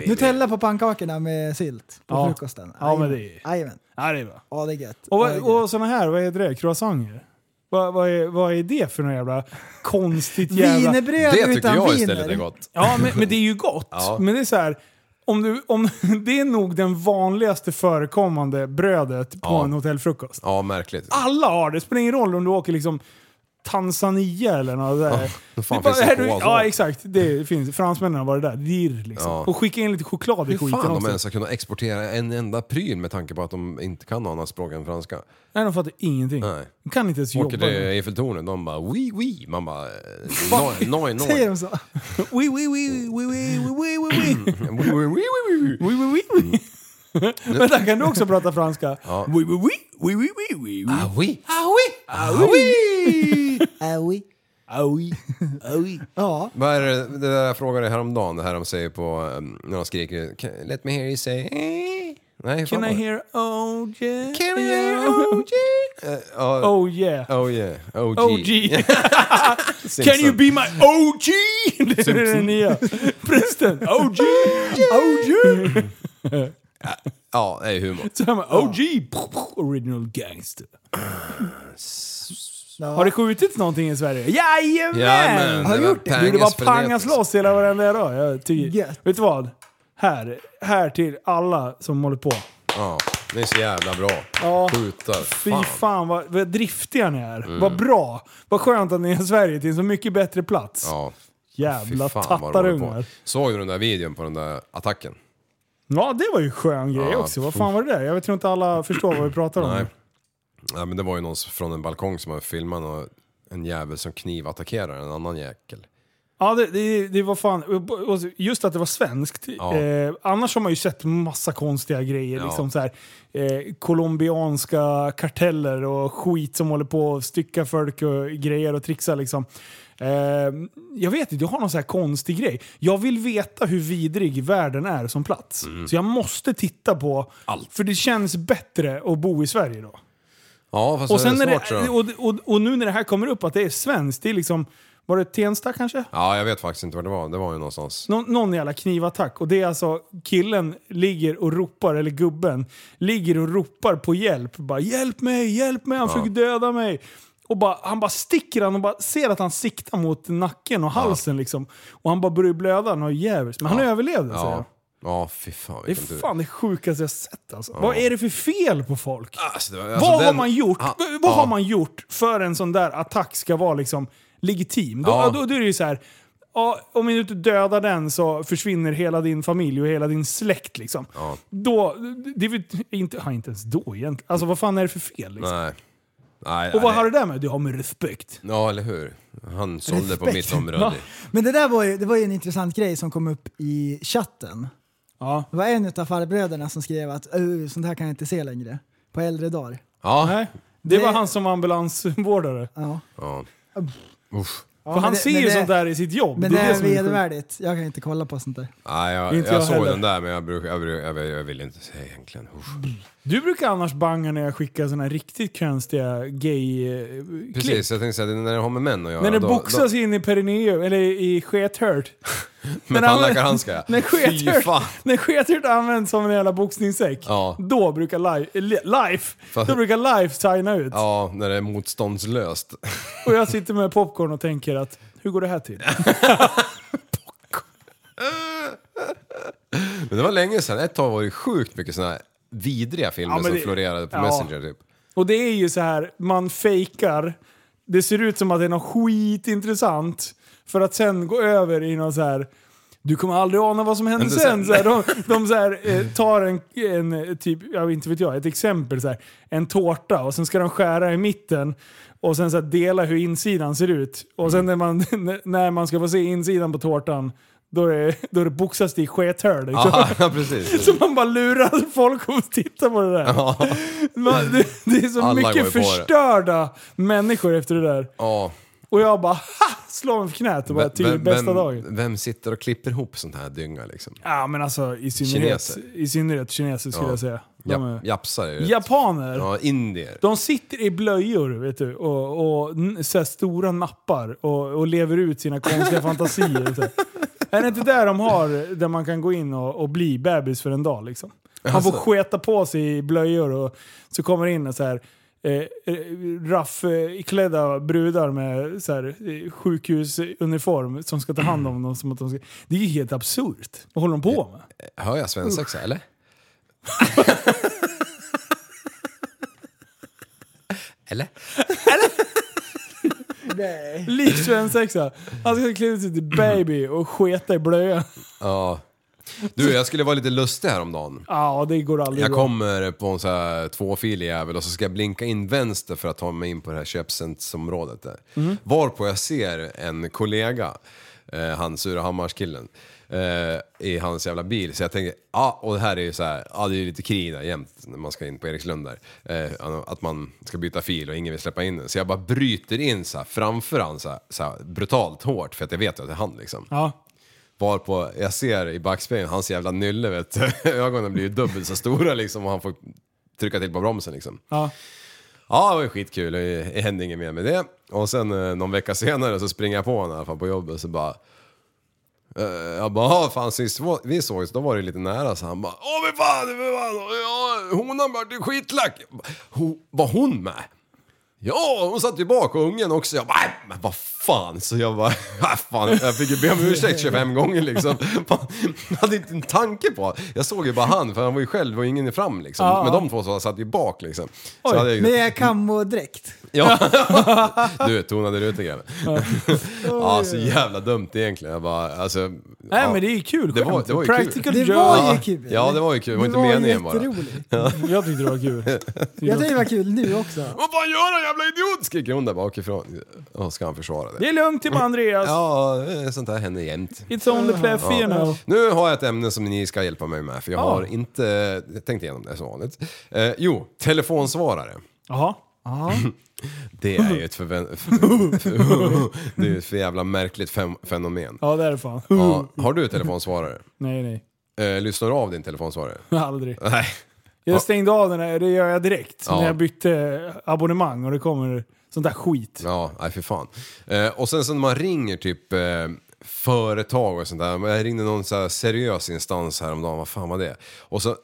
S6: Nutella på pannkakorna med sylt på
S5: Ja.
S6: frukosten.
S5: Ja, men det är-
S6: Jajamän.
S5: Nej, det är bra.
S6: Ja, det är gött.
S5: Och,
S6: Ja, det är
S5: vad-
S6: gött.
S5: och såna här, vad heter det? Croissanter? Vad, vad, är, vad är det för något jävla konstigt jävla...
S6: Wienerbröd
S7: Det tycker
S6: utan
S7: jag istället
S6: viner.
S7: är gott.
S5: Ja, men, men det är ju gott.
S7: Ja.
S5: Men det är så här, om du, om, det är nog den vanligaste förekommande brödet på
S7: Ja.
S5: en hotellfrukost.
S7: Ja, märkligt.
S5: Alla har det. Det spelar ingen roll om du åker liksom Tanzania eller något där.
S7: då fan
S5: bara,
S7: finns det
S5: är du,
S7: på, alltså.
S5: ja, exakt. Det finns. Fransmännen har varit där. Dirr liksom.
S7: Ja.
S5: Och skicka in lite choklad i
S7: Hur
S5: skiten
S7: fan de
S5: också.
S7: ens har kunnat exportera en enda pryl med tanke på att de inte kan något annat språk än franska.
S5: Nej, de fattar ingenting.
S7: Nej.
S5: De kan inte ens
S7: Åker
S5: jobba.
S7: till
S5: med
S7: Eiffeltornet, de bara oui oui. Man bara eh, noj noj
S6: Säger
S7: noj.
S6: de så?
S5: Oui, oui, oui, oui, oui, oui, oui, oui.
S7: Oui, oui, oui, oui, oui.
S5: Oui, oui, oui, oui. Men där kan du också prata franska.
S7: Mm. Ja.
S5: Oui, oui, oui, oui, oui, oui, oui.
S7: Ah oui.
S5: Ah oui! Ah oui!
S7: Ah
S6: Äh, oui. Ja,
S7: Vad är det, det där jag frågade häromdagen, det här de säger på, um, när de skriker "Can- Let me hear you say eh." Nej,
S5: Can I hear oh yeah?
S7: Can I hear OG? Uh,
S5: Oh yeah.
S7: oh yeah, OG.
S5: OG.
S7: Simpson.
S5: Can you be my OG? Det är den nya. Prästen. OG. OG.
S7: Ja, det är humor.
S5: Så här med OG. Original gangster.
S6: Ja.
S5: Har det skjutits någonting i Sverige? Jajamän!
S7: Jajamän,
S6: Har
S7: det
S6: du
S7: var
S6: gjort det?
S5: Du, det
S7: pangas
S5: var pangas
S7: frenetiskt.
S5: loss hela varenda dag. Jag ty-
S6: Gött.
S5: Vet du vad? Här, här till alla som håller på.
S7: Ja, ni är så jävla bra.
S5: Ja.
S7: Skjutar.
S5: Fy
S7: Fan. Mm.
S5: fan, vad, vad driftiga ni är. Vad bra. Vad skönt att ni är i Sverige till en så mycket bättre plats.
S7: Ja. Fy
S5: Jävla
S7: fan vad de håller på.
S5: tattarungar.
S7: Såg du den där videon på den där attacken?
S5: Ja, det var ju skön grej
S7: Ja,
S5: också. Vad fan var det där? Jag tror inte alla förstår vad vi pratar om.
S7: Nej.
S5: Nej.
S7: Nej men det var ju någon från en balkong som hade filmat och en jävel som knivattackerar en annan jäkel.
S5: Ja, det, det, det var fan... och Just att det var svenskt.
S7: Ja.
S5: Eh, annars har man ju sett massa konstiga grejer.
S7: Ja.
S5: Liksom så här, eh, colombianska karteller och skit som håller på att stycka folk och grejer och trixa liksom. Eh, jag vet inte, jag har någon så här konstig grej. Jag vill veta hur vidrig världen är som plats. Så jag måste titta på...
S7: Mm. Allt.
S5: För det känns bättre att bo i Sverige då.
S7: Ja fast
S5: Och, sen
S7: det
S5: när
S7: är svårt tror
S5: det,
S7: jag.
S5: och, och, och nu när det här kommer upp att det är svenskt, det är liksom... Var det Tensta kanske?
S7: Ja jag vet faktiskt inte vad det var. Det var ju någonstans.
S5: Nå, någon jävla knivattack. Och det är alltså killen ligger och ropar, eller gubben, ligger och ropar på hjälp. Bara hjälp mig, hjälp mig, han försöker döda mig. Och bara, han bara sticker han och bara ser att han siktar mot nacken och halsen liksom. Och han bara börjar blöda något jävligt. Men han överlevde säger jag.
S7: Ja. Ja fy fan
S5: Det är
S7: vilken tur.
S5: fan det sjukaste jag sett alltså. Vad är det för fel på folk?
S7: Alltså, det var- alltså,
S5: vad har
S7: den-
S5: man gjort?
S7: Ah,
S5: V- vad
S7: ja.
S5: har man gjort för en sån där attack ska vara liksom legitim? Då,
S7: Ja.
S5: då, då är det ju så här. Ja, om du inte dödar den så försvinner hela din familj och hela din släkt. Liksom.
S7: Ja.
S5: Då, det är väl inte, ja, inte ens då egentligen. Alltså vad fan är det för fel? Liksom?
S7: Nej. Nej,
S5: Och vad
S7: nej.
S5: har det där med? Det har med respekt.
S7: Ja, eller hur? Han sålde på
S6: Respekt.
S7: mitt område.
S6: Men det där var ju, det var ju en intressant grej som kom upp i chatten.
S5: Ja.
S6: Det var en av farbröderna som skrev att "Uh, sånt här kan jag inte se längre. På äldre dagar.
S7: Ja.
S5: Nej. Det var
S6: Det-
S5: han som var ambulansvårdare.
S6: Ja.
S7: ja. Usch.
S5: För han
S6: men det-
S5: ser
S6: men
S5: ju
S6: det-
S5: sånt där i sitt jobb.
S6: Men det är
S5: som sjukt.
S6: vedervärdigt. Jag kan inte kolla på sånt där.
S7: Nej, jag, jag,
S5: Inte jag
S7: såg
S5: heller.
S7: den där men jag, bruk, jag, bruk, jag, jag vill inte säga egentligen. Usch.
S5: Du brukar annars banga när jag skickar såna här riktigt konstiga eh, gay-klipp.
S7: Precis, jag tänkte säga det när det har med män att göra.
S5: När det
S7: då-
S5: boxas in i perineum, eller i skethört.
S7: då- Med tandläkarhandskar
S5: När
S7: Fy fan.
S5: skethört, när skethört används som en jävla boxningssäck,
S7: Ja.
S5: då brukar life, li- life,
S7: Fan.
S5: då brukar life signa ut.
S7: Ja, när det är motståndslöst.
S5: Och jag sitter med popcorn och tänker att, hur går det här till?
S7: Men det var länge sedan. Ett tag var det sjukt mycket sådana här vidriga filmer
S5: Ja, men
S7: som
S5: det-
S7: florerade på
S5: ja.
S7: Messenger typ.
S5: Och det är ju så här, man fejkar, det ser ut som att det är något skitintressant, för att sen gå över i någon så här du kommer aldrig ana vad som händer sen.
S7: Hände
S5: Så
S7: sen.
S5: här, de de så här, eh, tar en, en eh, typ, jag vet inte vet jag, ett exempel. Så här, en tårta och sen ska de skära i mitten och sen så här, dela hur insidan ser ut. Och sen när man, när man ska få se insidan på tårtan, då är, det- då är det boxas det i skethörn. liksom.
S7: Ja, ja, precis.
S5: Så man bara lurar folk att titta på det där.
S7: Ja.
S5: Man, det, det är så
S7: Alla går ju
S5: mycket
S7: på det.
S5: förstörda människor efter det där.
S7: Ja.
S5: Och jag bara ha! Slår mig för knät och bara till bästa dagen.
S7: vem sitter och klipper ihop sånt här dynga liksom?
S5: Ja men alltså i synnerhet,
S7: Kineser.
S5: i synnerhet kineser skulle
S7: Ja.
S5: jag säga. De
S7: Ja,
S5: är,
S7: japsar är det.
S5: Japaner.
S7: Ja, indier.
S5: De sitter i blöjor vet du, och, och n- så här stora nappar och, och lever ut sina konstiga fantasier. vet du. Är det inte där de har, där man kan gå in och, och bli bebis för en dag? Liksom? Man får sketa på sig i blöjor och så kommer det in en så här eh, eh, raffklädda brudar med så här, eh, sjukhusuniform som ska ta hand om dem. Som att de ska... Det är ju helt absurt. Vad håller de på med?
S7: Hör jag svensexa eller? eller?
S6: Nej.
S5: Lik svensexa. Han ska klä ut sig till baby och sketa i blöjan.
S7: Ja. Du, jag skulle vara lite lustig häromdagen.
S5: Ja, det går aldrig
S7: Jag
S5: bra.
S7: kommer på en så här tvåfilig jävel och så ska jag blinka in vänster för att ta mig in på det här köpcentrumområdet där. Varpå jag ser en kollega, eh, han Surahammarskillen, eh, i hans jävla bil. Så jag tänker, ja och det här är ju så här, ja det är ju lite krig där jämt när man ska in på Erikslund där. Eh, att man ska byta fil och ingen vill släppa in den. Så jag bara bryter in så här framför han så här, så här brutalt hårt för att jag vet ju att det är han liksom.
S5: Ja.
S7: Varpå jag ser i backspegeln hans jävla nylle vet du. Ögonen blir ju dubbelt så stora liksom och han får trycka till på bromsen liksom.
S5: Ja.
S7: Ja, det var ju skitkul. Det hände inget mer med det. Och sen eh, någon vecka senare så springer jag på honom i alla fall på jobbet så bara... eh, jag bara, "Ja, fan sist vi- vi sågs då var det lite nära så han bara, åh men fan, men fan, ja, honan vart ju skitlack. Jag bara, "Ho- Var hon med? Ja, hon satt ju bak och ungen också. Jag bara, "Nej, men vad fan. Så jag bara, "Ah, fan. Jag fick ju be om ursäkt 25 gånger liksom. Fan, Jag hade inte en tanke på. Jag såg ju bara han, för han var ju själv och ingen fram liksom.
S6: Ja.
S7: Men de två så satt ju bak liksom. Så hade jag ju-
S6: Med kamodräkt.
S7: Ja. Du tonade du ut grejen. Ja, så jävla dumt egentligen. Jag bara, alltså,
S5: Nej
S7: ja.
S5: men det är ju kul
S7: Det var-
S5: skämt.
S7: det var ju kul.
S5: Practical
S6: Det
S5: joke.
S6: var ju kul.
S7: Ja, det var ju kul. Det var inte meningen bara.
S6: jätteroligt.
S5: Jag tyckte det var kul.
S6: Jag tycker det var kul nu också.
S7: Vad fan gör han jävla idiot? Skriker hon där bakifrån. Och ska han försvara det.
S5: Det är lugnt till Andreas.
S7: Ja, eh, sånt där händer jämt.
S5: It's only Pleffy you know.
S7: Nu har jag ett ämne som ni ska hjälpa mig med för jag har inte tänkt igenom det som vanligt. Eh, jo, telefonsvarare.
S5: Jaha.
S7: Det är ju ett förvä- Det är ju ett för jävla märkligt fem- fenomen.
S5: Ja det är det fan.
S7: Ja, har du telefonsvarare?
S5: Nej nej.
S7: Eh, lyssnar du av din telefonsvarare?
S5: Aldrig.
S7: Nej.
S5: Jag stängde av den här, det gör jag direkt.
S7: Ja.
S5: När jag bytte abonnemang och det kommer sånt där skit.
S7: Ja, nej för fan. Eh, och sen så när man ringer typ eh, företag och sånt där. Jag ringde någon så här seriös instans häromdagen, vad fan var det? Och så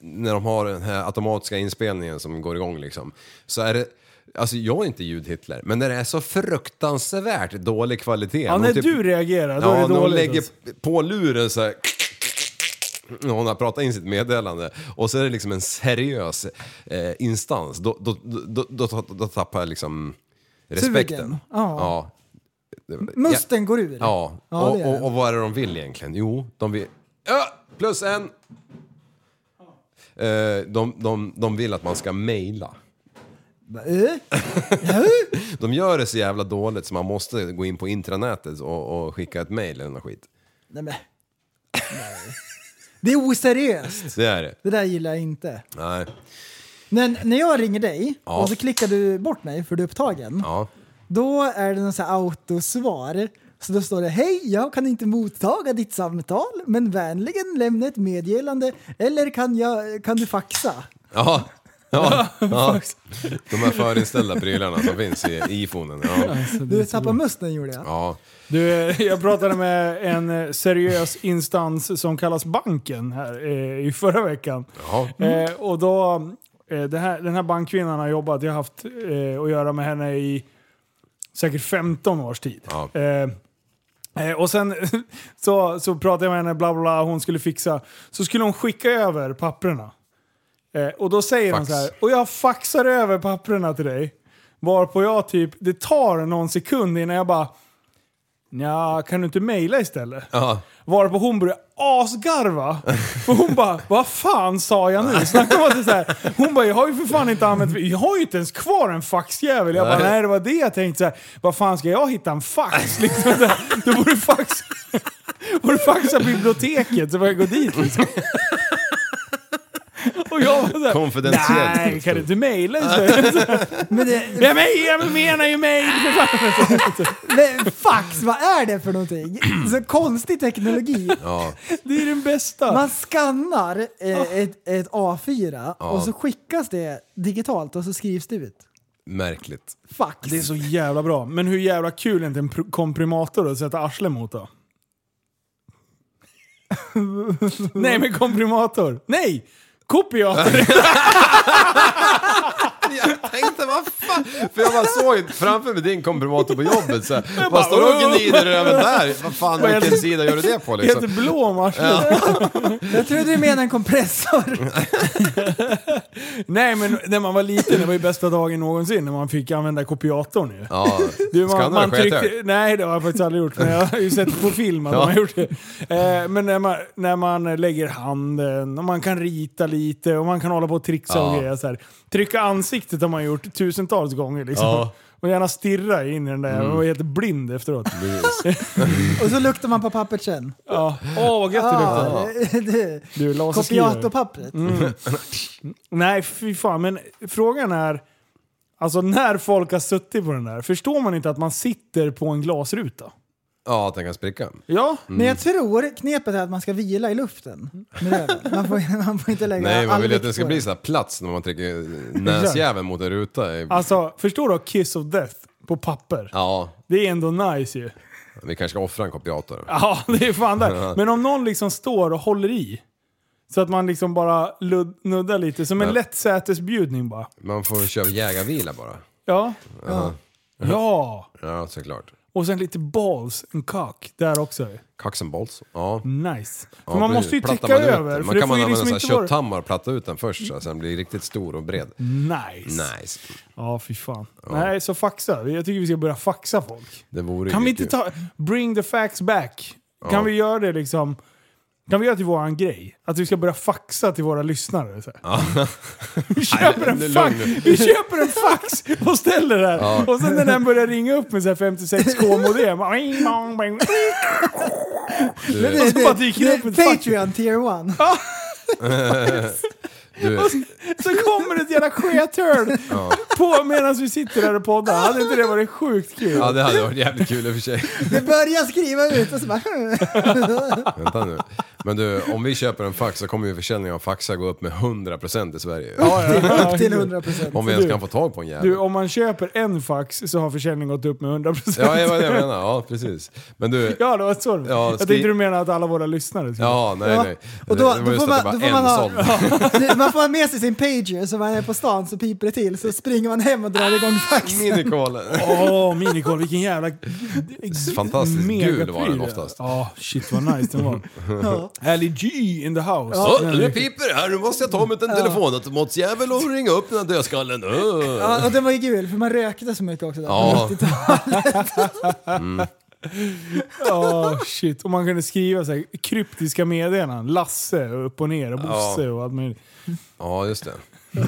S7: när de har den här automatiska inspelningen som går igång liksom. Så är det, alltså jag är inte ljudhitler, men när det är så fruktansvärt dålig kvalitet.
S5: Ja,
S7: Någon
S5: när
S7: typ-
S5: du reagerar då
S7: Ja,
S5: är det
S7: när hon
S5: dåligt.
S7: lägger
S5: alltså.
S7: på luren så här. När hon har pratat in sitt meddelande och så är det liksom en seriös eh, instans. Då, då, då, då, då, då tappar jag liksom respekten.
S6: Sugen. Ja.
S7: Det var-
S6: Musten går ur.
S7: Ja.
S6: Ja,
S7: och,
S6: det är
S7: och, och vad är det de vill egentligen? Jo, de vill... Ja, plus en! Eh, de, de, de vill att man ska mejla.
S6: Eh?
S7: De gör det så jävla dåligt så man måste gå in på intranätet och, och skicka ett mejl eller något skit.
S6: Nej, men. Nej. Det är oseriöst.
S7: Det är det.
S6: Det där gillar jag inte.
S7: Nej.
S6: Men när jag ringer dig
S7: Ja.
S6: och så klickar du bort mig för du är upptagen.
S7: Ja.
S6: Då är det någon sån här autosvar. Så då står det Hej, jag kan inte mottaga ditt samtal men vänligen lämna ett meddelande eller kan, jag, kan du faxa?
S7: Ja. Ja, ja. De här förinställda prylarna som finns i iPhonen. Ja.
S6: Du tappade musten gjorde jag.
S7: Ja.
S5: Du, eh, jag pratade med en eh, seriös instans som kallas banken här eh, i förra veckan.
S7: Ja.
S5: Eh, och då, eh, det här, den här bankkvinnan har jobbat, jag har haft eh, att göra med henne i säkert 15 års tid.
S7: Ja.
S5: Eh, eh, och sen så, så pratade jag med henne, bla bla, bla hon skulle fixa. Så skulle hon skicka över papprena. Eh, och då säger hon
S7: Fax.
S5: så här, och jag faxar över papprena till dig. Varpå jag typ, det tar någon sekund innan jag bara, Nja, kan du inte mejla istället?
S7: Ja.
S5: Varpå hon började asgarva. För hon bara, vad fan sa jag nu? Snacka om att det är så här. Hon bara, jag har ju för fan inte använt... Jag har ju inte ens kvar en faxjävel. Jag bara, nej det var det jag tänkte. Så här, vad fan ska jag hitta en fax? Liksom, så här, då borde du faxa... Borde du faxa biblioteket så får jag gå dit liksom. Och jag var såhär,
S7: Konfidentiellt.
S5: nej kan du inte mejla istället?
S6: Men, det,
S5: Jag men- jag menar ju mejl för fan.
S6: men fax, vad är det för någonting? Så konstig teknologi.
S7: Ja.
S5: Det är den bästa.
S6: Man skannar eh, ett, ett A4 och så skickas det digitalt och så skrivs det ut.
S7: Märkligt.
S6: Fax.
S5: Det är så jävla bra. Men hur jävla kul är inte en pr- komprimator att sätta arsle mot då? Nej men komprimator. Nej! Kopiator.
S7: Jag tänkte vad fan. För jag bara såg ju framför mig din komprimator på jobbet. Så här, vad står du och gnider även där? Vad fan,
S5: Vad
S7: vilken
S5: heter-
S7: sida gör du det på
S5: Helt
S7: liksom?
S5: blå om arslet.
S6: Jag trodde du menade en kompressor.
S5: Nej men när man var liten, det var ju bästa dagen någonsin när man fick använda kopiatorn ju.
S7: Ja.
S5: Du, man,
S7: Skannade
S5: man
S7: sket
S5: tryckte,
S7: jag.
S5: nej det har jag faktiskt aldrig gjort, men jag har ju sett på film att
S7: Ja.
S5: de har gjort det. Eh, men när man, när man lägger handen och man kan rita lite och man kan hålla på och trixa och
S7: Ja.
S5: grejer så här. Trycka ansiktet har man gjort tusentals gånger liksom.
S7: Ja. Mm.
S5: Och gärna stirra in i den där, man var helt blind efteråt.
S6: Och så luktar man på pappret sen.
S5: Ja. Åh vad gött det luktar.
S6: Ah, det-
S5: Du, laserskrivare.
S6: Kopiatorpappret.
S5: Nej fy fan, men frågan är, alltså när folk har suttit på den där, förstår man inte att man sitter på en glasruta?
S7: Ja, att den kan spricka.
S5: Ja,
S6: Men jag
S7: Mm.
S6: tror knepet är att man ska vila i luften. med röven. Man får, man får inte lägga
S7: Nej, man
S6: all
S7: vill ju att
S6: vikt
S7: det ska
S6: på
S7: bli så här plats när man trycker näsjäveln mot en ruta. i-
S5: Alltså, förstår du? Kiss of Death på papper.
S7: Ja,
S5: Det är ändå nice ju.
S7: vi kanske ska offra en kopiator.
S5: Ja, det är fan
S7: Ja.
S5: där. Men om någon liksom står och håller i. Så att man liksom bara ludd, nuddar lite. Som en
S7: Ja.
S5: lätt sätesbjudning bara.
S7: Man får köra jägarvila bara.
S5: Ja. Ja.
S7: Ja, såklart.
S5: Och sen lite balls and cock där också.
S7: Cox and Mm. balls. Ja.
S5: Nice. För
S7: Ja,
S5: man
S7: precis.
S5: måste ju
S7: Plattar
S5: täcka
S7: man ut
S5: över.
S7: den.
S5: för
S7: Man
S5: det
S7: kan
S5: får
S7: man
S5: ju
S7: använda
S5: liksom
S7: liksom
S5: inte vara... Mm.
S7: kötthammar och platta ut den först så att den blir riktigt stor och bred.
S5: Nice.
S7: Nice.
S5: Ja, fy fan. Nej, så faxa. Jag tycker vi ska börja faxa folk.
S7: Det vore
S5: Kan
S7: ju
S5: vi inte
S7: kul.
S5: ta... Bring the facts back. Kan vi göra det liksom... Kan vi göra till våran grej? Att vi ska börja faxa till våra lyssnare? Så här. vi, köper en
S7: Nej,
S5: fax,
S7: lugn nu.
S5: vi köper en fax och ställer där. Och sen när den börjar ringa upp med så här 56k-modem. Ring, bong, bong.
S6: Det,
S5: Och så Alltså, bara dyker det upp ett fax.
S6: Patreon tier 1.
S7: Du,
S5: Så kommer det ett jävla skethörn på medan vi sitter där och poddar. Hade inte det varit sjukt kul?
S7: ja, det hade varit jävligt kul i och för sig.
S6: Det börjar skriva ut och så bara...
S7: Vänta nu. Men du, om vi köper en fax så kommer ju försäljningen av faxar gå upp med 100% i Sverige.
S6: upp till 100%.
S7: Om vi ens
S5: du-
S7: kan få tag på en jävel.
S5: Du, om man köper en fax så har försäljningen gått upp med 100%.
S7: Ja, det var det jag menar. Ja, precis. Men du...
S5: Ja, det var så. det var.
S7: Ja,
S5: jag
S7: skri-
S5: tänkte du menade att alla våra lyssnare skulle...
S7: Ja, nej,
S6: Ja.
S7: nej.
S6: Och då,
S7: det
S6: då, får man, då får man
S7: en såld.
S6: ha, Ja. man får ha med sig sin pager så man är på stan så piper det till så springer man hem och drar igång faxen.
S7: Minikålen.
S5: Åh, minikål, vilken jävla...
S7: Fantastiskt
S5: megapryl.
S7: gul var den oftast.
S5: Ja, shit vad nice den var.
S6: Ja.
S5: Ally G in the house.
S7: Ja,
S5: Den
S7: nu
S5: är-
S7: piper det här. Nu måste jag ta mig till en telefonautomatjävel och ringa upp den här dödskallen. Öh.
S6: Ja, och den var ju gul för man rökte så mycket också där
S7: Ja.
S6: på 90-talet.
S5: Ja, shit. Och man kunde skriva så här, kryptiska meddelanden. Lasse och upp och ner och Bosse och allt möjligt.
S7: Ja, just det.
S5: Det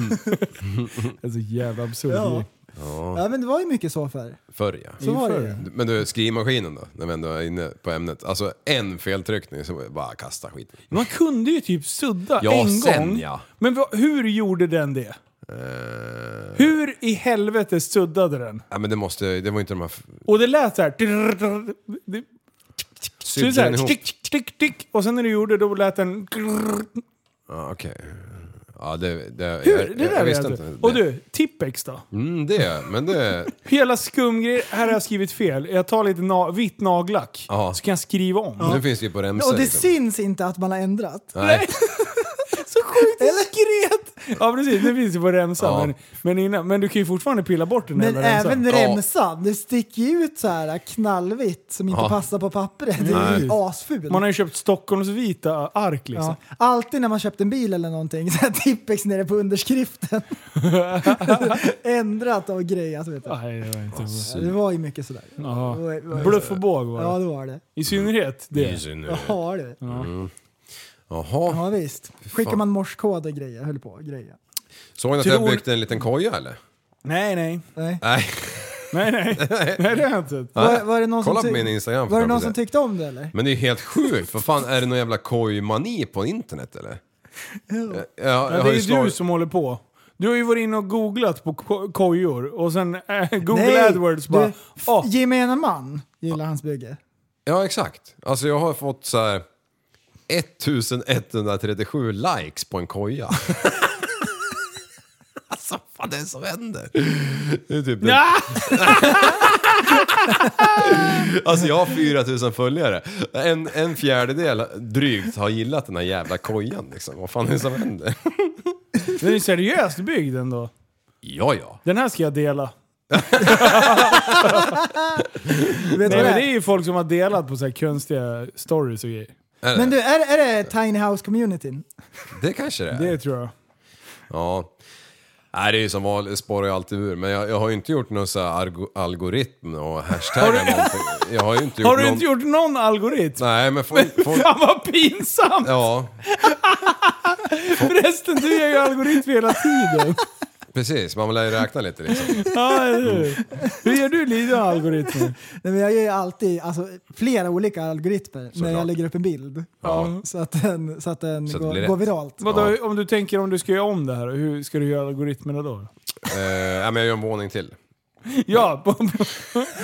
S5: är så jävla absurd
S6: Ja.
S5: grej.
S6: ja men det var ju mycket så förr.
S7: Förr ja. Mm.
S6: Så var det
S5: Förr.
S6: ju.
S7: Men du, skrivmaskinen då? När vi ändå är inne på ämnet. Alltså en feltryckning så bara kasta skiten.
S5: Man kunde ju typ sudda
S7: Ja,
S5: en
S7: sen,
S5: gång.
S7: ja.
S5: Men vad- hur gjorde den det?
S7: Eh,
S5: Hur i helvete suddade den?
S7: Ja, men det måste, det var inte de här... f-
S5: Och det lät så här. Det- det- Så det är
S7: Sydde
S5: så
S7: den
S5: här
S7: ihop?
S5: tick, tick, tick. Och sen när du gjorde det, då lät den...
S7: Ja, okej. Ja, det... det
S5: Hur?
S7: jag-
S5: det
S7: jag,
S5: där
S7: jag
S5: vet
S7: visste
S5: jag
S7: inte.
S5: inte. Och du, Tippex då?
S7: Mm, det. Men det...
S5: Hela skumgrejer, här har jag skrivit fel. Jag tar lite na vitt nagellack,
S7: Ja.
S5: så kan jag skriva om.
S7: Nu finns det ju på remsor.
S6: Och det
S7: liksom.
S6: syns inte att man har ändrat.
S7: Nej.
S5: Så sjukt diskret! Ja precis, det finns ju på remsan.
S7: Ja.
S5: Men, men, innan, men du kan ju fortfarande pilla bort den
S6: Men
S5: jävla remsan.
S6: även
S7: Ja.
S6: remsan, det sticker ju ut så här knallvitt som inte
S7: Ja.
S6: passar på pappret. Det är ju asful.
S5: Man har ju köpt Stockholms vita ark liksom.
S6: ja. Alltid när man köpt en bil eller någonting, så här Tippex nere på underskriften. Ändrat och grejat vet du.
S5: Nej, det var inte
S6: Ja, Det var ju mycket sådär.
S5: Ja.
S6: Det var- det var-
S5: Bluff och båg var det.
S6: Ja det var det.
S5: I synnerhet det.
S7: I synnerhet.
S6: Ja, det.
S7: Jaha.
S6: ja visst. Skickar man morskod och grejer, höll på grejer.
S7: Såg ni att jag
S5: Tror-
S7: byggde en liten koja eller?
S5: Nej, nej.
S6: Nej.
S7: Nej.
S5: Nej, nej. nej, det har jag inte sett.
S6: Var, var det någon
S7: Kolla
S6: som
S7: på
S6: tyck-
S7: min Instagram. för
S6: Var det
S7: fan
S6: någon
S7: på
S6: som
S7: det.
S6: tyckte om det eller?
S7: Men det är ju helt sjukt. Vad fan, är det någon jävla kojmani på internet eller? Ja,
S5: Ja, det är ju du som håller på. Du har ju varit inne och googlat på ko- kojor och sen eh, Google
S6: Nej,
S5: AdWords bara...
S6: du-
S5: "Åh,
S6: Jimmy en man gillar hans bygge.
S7: Ja, exakt. Alltså jag har fått så här 1137 likes på en koja. alltså vad det är som händer? Det är typ det. Alltså jag har 4000 följare. En, en fjärdedel drygt har gillat den här jävla kojan liksom. Vad fan är det som händer?
S5: Den är ju seriöst byggd ändå.
S7: Ja, ja.
S5: Den här ska jag dela.
S6: Vet du
S5: Nej, men
S6: vad det
S5: det är
S6: är?
S5: ju folk som har delat på så här konstiga stories och grejer.
S6: Men du, är, är det Tiny House-communityn?
S7: Det kanske det är.
S5: Det tror jag.
S7: Ja. Nej, det är ju som vanligt, spårar jag alltid ur. Men jag, jag har ju inte gjort någon så här argo- algoritm och hashtaggar någonting. Jag har ju inte gjort
S5: Har du
S7: någon...
S5: inte gjort någon algoritm?
S7: Nej, men folk... folk
S5: Fan vad pinsamt!
S7: ja,
S5: Förresten, du gör ju algoritmer hela tiden.
S7: precis. Man lär ju räkna lite liksom.
S5: Ja, eller hur? Hur gör du lite algoritmer?
S6: Nej, men jag gör ju alltid alltså, flera olika algoritmer när jag lägger upp en bild.
S7: Ja.
S6: Så att den, så att den
S7: Så att det
S6: går,
S7: blir rätt.
S6: går viralt.
S5: Vadå, om du tänker om du ska göra om det här, hur ska du göra algoritmerna då?
S7: Eh, ja, men jag gör en våning till.
S5: Ja, på, på,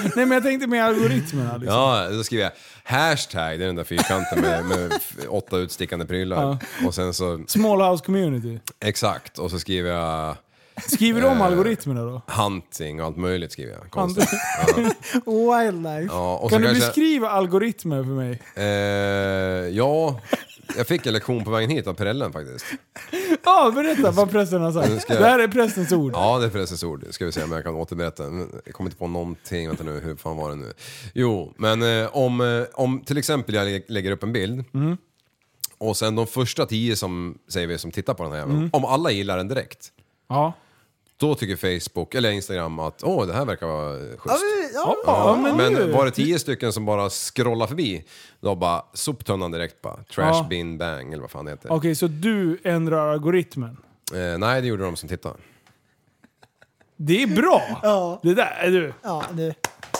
S5: nej men jag tänkte med algoritmerna. Liksom.
S7: Ja, då skriver jag hashtag, det är den där fyrkanten med, med f- åtta utstickande prylar. Och sen så,
S5: Small house community.
S7: exakt, och så skriver jag
S5: Skriver du
S7: Eh.
S5: om algoritmerna då?
S7: hunting och allt möjligt skriver jag. Konstigt.
S6: Wildlife.
S7: Ja, och så
S5: Kan du
S7: kanske-
S5: beskriva algoritmer för mig?
S7: Eh, ja, Jag fick en lektion på vägen hit av Perellen faktiskt.
S5: Ja, berätta vad prästen har
S7: Nu
S5: sagt.
S7: ska jag-
S5: Det här är prästens ord.
S7: Ja, det är förresten ord. Ska vi se om jag kan återberätta. Men Jag kommer inte på någonting. Vänta nu, hur fan var det nu? Jo, men eh, om, eh, om till exempel jag lä- lägger upp en bild och sen de första tio som, säger vi, som tittar på den här jäveln,
S5: Mm.
S7: om alla gillar den direkt,
S5: Ja.
S7: då tycker Facebook eller Instagram att åh, det här verkar vara eh, schysst.
S6: Ja,
S5: Ja,
S7: men,
S5: men nu-
S7: var det tio stycken som bara scrollar förbi, då bara soptunnan direkt bara. Trash
S5: Ja.
S7: bin bang eller vad fan det heter.
S5: Okej, så du ändrar algoritmen.
S7: Eh, nej, det gjorde de som tittade.
S5: Det är bra!
S6: Ja.
S5: Det där, är du.
S6: ja det,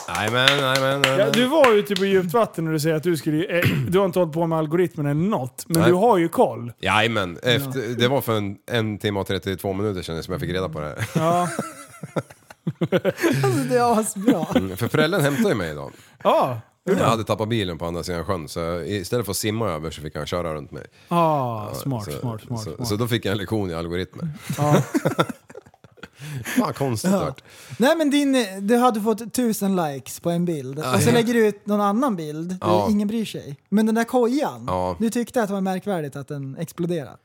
S7: Nej men, nej men, nej
S5: Ja,
S7: men.
S5: du var ute på djupt vatten och du säger att du skulle... Eh, du har inte hållit på med algoritmen eller något, men
S7: Nej.
S5: du har ju koll.
S7: Jajamän, efter, det var för en, en timme och 32 minuter sedan som jag fick reda på det här.
S5: Ja.
S6: alltså, det är asbra.
S7: Mm, För föräldern hämtade ju mig idag.
S5: Ja.
S7: Jag hade tappat bilen på andra sidan sjön så istället för att simma över så fick han köra runt mig.
S5: Ah, smart,
S7: så,
S5: smart, smart,
S7: så,
S5: smart.
S7: så då fick jag en lektion i algoritmer.
S5: Ja.
S7: Fan konstigt vart.
S6: Nej men din, du hade fått tusen likes på en bild och så lägger du ut någon annan bild där
S7: Ja.
S6: ingen bryr sig. Men den där kojan,
S7: Ja.
S6: du tyckte att det var märkvärdigt att den exploderade.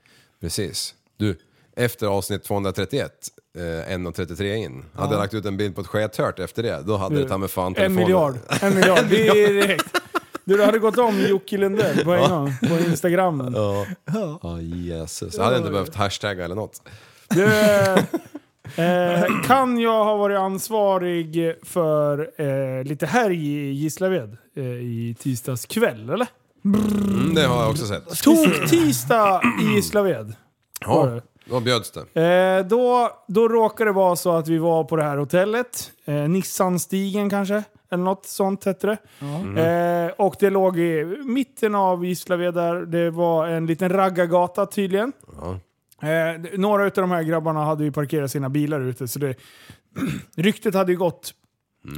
S7: Precis. Du, efter avsnitt 231, eh, 1.33 in, hade jag lagt ut en bild på ett skethört efter det, då hade det ta mig fan
S5: en
S7: telefonen.
S5: miljard. En miljard. Det är direkt. Du hade gått om Jocke Lundell på en gång på Instagram.
S7: Ja, Jesus. Jag hade inte behövt hashtagga eller något.
S5: Du, eh, kan jag ha varit ansvarig för eh, lite här i Gislaved eh, i tisdags kväll eller?
S7: Mm, det har jag också sett.
S5: Tok tisdag i Gislaved. var
S7: Ja,
S5: det.
S7: då bjöds det.
S5: Eh, då, då råkade det vara så att vi var på det här hotellet. Eh, Nissanstigen kanske? Eller något sånt hette det. Eh, och det låg i mitten av Gislaved där. Det var en liten raggargata tydligen. Eh, d- några av de här grabbarna hade ju parkerat sina bilar ute så det, ryktet hade ju gått.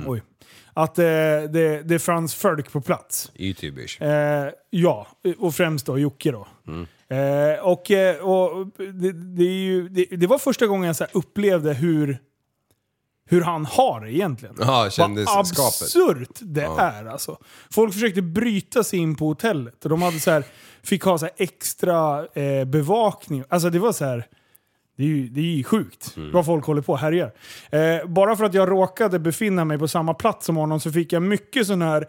S5: Oj. Att eh, det, det fanns folk på plats.
S7: Y-tybisch.
S5: Eh, ja, och främst då Jocke då.
S7: Mm.
S5: Eh, och eh, och det, det, är ju, det, det var första gången jag så här upplevde hur, hur han har det egentligen.
S7: Ja,
S5: Vad
S7: kändisskapet.
S5: absurt det är alltså. Folk försökte bryta sig in på hotellet och de hade så här, fick ha så här extra eh, bevakning. Alltså det var så här... Det är ju, det är ju sjukt
S7: Mm.
S5: vad folk håller på och härjar. Eh, bara för att jag råkade befinna mig på samma plats som honom så fick jag mycket sån här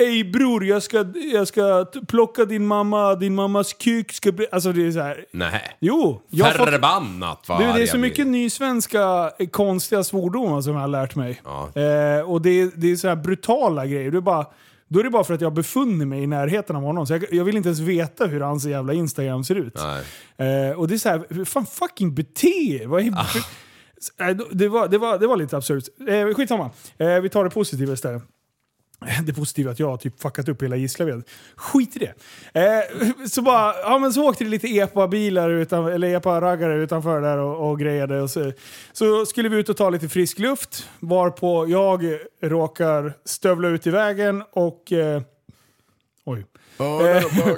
S5: Ey bror, jag ska, jag ska t- plocka din mamma, din mammas kuk ska bli... Alltså det är så här.
S7: Nej.
S5: Jo! Jag har fått,
S7: Förbannat vad
S5: du,
S7: arg
S5: det är
S7: jag
S5: så
S7: blir.
S5: mycket nysvenska eh, konstiga svordomar som jag har lärt mig.
S7: Ja.
S5: Eh, och det är, det är så här brutala grejer. Det är bara, då är det bara för att jag har befunnit mig i närheten av honom. Så jag, jag vill inte ens veta hur hans jävla Instagram ser ut.
S7: Nej.
S5: Eh, och det är så här, fan fucking bete er! Vad är- Eh, Det, var, det, var, det var lite absurt. Eh, skitsamma, eh, vi tar det positiva istället. Eh, Det positiva är att jag har typ fuckat upp hela Gislaved. Skit i det. Eh, så, bara, ja, men så åkte det lite epa-bilar utan, eller epa-raggare utanför där och, och grejade. Och så, så skulle vi ut och ta lite frisk luft varpå jag råkar stövla ut i vägen och... Eh, oj. Eh,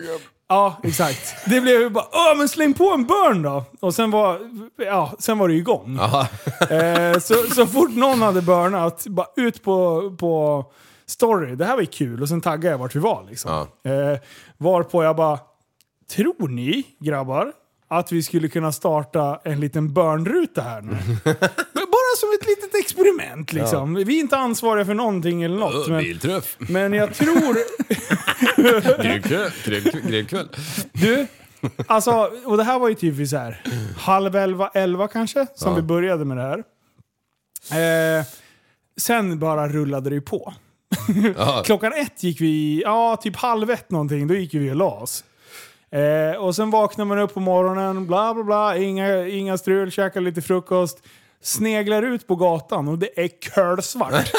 S5: Ja, exakt. Det blev ju bara Åh, men släng på en burn då! Och sen var, ja, sen var det ju igång. Eh, så, så fort någon hade burnat, bara ut på, på story. Det här var ju kul. Och sen taggade jag vart vi var liksom. Eh, varpå jag bara, tror ni grabbar att vi skulle kunna starta en liten burnruta här nu? Men bara som ett litet experiment liksom. Vi är inte ansvariga för någonting eller något.
S7: Ö,
S5: Men,
S7: Bilträff.
S5: men jag tror,
S7: Grillkväll. Grillkväll. grillkväll.
S5: Du, alltså, och det här var ju typ vid så här, halv elva, elva kanske, som vi började med det här. Eh, sen bara rullade det ju på.
S7: Ja.
S5: Klockan ett gick vi, ja typ halv ett någonting, då gick vi och la oss. Eh, och sen vaknar man upp på morgonen, bla bla bla, inga, inga strul, käkar lite frukost. Sneglar ut på gatan och det är kölsvart.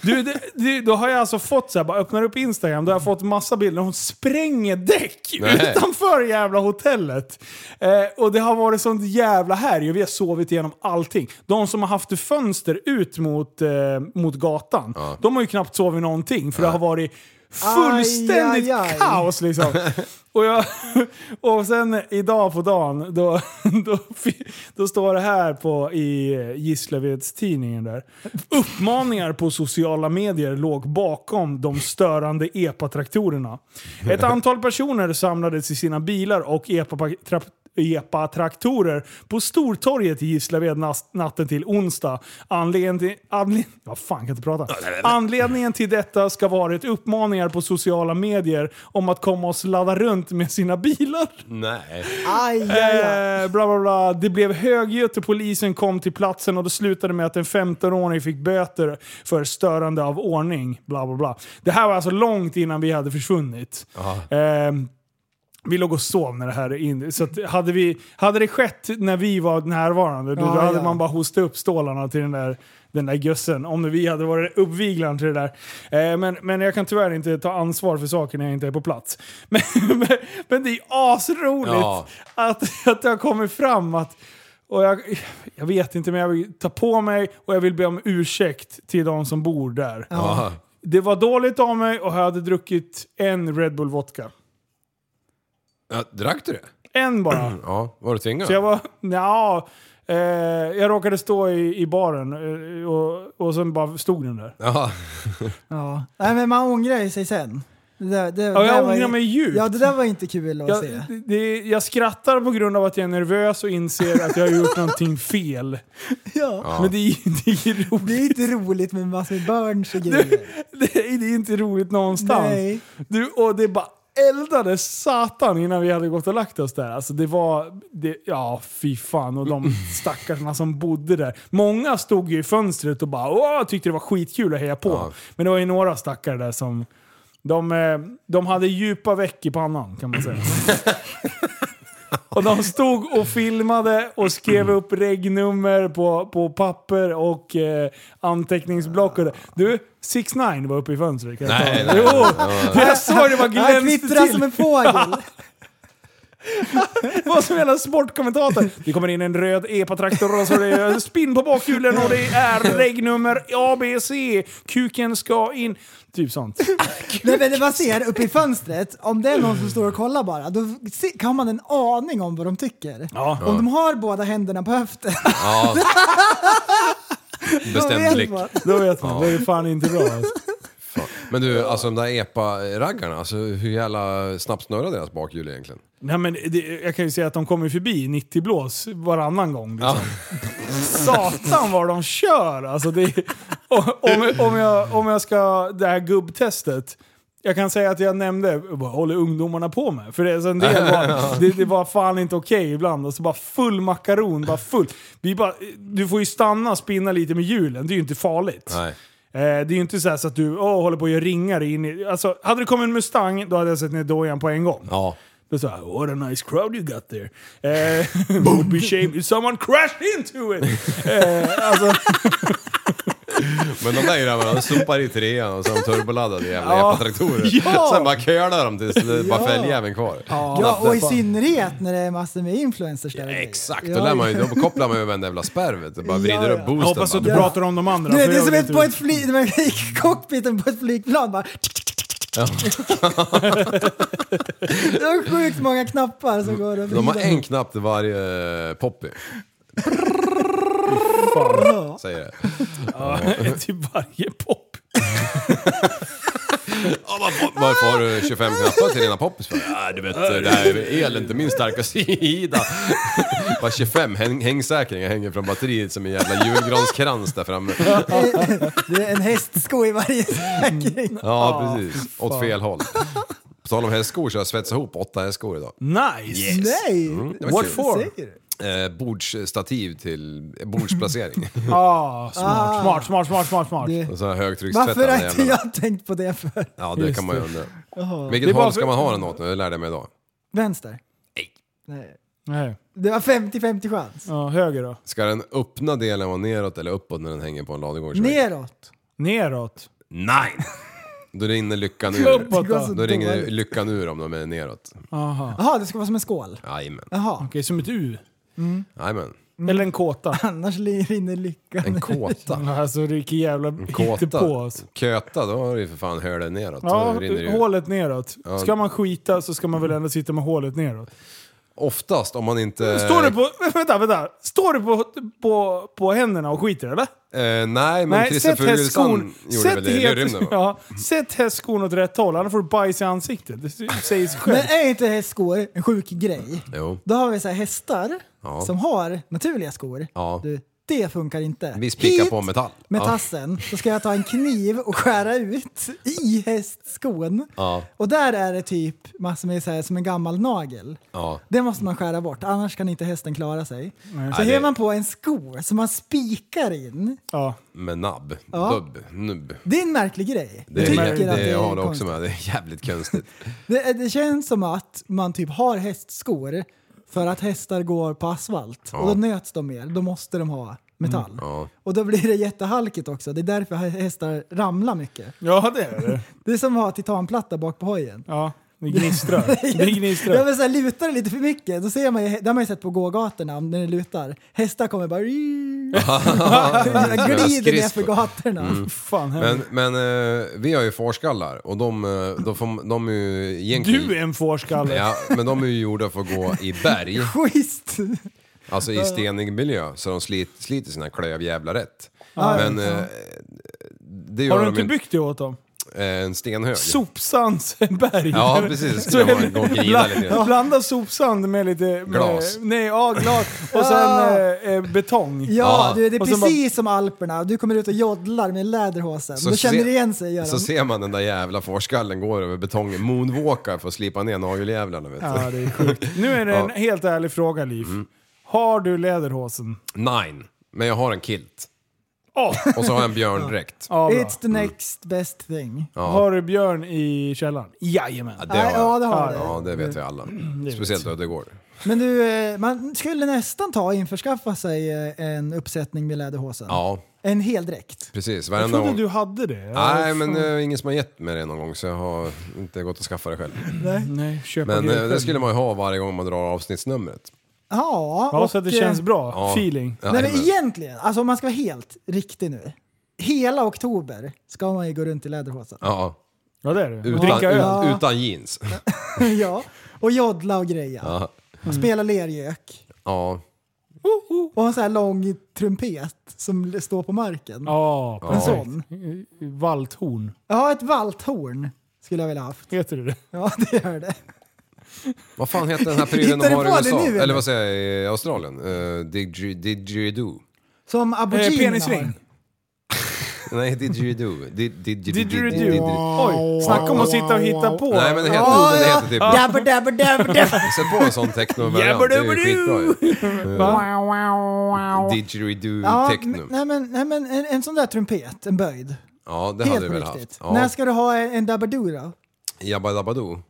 S5: Du, det, det, då har jag alltså fått så här, bara öppnar upp Instagram, då har jag fått massa bilder. Hon spränger däck
S7: Nej.
S5: utanför jävla hotellet. Eh, och det har varit sånt jävla härj och vi har sovit igenom allting. De som har haft fönster ut mot, eh, mot gatan, de har ju knappt sovit någonting för det har varit fullständigt
S6: Aj, aj, aj.
S5: kaos liksom. Och, jag, och sen idag på dagen, då, då, fi- då står det här på, i Gislaveds-tidningen där. Uppmaningar på sociala medier låg bakom de störande EPA-traktorerna. Ett antal personer samlades i sina bilar och E EPA-traktorer EPA-traktorer på Stortorget i Gislaved nas- natten till onsdag. Anledningen till, anled, vad fan, kan jag inte prata. anledningen till detta ska varit uppmaningar på sociala medier om att komma och sladda runt med sina bilar.
S7: Nej.
S6: Aj, aj, aj.
S5: Eh, bla, bla, bla. Det blev högljutt och polisen kom till platsen och det slutade med att en 15-åring fick böter för störande av ordning. Bla, bla, bla. Det här var alltså långt innan vi hade försvunnit. Ehm, vi låg och sov när det här är in. Så att hade, vi, hade det skett när vi var närvarande, då, då
S6: Ja,
S5: hade
S6: ja.
S5: man bara hostat upp stålarna till den där, den där gössen. Om vi hade varit uppviglaren till det där. Eh, men, men jag kan tyvärr inte ta ansvar för saker när jag inte är på plats. Men, men, men det är asroligt
S7: Ja.
S5: att, att det har kommit fram att och jag, jag vet inte, men jag vill ta på mig och jag vill be om ursäkt till de som bor där.
S7: Ja.
S5: Det var dåligt av mig och jag hade druckit en Red Bull Vodka.
S7: Ja, drack du det?
S5: En bara.
S7: Ja, var du tvingad?
S5: Så jag var, nja, eh, jag råkade stå i, i baren eh, och, och sen bara stod den där.
S7: Ja.
S6: Ja. Nej men man ångrar ju sig sen. Det, där- det,
S5: Ja,
S6: det
S5: jag
S6: var ju-
S5: ångrar mig djupt.
S6: Ja det där var inte kul att
S5: Jag,
S6: se.
S5: det, jag skrattar på grund av att jag är nervös och inser att jag har gjort någonting fel.
S6: Ja.
S5: Men det är, det är
S6: Det
S5: roligt.
S6: är inte roligt med massor med burns och grejer.
S5: Det är, det är inte roligt någonstans.
S6: Nej.
S5: Du, och det bara eldade satan innan vi hade gått och lagt oss där. Alltså det var... Det, ja, fy fan. Och de stackarna som bodde där. Många stod ju i fönstret och bara Åh, tyckte det var skitkul att heja på.
S7: Ja.
S5: Men det var ju några stackare där som... De, eh, de hade djupa veck i pannan kan man säga. Och de stod och filmade och skrev upp regnummer på, på papper och eh, anteckningsblock. Och det. Du, 6 9 var uppe i fönstret. kan jag
S7: Nej,
S5: tala om.
S7: nej,
S5: jo, jag såg det bara
S6: Han
S5: glänste
S6: kvittrar
S5: till.
S6: som en fågel.
S5: Det var som hela sportkommentator. Det kommer in en röd EPA-traktor och så är det spinn på bakhjulen och det är regnummer ABC. Kuken ska in. Typ sånt.
S6: Nej men det man ser uppe i fönstret, om det är någon som står och kollar bara, då se- har man en aning om vad de tycker.
S5: Ja.
S6: Om de har båda händerna på höften,
S7: ja.
S6: då
S7: Bestämd
S6: vet
S7: blick.
S6: man.
S5: Då vet man. Det är fan inte bra. Alltså.
S7: Men du, alltså de där EPA-raggarna, alltså, hur jävla snabbt snurrar deras bakhjul egentligen?
S5: Nej, men det, jag kan ju säga att de kommer förbi 90 blås varannan gång. Liksom. Satan vad de kör! Alltså det, om, om, jag, om jag ska... Det här gubbtestet. Jag kan säga att jag nämnde, vad håller ungdomarna på med? För det, är så en del var, det, det var fan inte okej ibland. Och så bara full makaron, bara full. Vi bara, du får ju stanna och spinna lite med hjulen, det är ju inte farligt.
S7: Nej.
S5: Eh, det är ju inte så, här så att du åh, håller på att göra ringar in i... Alltså, hade det kommit en Mustang, då hade jag sett ner dojan på en gång.
S7: Ja.
S5: Då sa jag “What a nice crowd you got there”. Eh, would be shame if someone crashed into it! eh, alltså,
S7: Men de där grabbarna, de sumpar i trean och sen turboladdade jävla
S5: Ja.
S7: EPA-traktorer.
S5: Ja.
S7: Sen bara kölar de tills det är bara fälgjäveln kvar.
S6: Ja, och i synnerhet när det är massor med influencers där. och grejer.
S7: Exakt,
S6: Ja,
S7: då, lär man ju, då kopplar man ju över en jävla spärr vet du. Bara vrider
S6: Ja,
S7: upp
S6: ja.
S7: boosten.
S5: jag hoppas att du
S7: bara,
S5: pratar om de andra.
S6: Du vet,
S5: för
S6: det är
S5: jag
S6: som
S5: vet
S6: ett,
S5: inte
S6: på
S5: hur-
S6: ett flyg, i cockpiten på ett flygplan bara... det var sjukt många knappar som går att
S7: De har
S6: vrida.
S7: en knapp till varje eh, poppy. Säger det.
S5: Till varje pop.
S7: Ja, varför, varför har du 25 knappar till dina poppis för? Ja, du vet, det här är el inte min starka sida. Bara 25 häng, hängsäkringar hänger från batteriet som en jävla julgranskrans där framme.
S6: Det är en hästsko i varje säkring.
S7: Ja, precis. Åt fel håll. På tal om hästskor så har jag svetsat ihop åtta hästskor idag.
S5: Nice!
S6: Nej!
S7: Det var
S5: What
S7: kul.
S5: for?
S7: Eh, bordsstativ till eh, bordsplacering.
S5: Ah, smart, smart, smart, smart, smart, smart.
S6: Det-
S7: Och så här högtryckstvättad
S6: Varför har inte
S7: jävla-
S6: jag tänkt på det för?
S7: Ja, det
S5: Just
S7: kan man ju
S5: det.
S7: undra.
S5: Det är
S7: Vilket
S5: bara
S7: håll
S5: för-
S7: ska man ha den åt nu? Det lärde jag mig idag.
S6: Vänster? Nej.
S5: Nej.
S6: Det var 50-50 chans.
S5: Ja, höger då.
S7: Ska den öppna delen vara neråt eller uppåt när den hänger på en ladugård?
S6: Neråt.
S5: Neråt.
S7: Nej! Då rinner lyckan ur.
S5: Uppåt
S6: går så
S5: då.
S7: Då ringer
S6: dåligt.
S7: lyckan ur om de är neråt.
S5: Aha.
S6: Jaha, det ska vara som en skål.
S7: Jajamän.
S6: Jaha.
S5: Okej, som ett U.
S7: Jajamän.
S6: Mm.
S5: Eller en kåta.
S6: Annars rinner lyckan.
S7: En kåta.
S5: Alltså vilken jävla
S7: Kåta.
S5: på oss.
S7: Köta, då har du ju för fan hölen neråt.
S5: Ja,
S7: då rinner det ju.
S5: hålet neråt. Ska man skita så ska man väl ändå sitta med hålet neråt.
S7: Oftast om man inte...
S5: Står du på... Vänta, vänta. Står du på, på, på händerna och skiter eller?
S7: Eh, nej, men Christer Fuglesang gjorde väl det i
S5: helt-
S7: rymden va?
S5: ja, Sätt hästskon åt rätt håll, annars får du bajs i ansiktet. Det säger sig själv.
S6: Men är inte hästskor en sjuk grej?
S7: Jo.
S6: Då har vi så här hästar
S7: Ja.
S6: som har naturliga skor.
S7: Ja.
S6: Du, det funkar inte.
S7: Vi spikar
S6: Hit
S7: på metall.
S6: Med
S7: Ja.
S6: tassen så ska jag ta en kniv och skära ut i hästskon.
S7: Ja.
S6: Och där är det typ massor med så här, som en gammal nagel.
S7: Ja.
S6: Det måste man skära bort, annars kan inte hästen klara sig. Så
S7: Nej,
S6: ger
S7: det-
S6: man på en sko som man spikar in.
S5: Ja.
S7: Med nabb.
S6: Ja.
S7: Dubb. Nubb.
S6: Det är en märklig grej.
S7: Det,
S6: jag
S7: är,
S6: tycker
S7: det,
S6: att det är
S7: har det också
S6: konstigt.
S7: med. Det är jävligt konstigt.
S6: Det, det känns som att man typ har hästskor för att hästar går på asfalt. Och då nöts de mer. Då måste de ha metall.
S7: Mm, ja.
S6: Och då blir det jättehalkigt också. Det är därför hästar ramlar mycket.
S5: ja, det är det.
S6: Det är som att ha titanplatta bak på hojen.
S5: Ja, det gnistrar. Det
S6: Jag
S5: gnistrar.
S6: vill säga, lutar det lite för mycket, då ser man ju, det har man ju sett på gågatorna när det lutar. Hästar kommer bara... glider ner för
S7: Skridskor.
S6: gatorna.
S7: Mm.
S5: Fan,
S7: Men,
S5: men,
S7: men eh, vi har ju fårskallar och de, eh, de, får, de är ju egentligen...
S5: du är en fårskalle.
S7: Ja, men de är ju gjorda för att gå i berg,
S6: Schysst!
S7: alltså i stenig miljö, så de slit, sliter sina klövjävlar rätt. men eh, det gör
S5: Har du
S7: de
S5: inte
S7: ju-
S5: byggt det åt dem?
S7: eh, en stenhög.
S5: Sopsandsberg.
S7: Ja, precis. Det skulle man gå och grina lite
S5: Bla,
S7: grann.
S5: blanda sopsand med lite... Med,
S7: Glas.
S5: Nej, ja, glas. Och sen eh, eh, betong.
S6: Ja,
S7: Ja.
S6: Du, det är
S5: Och sen bara-
S6: precis som Alperna. Du kommer ut och joddlar med läderhosen.
S7: Så
S6: Då känner
S7: se-
S6: du igen sig, Göran.
S7: Så ser man den där jävla fårskallen gå över betongen, moonwalkar för att slipa ner nageljävlarna vet du.
S5: Ja, det är sjukt. Nu är det en
S7: Ja. Mm.
S5: helt ärlig fråga, Liv. Har du läderhosen?
S7: Nine. Men jag har en kilt.
S5: Åh!
S7: Och så har jag en björndräkt.
S5: Ja, bra.
S6: It's the next best thing. Ja,
S5: Har du björn i källaren? Jajamän.
S7: Det har
S6: ja
S7: jag.
S6: det har du. Mm,
S7: Ja, det vet vi alla. Speciellt Ödegård.
S6: Men du, eh, man skulle nästan ta och införskaffa sig eh, en uppsättning med läderhosen.
S7: Ja,
S6: En hel dräkt.
S7: precis.
S5: Jag
S7: Varenda
S5: trodde
S7: gång.
S5: du hade det.
S7: Nej, men det är ingen som har gett mig det någon gång så jag har inte gått och skaffat det själv.
S5: Nej, köpa
S7: Men
S5: grejer
S7: eh, det
S5: själv.
S7: skulle man ju ha varje gång man drar avsnittsnumret.
S6: Ja,
S5: Ja, så att det
S6: eh,
S5: känns bra.
S7: Ja.
S5: Feeling.
S7: Ja,
S6: Nej, men
S7: jajamän.
S6: egentligen, alltså om man ska vara helt riktig nu. Hela oktober ska man ju gå runt i läderhosen.
S7: Ja,
S5: Ja, det är det. Och
S7: utan,
S5: dricka öl.
S7: ut, utan jeans.
S6: ja. Och joddla och greja.
S7: Ja.
S6: Och Spela lergök.
S7: Ja,
S6: Och ha en sån här lång trumpet som l- står på marken.
S5: Ja,
S6: En
S5: precis.
S6: sån.
S5: Valthorn.
S6: Ja, ett valthorn skulle jag vilja ha haft.
S5: Heter det det
S6: Ja, det gör det.
S7: Vad fan heter den här prylen de
S6: Hittar du
S7: har
S6: på
S7: i
S6: det
S7: USA?
S6: nu, eller?
S7: eller vad säger jag, i Australien? Uh, didgeri- didgeridoo.
S6: Som
S5: Eh,
S6: aboriginerna
S5: penisring.
S7: Nej, didgeridoo. Did, didgeridoo.
S5: Didgeridoo.
S7: didgeridoo.
S5: Oj, snacka om att sitta och hitta på.
S7: Nej men det heter,
S6: Ah,
S7: det heter typ...
S6: Dabba, dabba, dabba, dabba.
S7: Sätt på en sån techno-variant, det är ju skitbra ju.
S5: Va?
S7: Eh, Didgeridoo
S6: Ja, men-
S7: techno.
S6: nej men, nej, men en, en sån där trumpet, en böjd.
S7: Ja, det
S6: Helt
S7: hade
S6: på
S7: vi väl
S6: riktigt.
S7: haft. Ja.
S6: När ska du ha en, en dabadoo då?
S7: Jabba Dabba Doo.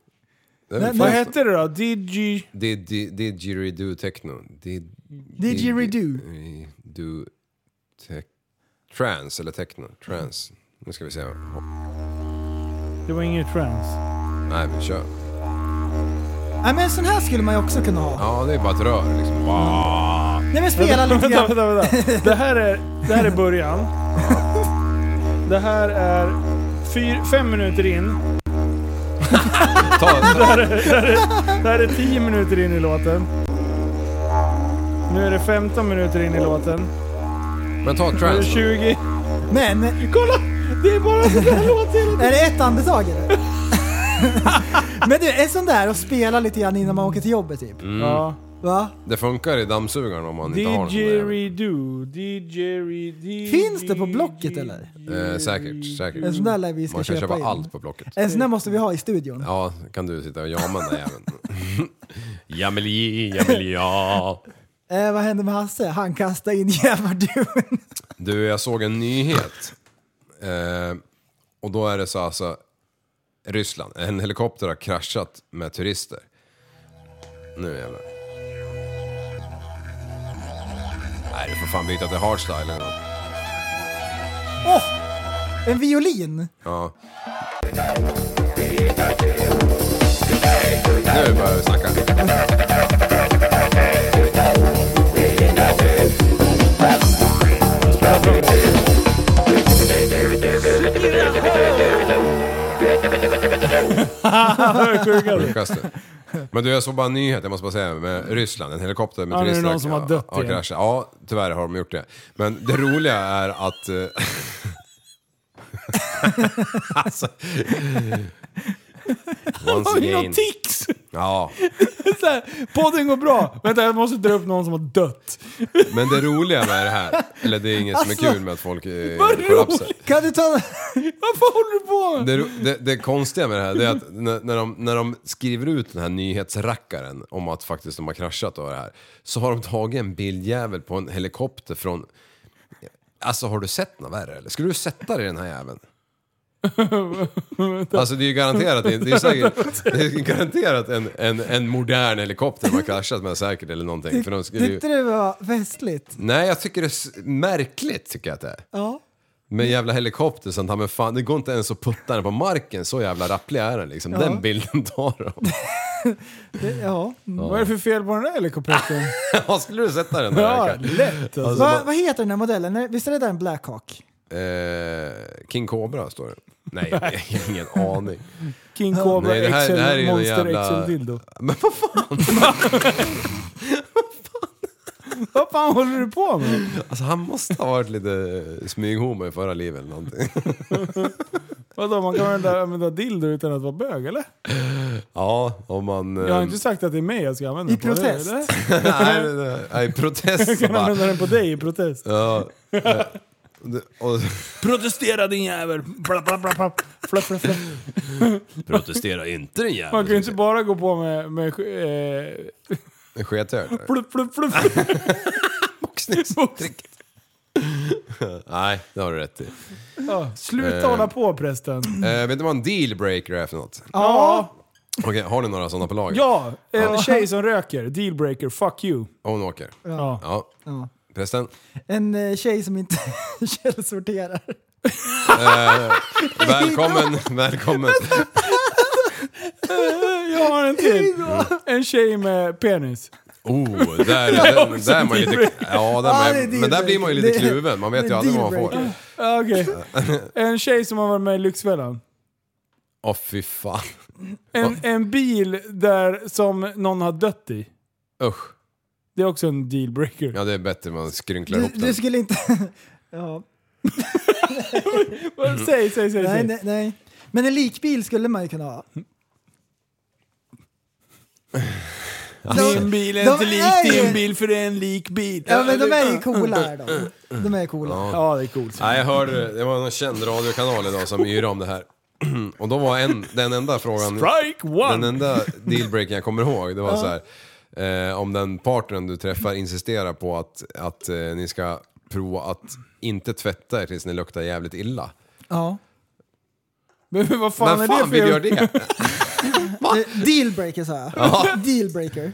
S7: Det är
S6: Nej,
S7: väl
S5: Vad
S7: fint.
S5: hette det då? Digi...
S7: Did- did- Didgeridoo techno. Did-
S6: Didgeridoo.
S7: Didgeridoo tech... Trance eller techno. Trance. Nu ska vi se.
S5: Det var inget trans.
S7: Nej, vi kör.
S6: Nej men en sån här skulle man ju också kunna ha.
S7: Ja, det är bara ett rör liksom.
S6: Nej men spela lite
S5: Vänta,
S6: grann.
S5: vänta, vänta. Det här är, det här är början. Det här är fyr, fem minuter in.
S7: Ta, ta.
S5: Det här är 10 minuter in i låten. Nu är det 15 minuter in i låten.
S7: Men ta
S5: Nu är det
S7: trance.
S5: 20.
S6: Men,
S5: Kolla! Det är bara så där låt hela tiden.
S6: är det ett andetag eller? men du, en sån där och spela lite grann innan man åker till jobbet typ.
S5: Ja.
S6: Va?
S7: Det funkar i dammsugaren om man Mm. inte har någon. där.
S5: Didgeridoo, didgeridoo.
S6: Finns det på Blocket eller?
S7: Eh, säkert, säkert.
S6: En sån där lär vi ska
S7: man kan
S6: köpa
S7: köpa
S6: in.
S7: allt på Blocket.
S6: En sån där måste vi ha i studion.
S7: Ja, kan du sitta och jama den där jäveln. Jameli, jameli, ja.
S6: Eh, vad hände med Hasse? Han kastade in jävardun.
S7: Du, jag såg en nyhet. Eh, och då är det så alltså, Ryssland. En helikopter har kraschat med turister. Nu jävlar. Nej, du får fan byta till hardstyle eller något.
S6: En violin.
S7: Ja. Nu börjar vi snacka. Sjukaste. Men du, jag såg bara en nyhet, jag måste bara säga, med Ryssland. En helikopter med
S5: Ja, nu är det
S7: turister
S5: någon som har dött
S7: har
S5: igen.
S7: kraschat. Ja, tyvärr har de gjort det. Men det roliga är att... eh, alltså... Once
S5: Har vi
S7: again.
S5: någon tics?
S7: Ja,
S5: Så här, Podden går bra. Vänta, jag måste dra upp någon som har dött.
S7: men det roliga med det här, eller det är inget som
S6: Alltså,
S7: är kul med att folk eh,
S5: vad roligt!
S7: kollapsar.
S6: Kan du ta...
S5: Vad fan håller du på med?
S7: Det, ro- det, det konstiga med det här det är att när, när, de, när de skriver ut den här nyhetsrackaren om att faktiskt de har kraschat och det här så har de tagit en bildjävel på en helikopter från... Alltså har du sett något värre eller? Skulle du sätta dig i den här jäveln? alltså det är ju garanterat, det är, det är säkert, det är garanterat en, en, en modern helikopter de har kraschat med säkert eller någonting. För de skulle ju,
S6: Tyckte du det var festligt?
S7: nej jag tycker det är s- märkligt tycker jag att det är.
S6: Ja.
S7: Med jävla helikopter sånt här, men fan det går inte ens att putta den på marken, så jävla rapplig är den liksom. Den bilden tar de.
S6: Det, ja.
S5: Vad är det för fel på den där helikoptern?
S7: Ja, skulle du sätta den där?
S5: Ja,
S7: Rickard?
S5: lätt alltså.
S7: Alltså,
S6: Va, vad heter den här modellen? Visst är det där en Black Hawk?
S7: eh, King Cobra står det. Nej, jag har ingen aning.
S5: King Cobra
S7: Nej, det här-
S5: XL
S7: det här är ju någon
S5: Monster
S7: jävla-
S5: XL Dildo.
S7: Men vad fan?
S5: Vad fan håller du på med?
S7: Alltså han måste ha varit lite smyghomo i förra livet eller någonting.
S5: Vadå, man kan väl inte använda dildo utan att vara bög eller?
S7: Ja, om man...
S5: Jag har
S7: eh,
S5: inte sagt att det är mig jag ska använda
S6: I
S5: den på,
S6: protest.
S5: eller?
S7: Nej, nej, nej, nej, protest
S5: Jag kan
S7: bara.
S5: använda den på dig i protest.
S7: Ja, eh, och,
S5: Protestera din jävel! Bla, bla, bla, bla. Fla, fla, fla.
S7: Protestera inte den
S5: Man kan ju
S7: jäveln.
S5: inte bara gå på med... med eh,
S7: Skethög.
S5: plupp, plupp, plupp.
S7: Boxningstricket. Nej, det har du rätt i.
S5: Ja, Sluta
S7: Eh.
S5: hålla på prästen.
S7: Eh, vet du vad en dealbreaker är för något?
S5: Ja,
S7: Okej, har ni några sådana på lager?
S5: ja en tjej som röker. Dealbreaker, fuck you.
S7: Och hon åker?
S5: Ja.
S7: Ja.
S6: Ja.
S7: Prästen?
S6: En eh, tjej som inte källsorterar.
S7: Välkommen, välkommen.
S5: Jag har en till. En tjej med penis.
S7: Oh, där, där, där är man ju lite... Ja, där
S6: Ja,
S7: man,
S6: det är
S7: men där blir man ju lite
S6: dealbreaker.
S7: kluven. Man vet
S6: Det
S7: ju
S6: är
S7: aldrig vad man får.
S6: dealbreaker.
S5: Ja, Okej. En tjej som har varit med i Lyxfällan.
S7: Åh, fy fan.
S5: En, en bil där som någon har dött i.
S7: Usch.
S5: Det är också en dealbreaker.
S7: Ja, det är bättre man skrynklar
S6: Du,
S7: ihop
S6: du
S7: den.
S6: skulle inte... ja.
S5: Vad- Säg, säg, säg.
S6: Nej,
S5: säg.
S6: nej, nej. Men en likbil skulle man ju kunna ha.
S5: Min bil
S6: de
S5: är inte lik
S6: är ju-
S5: din bil för det är en lik bil.
S6: Ja men de är ju coola är de. De är coola.
S5: Ja, det är coolt.
S7: Nej, jag hörde det. Det var någon känd radiokanal idag som yrade om det här. Och då var en, den enda frågan...
S5: Strike
S7: Den
S5: one!
S7: enda dealbreaker jag kommer ihåg, det var så här. Eh, om den partnern du träffar insisterar på att, att eh, ni ska prova att inte tvätta er tills ni luktar jävligt illa.
S6: Ja.
S5: Men vad fan
S7: Men
S5: är
S7: fan
S5: det
S7: vill
S5: för
S7: du göra det?
S5: Ah.
S6: Eh, Dealbreaker sa jag. Dealbreaker.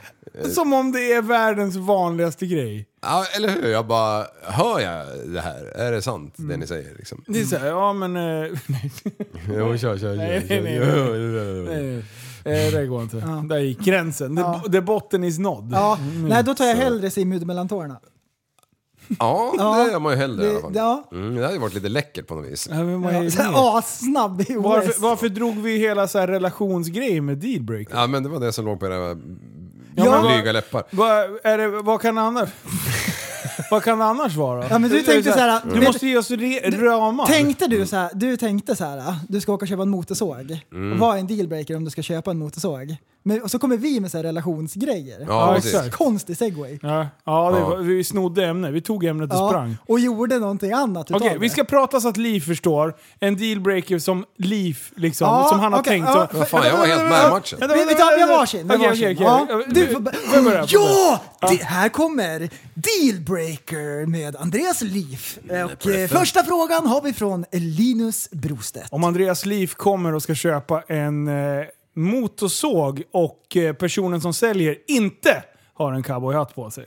S5: Som om det är världens vanligaste grej.
S7: ja, eller hur? Jag bara, hör jag det här? Är det sant det ni säger liksom?
S5: Mm. Det är såhär, ja men... eh,
S7: Jo, kör, kör,
S5: Nej,
S7: kör.
S5: nej, nej.
S7: kör.
S5: Nej, nej, Eh, det går inte. Där gick gränsen. The,
S6: Ja.
S5: the botten is nådd.
S6: Ja. Nej då tar jag hellre simhud mellan tårna.
S7: Ja,
S6: Ja,
S7: det gör man ju hellre i alla
S6: det-
S7: fall.
S6: ja.
S7: Mm, det hade ju varit lite läckert på något vis.
S5: Ja, men man är
S6: Ja,
S5: ju
S6: så
S5: med.
S6: här Assnabb i OS.
S5: varför, varför drog vi hela så här relationsgrejen med dealbreaker?
S7: Ja, men det var det som låg på era
S5: men vad-
S7: blyga läppar.
S5: Vad, är det, vad kan det annars... vad kan det annars vara?
S6: Ja, men du
S5: Det är
S6: tänkte
S5: så här,
S6: så här,
S5: Du
S6: vet-
S5: måste ge oss re, ramar.
S6: Tänkte du så här, du tänkte så här, "Ah, du ska åka och köpa en motorsåg.
S5: Mm.
S6: Vad är en dealbreaker om du ska köpa en motorsåg? Men, och så kommer vi med så här relationsgrejer.
S7: Ja,
S5: Ja,
S7: precis.
S5: exakt.
S6: Konstig segway.
S5: Ja, ja, det
S7: Ja.
S5: Var, vi snodde ämne. Vi tog ämnet och sprang.
S6: och gjorde någonting annat utav
S5: Okej,
S6: det.
S5: vi ska prata så att Liv förstår. En dealbreaker som Liv, liksom,
S6: Ja,
S5: som han har
S6: okej,
S5: tänkt.
S6: ja,
S5: så,
S6: för-
S7: Fan, jag var helt med i matchen.
S5: Vänta,
S6: Vi, vi tar vi har varsin. vi har
S5: Okej,
S6: varsin.
S5: okej, okej.
S6: Ja, du får
S5: jag börjar,
S6: börja.
S5: jag
S6: Ja! Det här kommer Dealbreaker med Andreas Liv. Och eh, första frågan har vi från Linus Brostedt.
S5: Om Andreas Liv kommer och ska köpa en eh, motorsåg och eh, personen som säljer inte har en cowboyhatt på sig.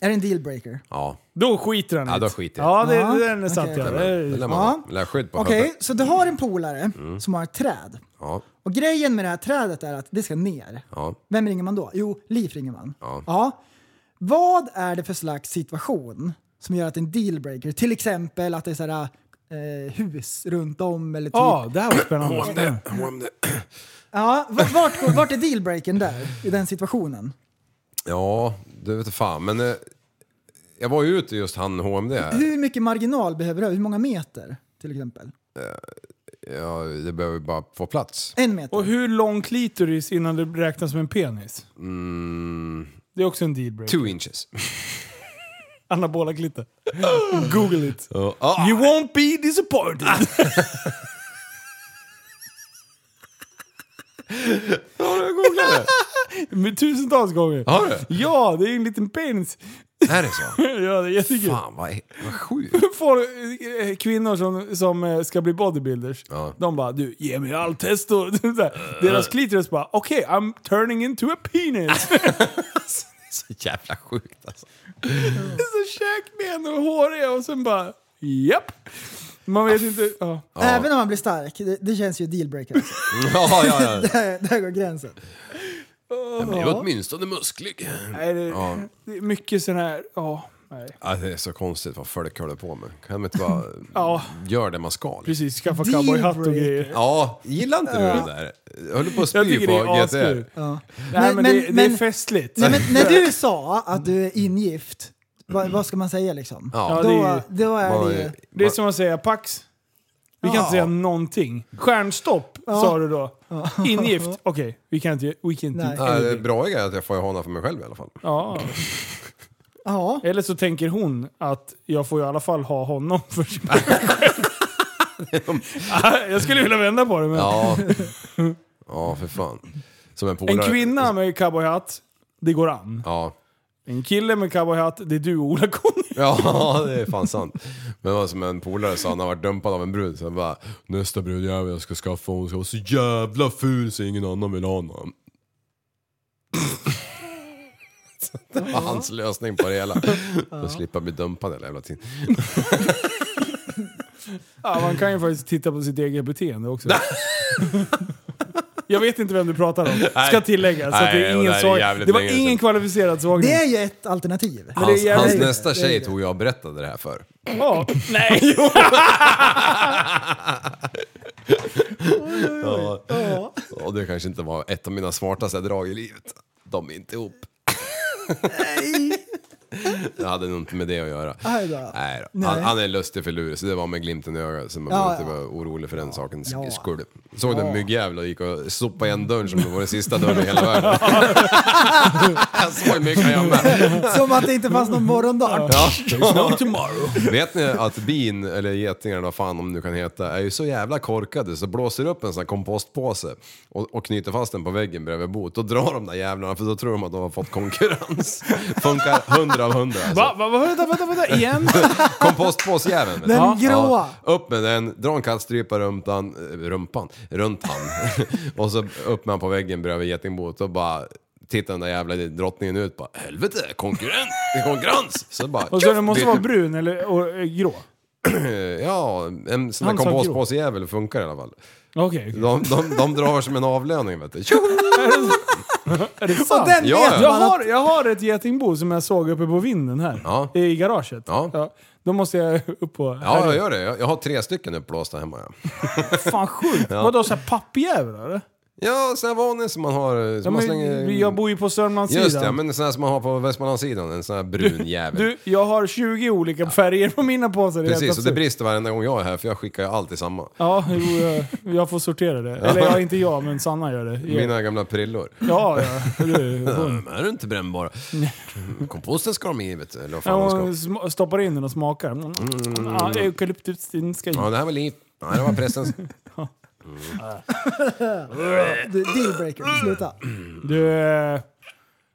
S6: Är det en dealbreaker?
S7: Ja,
S5: Då skiter han i
S7: Ja,
S5: det.
S7: då skiter jag.
S5: Ja, det,
S6: Ja,
S5: den är sant.
S6: okej.
S5: Ja.
S7: det lär man
S6: Ja.
S7: ha. Lär skydd på
S6: Okej,
S7: huvudet.
S6: så du har en polare
S5: Mm.
S6: som har ett träd.
S7: Ja,
S6: Och grejen med det här trädet är att det ska ner.
S7: ja.
S6: Vem ringer man då? Jo, Liv ringer man.
S7: Ja.
S6: Vad är det för slags situation som gör att en dealbreaker, till exempel att det är så här, eh, hus runt om eller typ...
S5: Ja, det här var spännande.
S6: Ja, v- vart, går- vart är dealbreakern där, i den situationen?
S7: Ja, det vet fan. Men eh, jag var ju ute just han HMD.
S6: Hur mycket marginal behöver du ha? Hur många meter, till exempel?
S7: Ja, det behöver bara få plats.
S6: En meter?
S5: Och hur lång klitoris innan det räknas som en penis?
S7: Mm,
S5: Det är också en dealbreaker.
S7: two inches.
S5: Anabola klitter. Google it.
S7: Ja, ah,
S5: You won't be disappointed.
S7: jag googlade.
S5: Med tusentals gånger.
S7: Har du?
S5: Ja, det är en liten penis.
S7: Är det så?
S5: ja, det är jättekul.
S7: Fan vad, vad sjukt.
S5: Folk, eh, kvinnor som, som eh, ska bli bodybuilders,
S7: Ja. Eh.
S5: de bara du ge mig all testo. Så här, Deras klitoris bara okej, I'm turning into a penis.
S7: Så jävla sjukt alltså.
S5: så käkben och håriga och sen bara japp. Man vet inte. Ja.
S6: Även om man blir stark, det, det känns ju dealbreaker. Alltså.
S7: Ja, ja, ja.
S6: där, där går gränsen.
S7: Men jag är åtminstone musklig.
S5: Nej, det,
S7: Ja.
S5: det är mycket sån här, ja. Nej.
S7: Ja, det är så konstigt vad folk håller på med. Kan man inte bara
S5: Ja,
S7: göra det man ska? liksom?
S5: precis. Skaffa cowboyhatt och
S6: Dealbreaker.
S5: grejer.
S7: Ja, gillar inte du det där? Jag höll på att
S5: Jag
S7: spy
S5: tycker
S7: på
S5: det är
S7: GTR.
S5: askul. Nej, men,
S6: Men-
S5: det,
S6: men-
S5: det är
S6: men-
S5: festligt.
S6: Nej, men när du sa att du är ingift, vad, vad ska man säga liksom?
S7: Ja.
S5: det
S6: Då,
S5: är-
S6: då är
S7: Vad-
S6: det ju...
S5: Det är som att säga Pax. Vi kan inte säga någonting. Stjärnstopp sa du då. Ingift. Okej, vi kan inte... We can
S6: Nej.
S5: do
S7: Ja, det
S5: anything.
S7: bra är att jag får håna för mig själv i alla fall.
S5: Ja.
S6: Ja.
S5: Eller så tänker hon att jag får i alla fall ha honom för sig själv. jag skulle vilja vända på det. Men
S7: Ja, ja för fan. Som en polare.
S5: En kvinna med cowboyhatt, det går an.
S7: Ja.
S5: En kille med cowboyhatt, det är du och ola Conny.
S7: ja, det är fan sant. Men det var som en polare sa, han har varit dumpad av en brud. Så han bara, nästa brudjävel jag ska skaffa hon ska vara så jävla ful så ingen annan vill ha honom. Så Det var hans lösning på det hela. För att slippa bli dumpad hela jävla tiden.
S5: Ja, man kan ju faktiskt titta på sitt eget beteende också. Jag vet inte vem du pratar om, ska
S7: Nej.
S5: tilläggas. Så att det,
S7: Nej,
S5: är
S7: och
S5: ingen
S7: det här är
S5: såg...
S7: jävligt
S5: det var
S7: länge sedan.
S5: ingen kvalificerad sågning.
S6: Det är ju ett alternativ.
S5: det är
S7: Hans,
S5: jävligt-
S7: hans
S5: det är
S7: nästa tjej tror jag berättade det här för.
S5: Ja. Nej!
S7: Ja. Och det kanske inte var ett av mina smartaste drag i livet. De är inte ihop. Nej. Jag hade nog inte med det att göra.
S6: Aj då.
S7: Nej då.
S6: Nej.
S7: Han, han är lustig för lurig, så det var med glimten i ögat. Så man
S6: Ja,
S7: behöver inte
S6: ja.
S7: vara orolig för den sakens
S6: Ja.
S7: skull. Såg du en myggjävel och gick och sopade igen dörren som det var den sista dörren i hela världen? jag såg myggan jag med.
S6: Som att det inte fanns någon morgondag.
S7: Vet ni att bin, eller getingar vad fan om nu kan heta, är ju så jävla korkade så blåser upp en sån här kompostpåse och, och knyter fast den på väggen bredvid boet. Då drar de där jävlarna för då tror de att de har fått konkurrens. Funkar hundra av hundra. Alltså.
S5: Va, va, va, vänta, vänta, vänta, igen?
S7: Kompostpåsjäveln. vet du.
S6: Den gråa.
S7: Upp med den, dra en kallstrypa runt han, eh, rumpan, runt han. och så upp med han på väggen bredvid getingboet och bara tittar den där jävla drottningen ut bara helvete konkurrent, det är konkurrens! Så bara,
S5: Och så den måste
S7: Det- typ-
S5: vara brun eller och, eh, grå?
S7: Eh, Ja, en sån där
S5: Han sa
S7: kompostpåsejävel funkar i alla fall.
S5: Okej.
S7: De, de, de drar som en avlöning vet du. Tjo!
S5: Är det sant?
S6: Den
S7: Ja,
S6: vet
S7: ja.
S5: Jag
S6: man att...
S5: har, jag har ett getingbo som jag såg uppe på vinden här.
S7: Ja.
S5: I garaget.
S7: Ja.
S5: Då måste jag upp på...
S7: Ja, jag gör det. Jag, jag har tre stycken uppblåsta hemma. Ja,
S5: Fan sjukt. Vadå, så här pappjävlar eller?
S7: ja sån här vanlig som man har... Som
S5: Ja, men,
S7: man slänger...
S5: Jag bor ju på Sörmlandssidan.
S7: Just det, ja, men sån här som man har på Västmanlandssidan. En sån här brun jävel.
S5: Du, jag har 20 olika färger på mina påsar. Det är helt
S7: Precis, och det
S5: absurt.
S7: brister varenda gång jag är här för jag skickar ju alltid samma.
S5: Ja, jo, jag, jag får sortera det. Eller ja, inte jag, men Sanna gör det. Ja,
S7: Mina gamla prillor.
S5: ja. ja. Du, hon.
S7: De är ju inte brännbara. Mm, Komposten ska de i vet du, eller vad fan de
S5: Ja,
S7: ska.
S5: hon sm- stoppar in den och smakar. Mm. Ja, eukalyptus, den ska in.
S7: Ja, det här var liv. Nej, det var prästens...
S6: Du, Dealbreaker, sluta.
S5: Du, eh,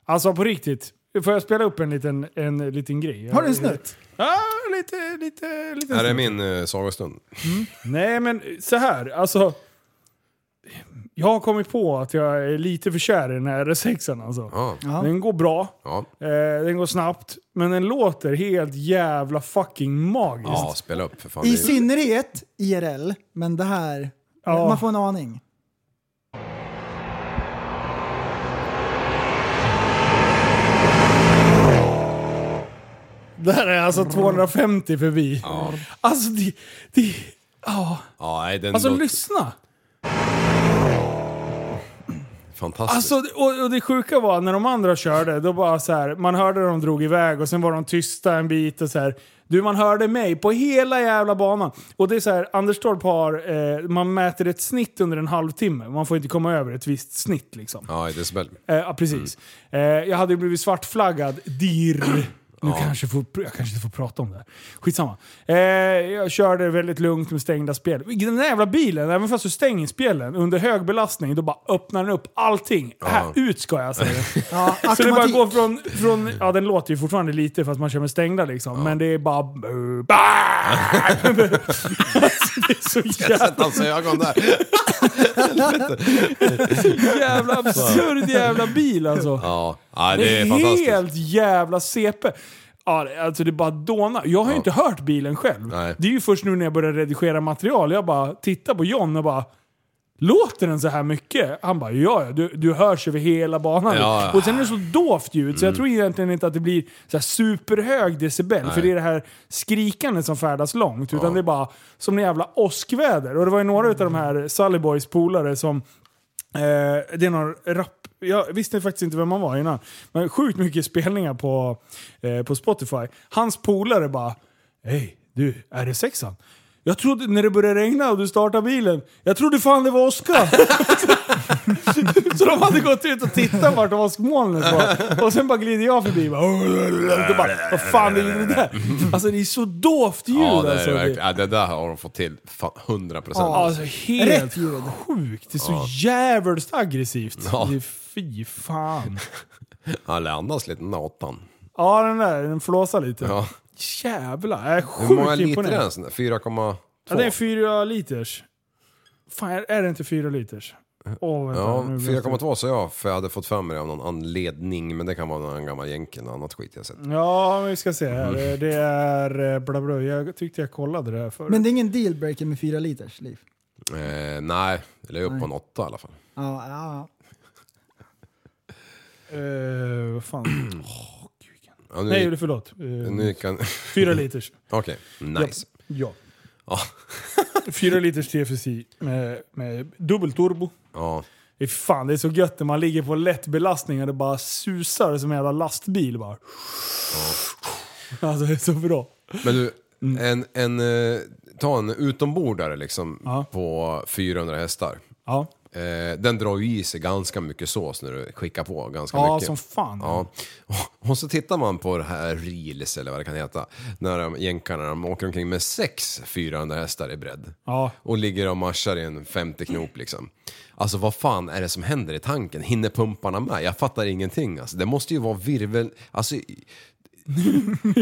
S5: alltså på riktigt. Får jag spela upp en liten, en liten grej?
S6: Har du en snutt?
S5: Ja, lite, lite, lite
S7: Här är min eh, sagostund.
S5: Nej, men så här. Alltså. Jag har kommit på att jag är lite för kär i den här R6an alltså.
S7: Ja,
S5: Den går bra.
S7: ja.
S5: Eh, den går snabbt, men den låter helt jävla fucking magiskt.
S7: ja spela upp för fan.
S6: I
S7: Det är-
S6: synnerhet IRL, men det här...
S5: Ja.
S6: Man får en aning.
S5: Där är alltså 250 förbi. Alltså det... det ja.
S7: Ja, nej, den
S5: Alltså
S7: låter
S5: lyssna!
S7: fantastisk.
S5: Alltså, och, och det sjuka var när de andra körde, då bara så här, man hörde de drog iväg och sen var de tysta en bit och så här. Du, man hörde mig på hela jävla banan. Och det är så här, Anderstorp har, eh, man mäter ett snitt under en halvtimme. Man får inte komma över ett visst snitt liksom.
S7: Ja, i decibel.
S5: Eh, ja, precis. Eh, jag hade ju blivit svartflaggad. Dirr. Nu kanske får, jag kanske inte får prata om det här. Skitsamma. Eh, jag körde väldigt lugnt med stängda spel. Den där jävla bilen, även fast du stänger spelen under hög belastning, då bara öppnar den upp allting. Här, ut ska jag säga.
S6: Ja,
S5: Så det bara
S6: automatik.
S5: går från, från... Ja, den låter ju fortfarande lite fast man kör med stängda liksom. Men det är bara... alltså, det är så jävla...
S7: Alltså ögon där.
S5: jävla absurd jävla bil alltså.
S7: Ja, nej,
S5: Det
S7: det är
S5: är
S7: fantastiskt.
S5: helt jävla CP. Ja, det- alltså det bara dånar. Jag har ju inte hört bilen själv.
S7: Nej.
S5: Det är ju först nu när jag börjar redigera material. Jag bara tittar på John och bara Låter den så här mycket? Han bara ja, ja du, du hörs över hela banan.
S7: Ja, ja. Mm.
S5: Och sen är det så dovt ljud så jag tror egentligen inte att det blir så här superhög decibel. För det är det här skrikandet som färdas långt. Utan det är bara som en jävla åskväder. Och det var ju några utav de här Sallyboys polare som Eh, det är någon rap... Jag visste faktiskt inte vem man var innan. Men sjukt mycket spelningar på, eh, på Spotify. Hans polare bara Hej, du, är det sexan? Jag trodde, när det började regna och du startade bilen, jag trodde fan det var åska! så de hade gått ut och tittat vart åskmolnet var. Och sen bara glider jag förbi och bara, och bara Vad fan är det där? Alltså det är så dovt ljud
S7: Ja, det, är
S5: alltså.
S7: det, verkligen. ja, det där har de fått till fan, 100 procent.
S5: Ja, alltså helt sjukt. Det är så jävligt aggressivt.
S7: Ja.
S5: Det är fy fan.
S7: Han lär andas lite den där åttan.
S5: Ja, den där den flåsar lite.
S7: Ja.
S5: Jävlar, jag är sjukt
S7: Hur många liter är
S5: imponerad.
S7: den? sån där? 4,2?
S5: Ja, det är fyra liters. Fan, är- är det inte fyra liters? Åh, vänta,
S7: Eh, Ja,
S5: nu blir jag-
S7: 4,2 sa jag för jag hade fått fram mig av någon anledning. Men det kan vara någon gammal jänken och annat skit jag sett.
S5: Ja, vi ska se här.
S7: Mm.
S5: Eh, Det är... eh, Bla bla. Jag tyckte jag kollade det här förut.
S6: Men det är ingen dealbreaker med fyra liters liv.
S7: Eh, nej, eller upp på en åtta i alla fall.
S6: Ja, ja.
S5: Eh, vad fan. Åh, gud.
S7: Ja, nu,
S5: Nej, förlåt. Eh,
S7: nu kan...
S5: Fyra liters.
S7: Okej, nice.
S5: Ja.
S7: Ja.
S5: Fyra liters TFSI med, med dubbel turbo.
S7: Ja.
S5: Fy Fan, det är så gött när man ligger på lätt belastning och det bara susar som en jävla lastbil. Bara. Alltså det är så bra.
S7: Men du, en, en, eh, ta en utombordare liksom
S5: Ja.
S7: på 400 hästar.
S5: Ja,
S7: Eh, den drar ju i sig ganska mycket sås när du skickar på ganska
S5: ja
S7: mycket.
S5: som fan.
S7: Ja. Och- Och så tittar man på det här reels eller vad det kan heta. När de, jänkarna de åker omkring med sex 400 hästar i bredd.
S5: Ja.
S7: Och ligger och marschar i en 50 knop liksom. Alltså vad fan är det som händer i tanken? Hinner pumparna med? Jag fattar ingenting alltså. Det måste ju vara virvel... Alltså, i-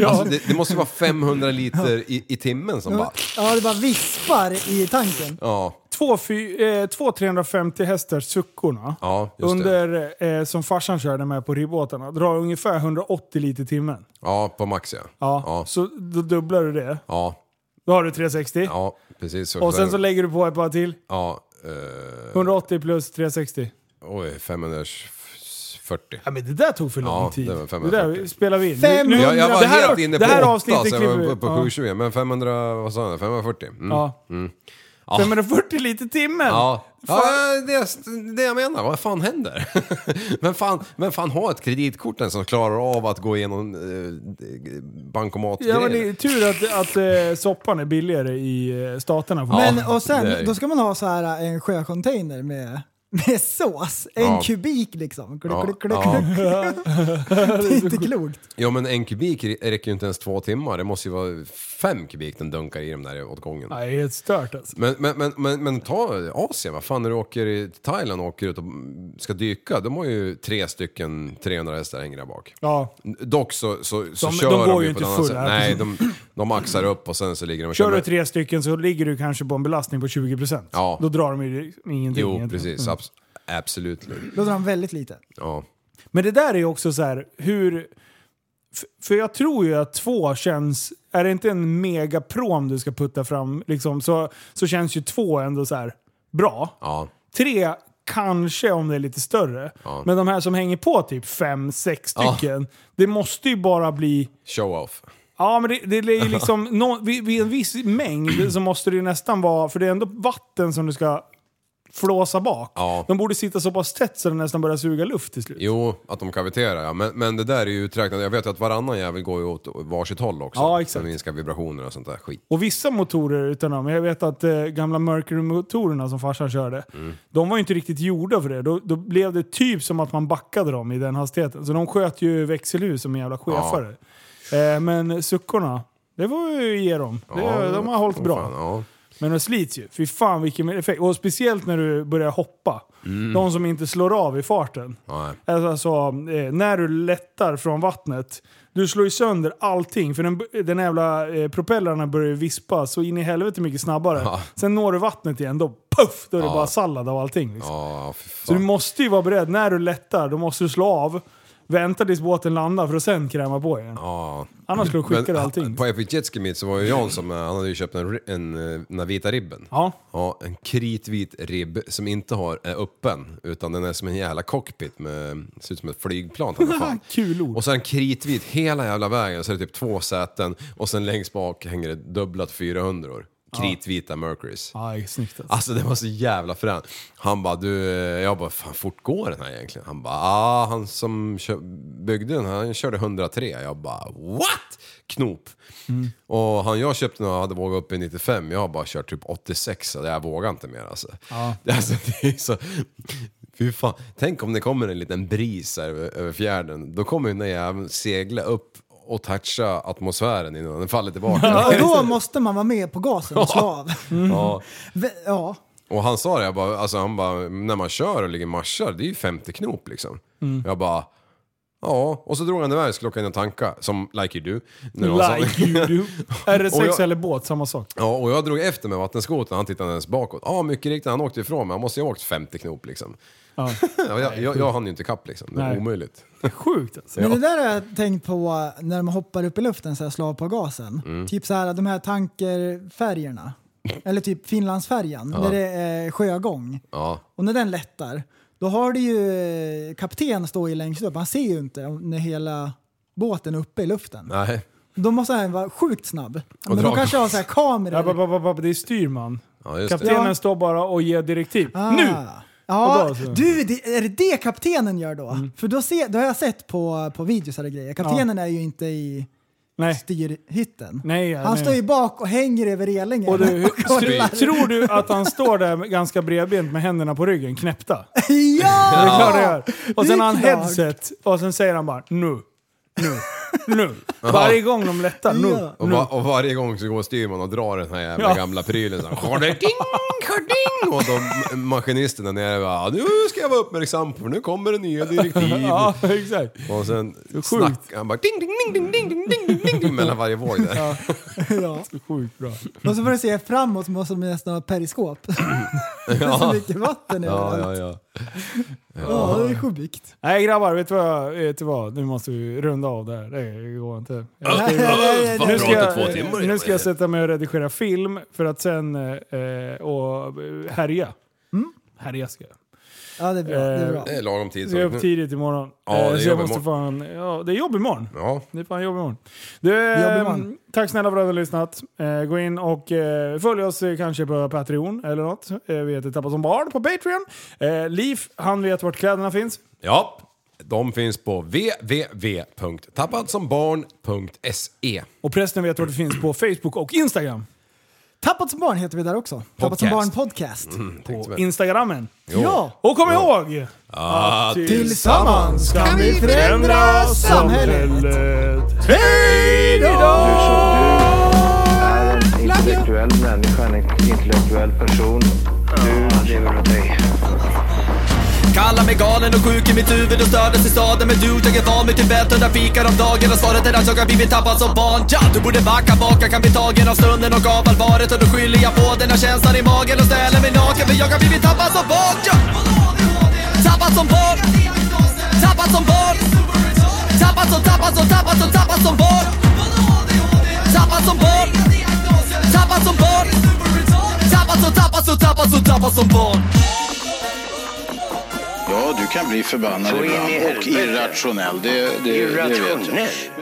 S7: alltså det, det måste ju vara 500 liter i, i timmen som bara...
S6: ja, det bara vispar i tanken.
S7: Ja,
S5: Två, fy, eh, två 350 hästars suckorna
S7: ja just det.
S5: under, eh, som farsan körde med på ribbåtarna drar ungefär 180 liter i timmen.
S7: Ja, på max ja.
S5: Ja,
S7: Ja,
S5: Så då dubblar du det.
S7: ja,
S5: Då har du 360.
S7: ja precis.
S5: Och sen så lägger du på ett par till.
S7: Ja, eh,
S5: 180 plus 360.
S7: oj, 540.
S5: Ja, men det där tog för lång
S7: Ja,
S5: tid.
S7: det var
S5: det där
S7: 540.
S5: spelar vi in.
S6: Fem-
S5: Nu- nu-
S7: Jag, jag var
S5: det här-
S7: helt inne på
S5: det här
S7: 8,
S5: avsnittet
S7: så jag
S5: klipper vi.
S7: var uppe på 720, men 500, vad sa jag, 540? Mm. Ja.
S5: Ja. 540 liter i timmen!
S7: Ja, det, är det jag menar. Vad fan händer? vem, fan, vem fan har ett kreditkort ens som klarar av att gå igenom eh, bankomatgrejer?
S5: Ja, men det är tur att, att eh, soppan är billigare i eh, staterna.
S7: Ja,
S6: Men och sen,
S7: det är-
S6: då ska man ha så här eh, en sjöcontainer med, med sås. En
S7: Ja.
S6: kubik liksom. Kluck,
S7: Ja,
S6: kluck, kluck,
S7: ja.
S6: kluck. Det är inte klokt.
S7: Ja, men en kubik räcker ju inte ens två timmar. Det måste ju vara fem kubik den dunkar i dem där åt gången.
S5: Nej, det är helt stört alltså.
S7: Men, men, men, men, men ta Asien, vad fan när du åker i Thailand och åker ut och ska dyka, de har ju tre stycken 300 hästar hänger där bak.
S5: Ja.
S7: Dock så, så, så
S5: De-
S7: kör
S5: de går ju
S7: på
S5: inte
S7: ett annat
S5: fulla.
S7: sätt. Nej, de, de axar upp och sen så ligger de och
S5: Kör du
S7: men-
S5: tre stycken så ligger du kanske på en belastning på 20%.
S7: Ja.
S5: Då drar de ju ingenting. Mm.
S7: Jo,
S5: egentligen.
S7: precis. Abs- absolut.
S6: Då drar de väldigt lite.
S7: Ja.
S5: Men det där är ju också så här, hur... f- För jag tror ju att två känns... Är det inte en megaprom du ska putta fram liksom, så, så känns ju två ändå så här bra.
S7: Ja.
S5: Tre, kanske om det är lite större. Men de här som hänger på typ fem, sex
S7: Ja.
S5: stycken, det måste ju bara bli...
S7: Show off.
S5: Ja, men det, det är ju liksom... nå- vid, vid en viss mängd så måste det ju nästan vara... För det är ändå vatten som du ska flåsa bak.
S7: Ja.
S5: De borde sitta så pass tätt så de nästan börjar suga luft till slut.
S7: Jo, att de kaviterar ja. Men, men det där är ju uträknat. Jag vet ju att varannan jävel går ju åt varsitt håll också.
S5: Ja, exakt.
S7: För att minska vibrationer och sånt där skit.
S5: Och vissa motorer utan dem, jag vet att eh, gamla Mercury-motorerna som farsan körde, de var ju inte riktigt gjorda för det. Då, då blev det typ som att man backade dem i den hastigheten. Så de sköt ju växelhus som en jävla chefare. Eh, men suckorna, det var ju ge dem. Det, de har hållit
S7: Åh,
S5: bra.
S7: fan, ja.
S5: Men de slits ju. Fy fan vilken effekt. Och speciellt när du börjar hoppa. De som inte slår av i farten.
S7: Mm. Nej.
S5: Alltså, alltså, eh, när du lättar från vattnet, du slår ju sönder allting. För den, den jävla eh, propellerna börjar ju vispa så in i helvete mycket snabbare. Sen når du vattnet igen, då puff! Då är det bara sallad av allting. Liksom.
S7: Ja, fy
S5: så du
S7: fan.
S5: måste ju vara beredd. När du lättar, då måste du slå av. Vänta tills båten landar för att sen kräma på igen.
S7: Ja.
S5: Annars skulle du skicka
S7: Men,
S5: dig allting.
S7: På Epic Jetski Meet så var ju Jansson, eh, han hade ju köpt en, ri- en, eh, den där vita ribben.
S5: Ja.
S7: Ja, en kritvit ribb som inte har, är öppen utan den är som en jävla cockpit med, ser ut som ett flygplan. vad fan.
S5: Kul ord.
S7: Och sen kritvit hela jävla vägen så är det typ två säten och sen längst bak hänger det dubblat 400 år. Kritvita Mercurys.
S5: Aj, snyggt alltså.
S7: Alltså det var så jävla frän. Han bara, du, eh, jag bara, fan fort går den här egentligen? Han bara, ah, han som kö- byggde den här, han körde 103. Jag bara, what? Knop. Och han jag köpte när jag hade vågat upp i 95, jag har bara kört typ 86, så jag vågar inte mer alltså. Det, alltså, det är så... Fy fan. Tänk om det kommer en liten bris här över, över fjärden, då kommer ju den där jäveln segla upp och toucha atmosfären innan den faller tillbaka.
S6: Ja, då måste man vara med på gasen och slå av.
S7: Ja.
S6: V- Ja,
S7: Och han sa det, jag bara, alltså han bara, när man kör och ligger och marschar, det är ju 50 knop liksom.
S5: Mm.
S7: Jag bara, ja. Och så drog han iväg, skulle åka in och tanka, som like you do. När han sa-
S5: Like you do. RS6
S7: Och jag-
S5: eller båt, samma sak.
S7: Ja, och jag drog efter med vattenskotern, han tittade inte ens bakåt. Ja, mycket riktigt, han åkte ifrån mig, han måste ju ha åkt 50 knop liksom.
S5: Ja.
S7: Ja, jag, jag, jag hann ju inte kapp liksom, det var
S5: Nej.
S7: omöjligt.
S5: Sjukt alltså.
S6: Men det där har jag tänkt på när de hoppar upp i luften så här slår på gasen.
S7: Mm.
S6: Typ så här de här tankerfärjorna. Eller typ Finlandsfärjan när det är sjögång.
S7: Ja,
S6: Och när den lättar, då har du ju eh, kapten står ju längst upp. Han ser ju inte om- när hela båten är uppe i luften.
S7: nej.
S6: Då måste han vara sjukt snabb. Men
S7: dra
S6: de kanske har så här
S5: Ja, ba,
S6: kameror.
S5: ba, ba, ba, det är styrman.
S7: Ja, just det.
S5: Kaptenen
S6: Ja.
S5: står bara och ger direktiv.
S6: Ah.
S5: Nu!
S6: Ja,
S5: Och Mm. gasen.
S6: du, det- är det det kaptenen gör då? För då, ser, då har jag sett på, på videos eller grejer. Kaptenen är ju inte i
S5: Nej.
S6: styrhytten.
S5: Nej,
S6: han
S5: nej.
S6: står ju bak och hänger över relingen.
S5: Och du,
S6: kollar.
S5: tr- tror du att han står där med- ganska bredbent med händerna på ryggen, knäppta?
S6: ja!
S5: Det är klart det gör. Och sen
S6: Det är
S5: har han
S6: klart.
S5: headset och sen säger han bara nu, nu, nu. Varje gång de lättar, nu,
S6: Ja.
S7: Och,
S5: nu.
S7: va- och varje gång så går styrman och drar den här jävla
S5: Ja.
S7: gamla prylen såhär. Skarding, skarding! Och de, maskinisterna nere bara, nu ska jag vara uppmärksam för nu kommer det nya direktiv.
S5: Ja, exakt.
S7: Och sen snackar han bara ding, ding, ding, ding, ding, ding, ding, ding, ding, ding mellan varje våg där.
S6: Ja.
S5: Sjukt bra.
S6: Och så får du se framåt så måste de nästan ha ett periskop. Det är så mycket vatten
S7: Ja,
S6: överallt.
S7: ja, ja.
S6: Ja, det är sjukt.
S5: Nej grabbar, vet du vad? Vet du vad? Nu måste vi runda av där. Det går inte. Jag ska-
S6: Fan,
S5: Eh, nu ska,
S3: pratat två
S5: jag,
S3: timmar
S5: nu ska jag sätta mig och redigera film för att sen eh, och eh, härja.
S6: Mm.
S5: Härja ska jag.
S6: Ja, det är bra. Det är bra.
S5: Eh.
S7: Det är lagom tid.
S5: Så jag är
S7: Så.
S5: upp tidigt imorgon.
S7: Ja, det är
S5: Eh, så jag
S7: jobb
S5: måste fan, ja, det är jobb imorgon.
S7: Ja,
S5: Det är fan jobb imorgon. Du,
S6: Jobb
S5: eh,
S6: imorgon.
S5: tack snälla för att du har lyssnat. Eh, gå in och eh, följ oss eh, kanske på Patreon eller något. Eh, vi heter Tappa som barn på Patreon. Eh, Liv, han vet vart kläderna finns.
S7: ja. De finns på www.tappadsombarn.se.
S5: Och prästen vet vart det finns på Facebook och Instagram.
S6: Tappat som barn heter vi där också. Tappat som barn
S7: Podcast.
S6: podcast.
S7: Tänkte väl.
S5: Instagrammen.
S6: Ja!
S5: Och kom ihåg!
S7: Ah,
S6: Tillsammans kan vi förändra samhället.
S5: Hej då!
S1: Du som du är en intellektuell människa, en intellektuell person. Du lever av dig.
S2: Kallar mig galen och sjuk i mitt huvud och stördes i staden Men du, jag är van vid Tibet och där fikar om dagen Och svaret är att jag har blivit tappad som barn ja, Du borde backa bak, jag kan bli tagen av stunden och av allvaret Och då skyller jag på den här känslan i magen och ställer mig naken För jag har blivit tappad som barn ja. Tappad som barn Tappad som barn Tappad som, tappad som, tappad som, tappad som barn Tappad som barn Tappad som barn Tappad som, tappad som, tappad som, tappad som barn
S3: Ja, du kan bli förbannad
S1: Så in i
S3: ibland och
S1: helvete.
S3: irrationell. Det, det, det vet jag.
S1: Irrationell.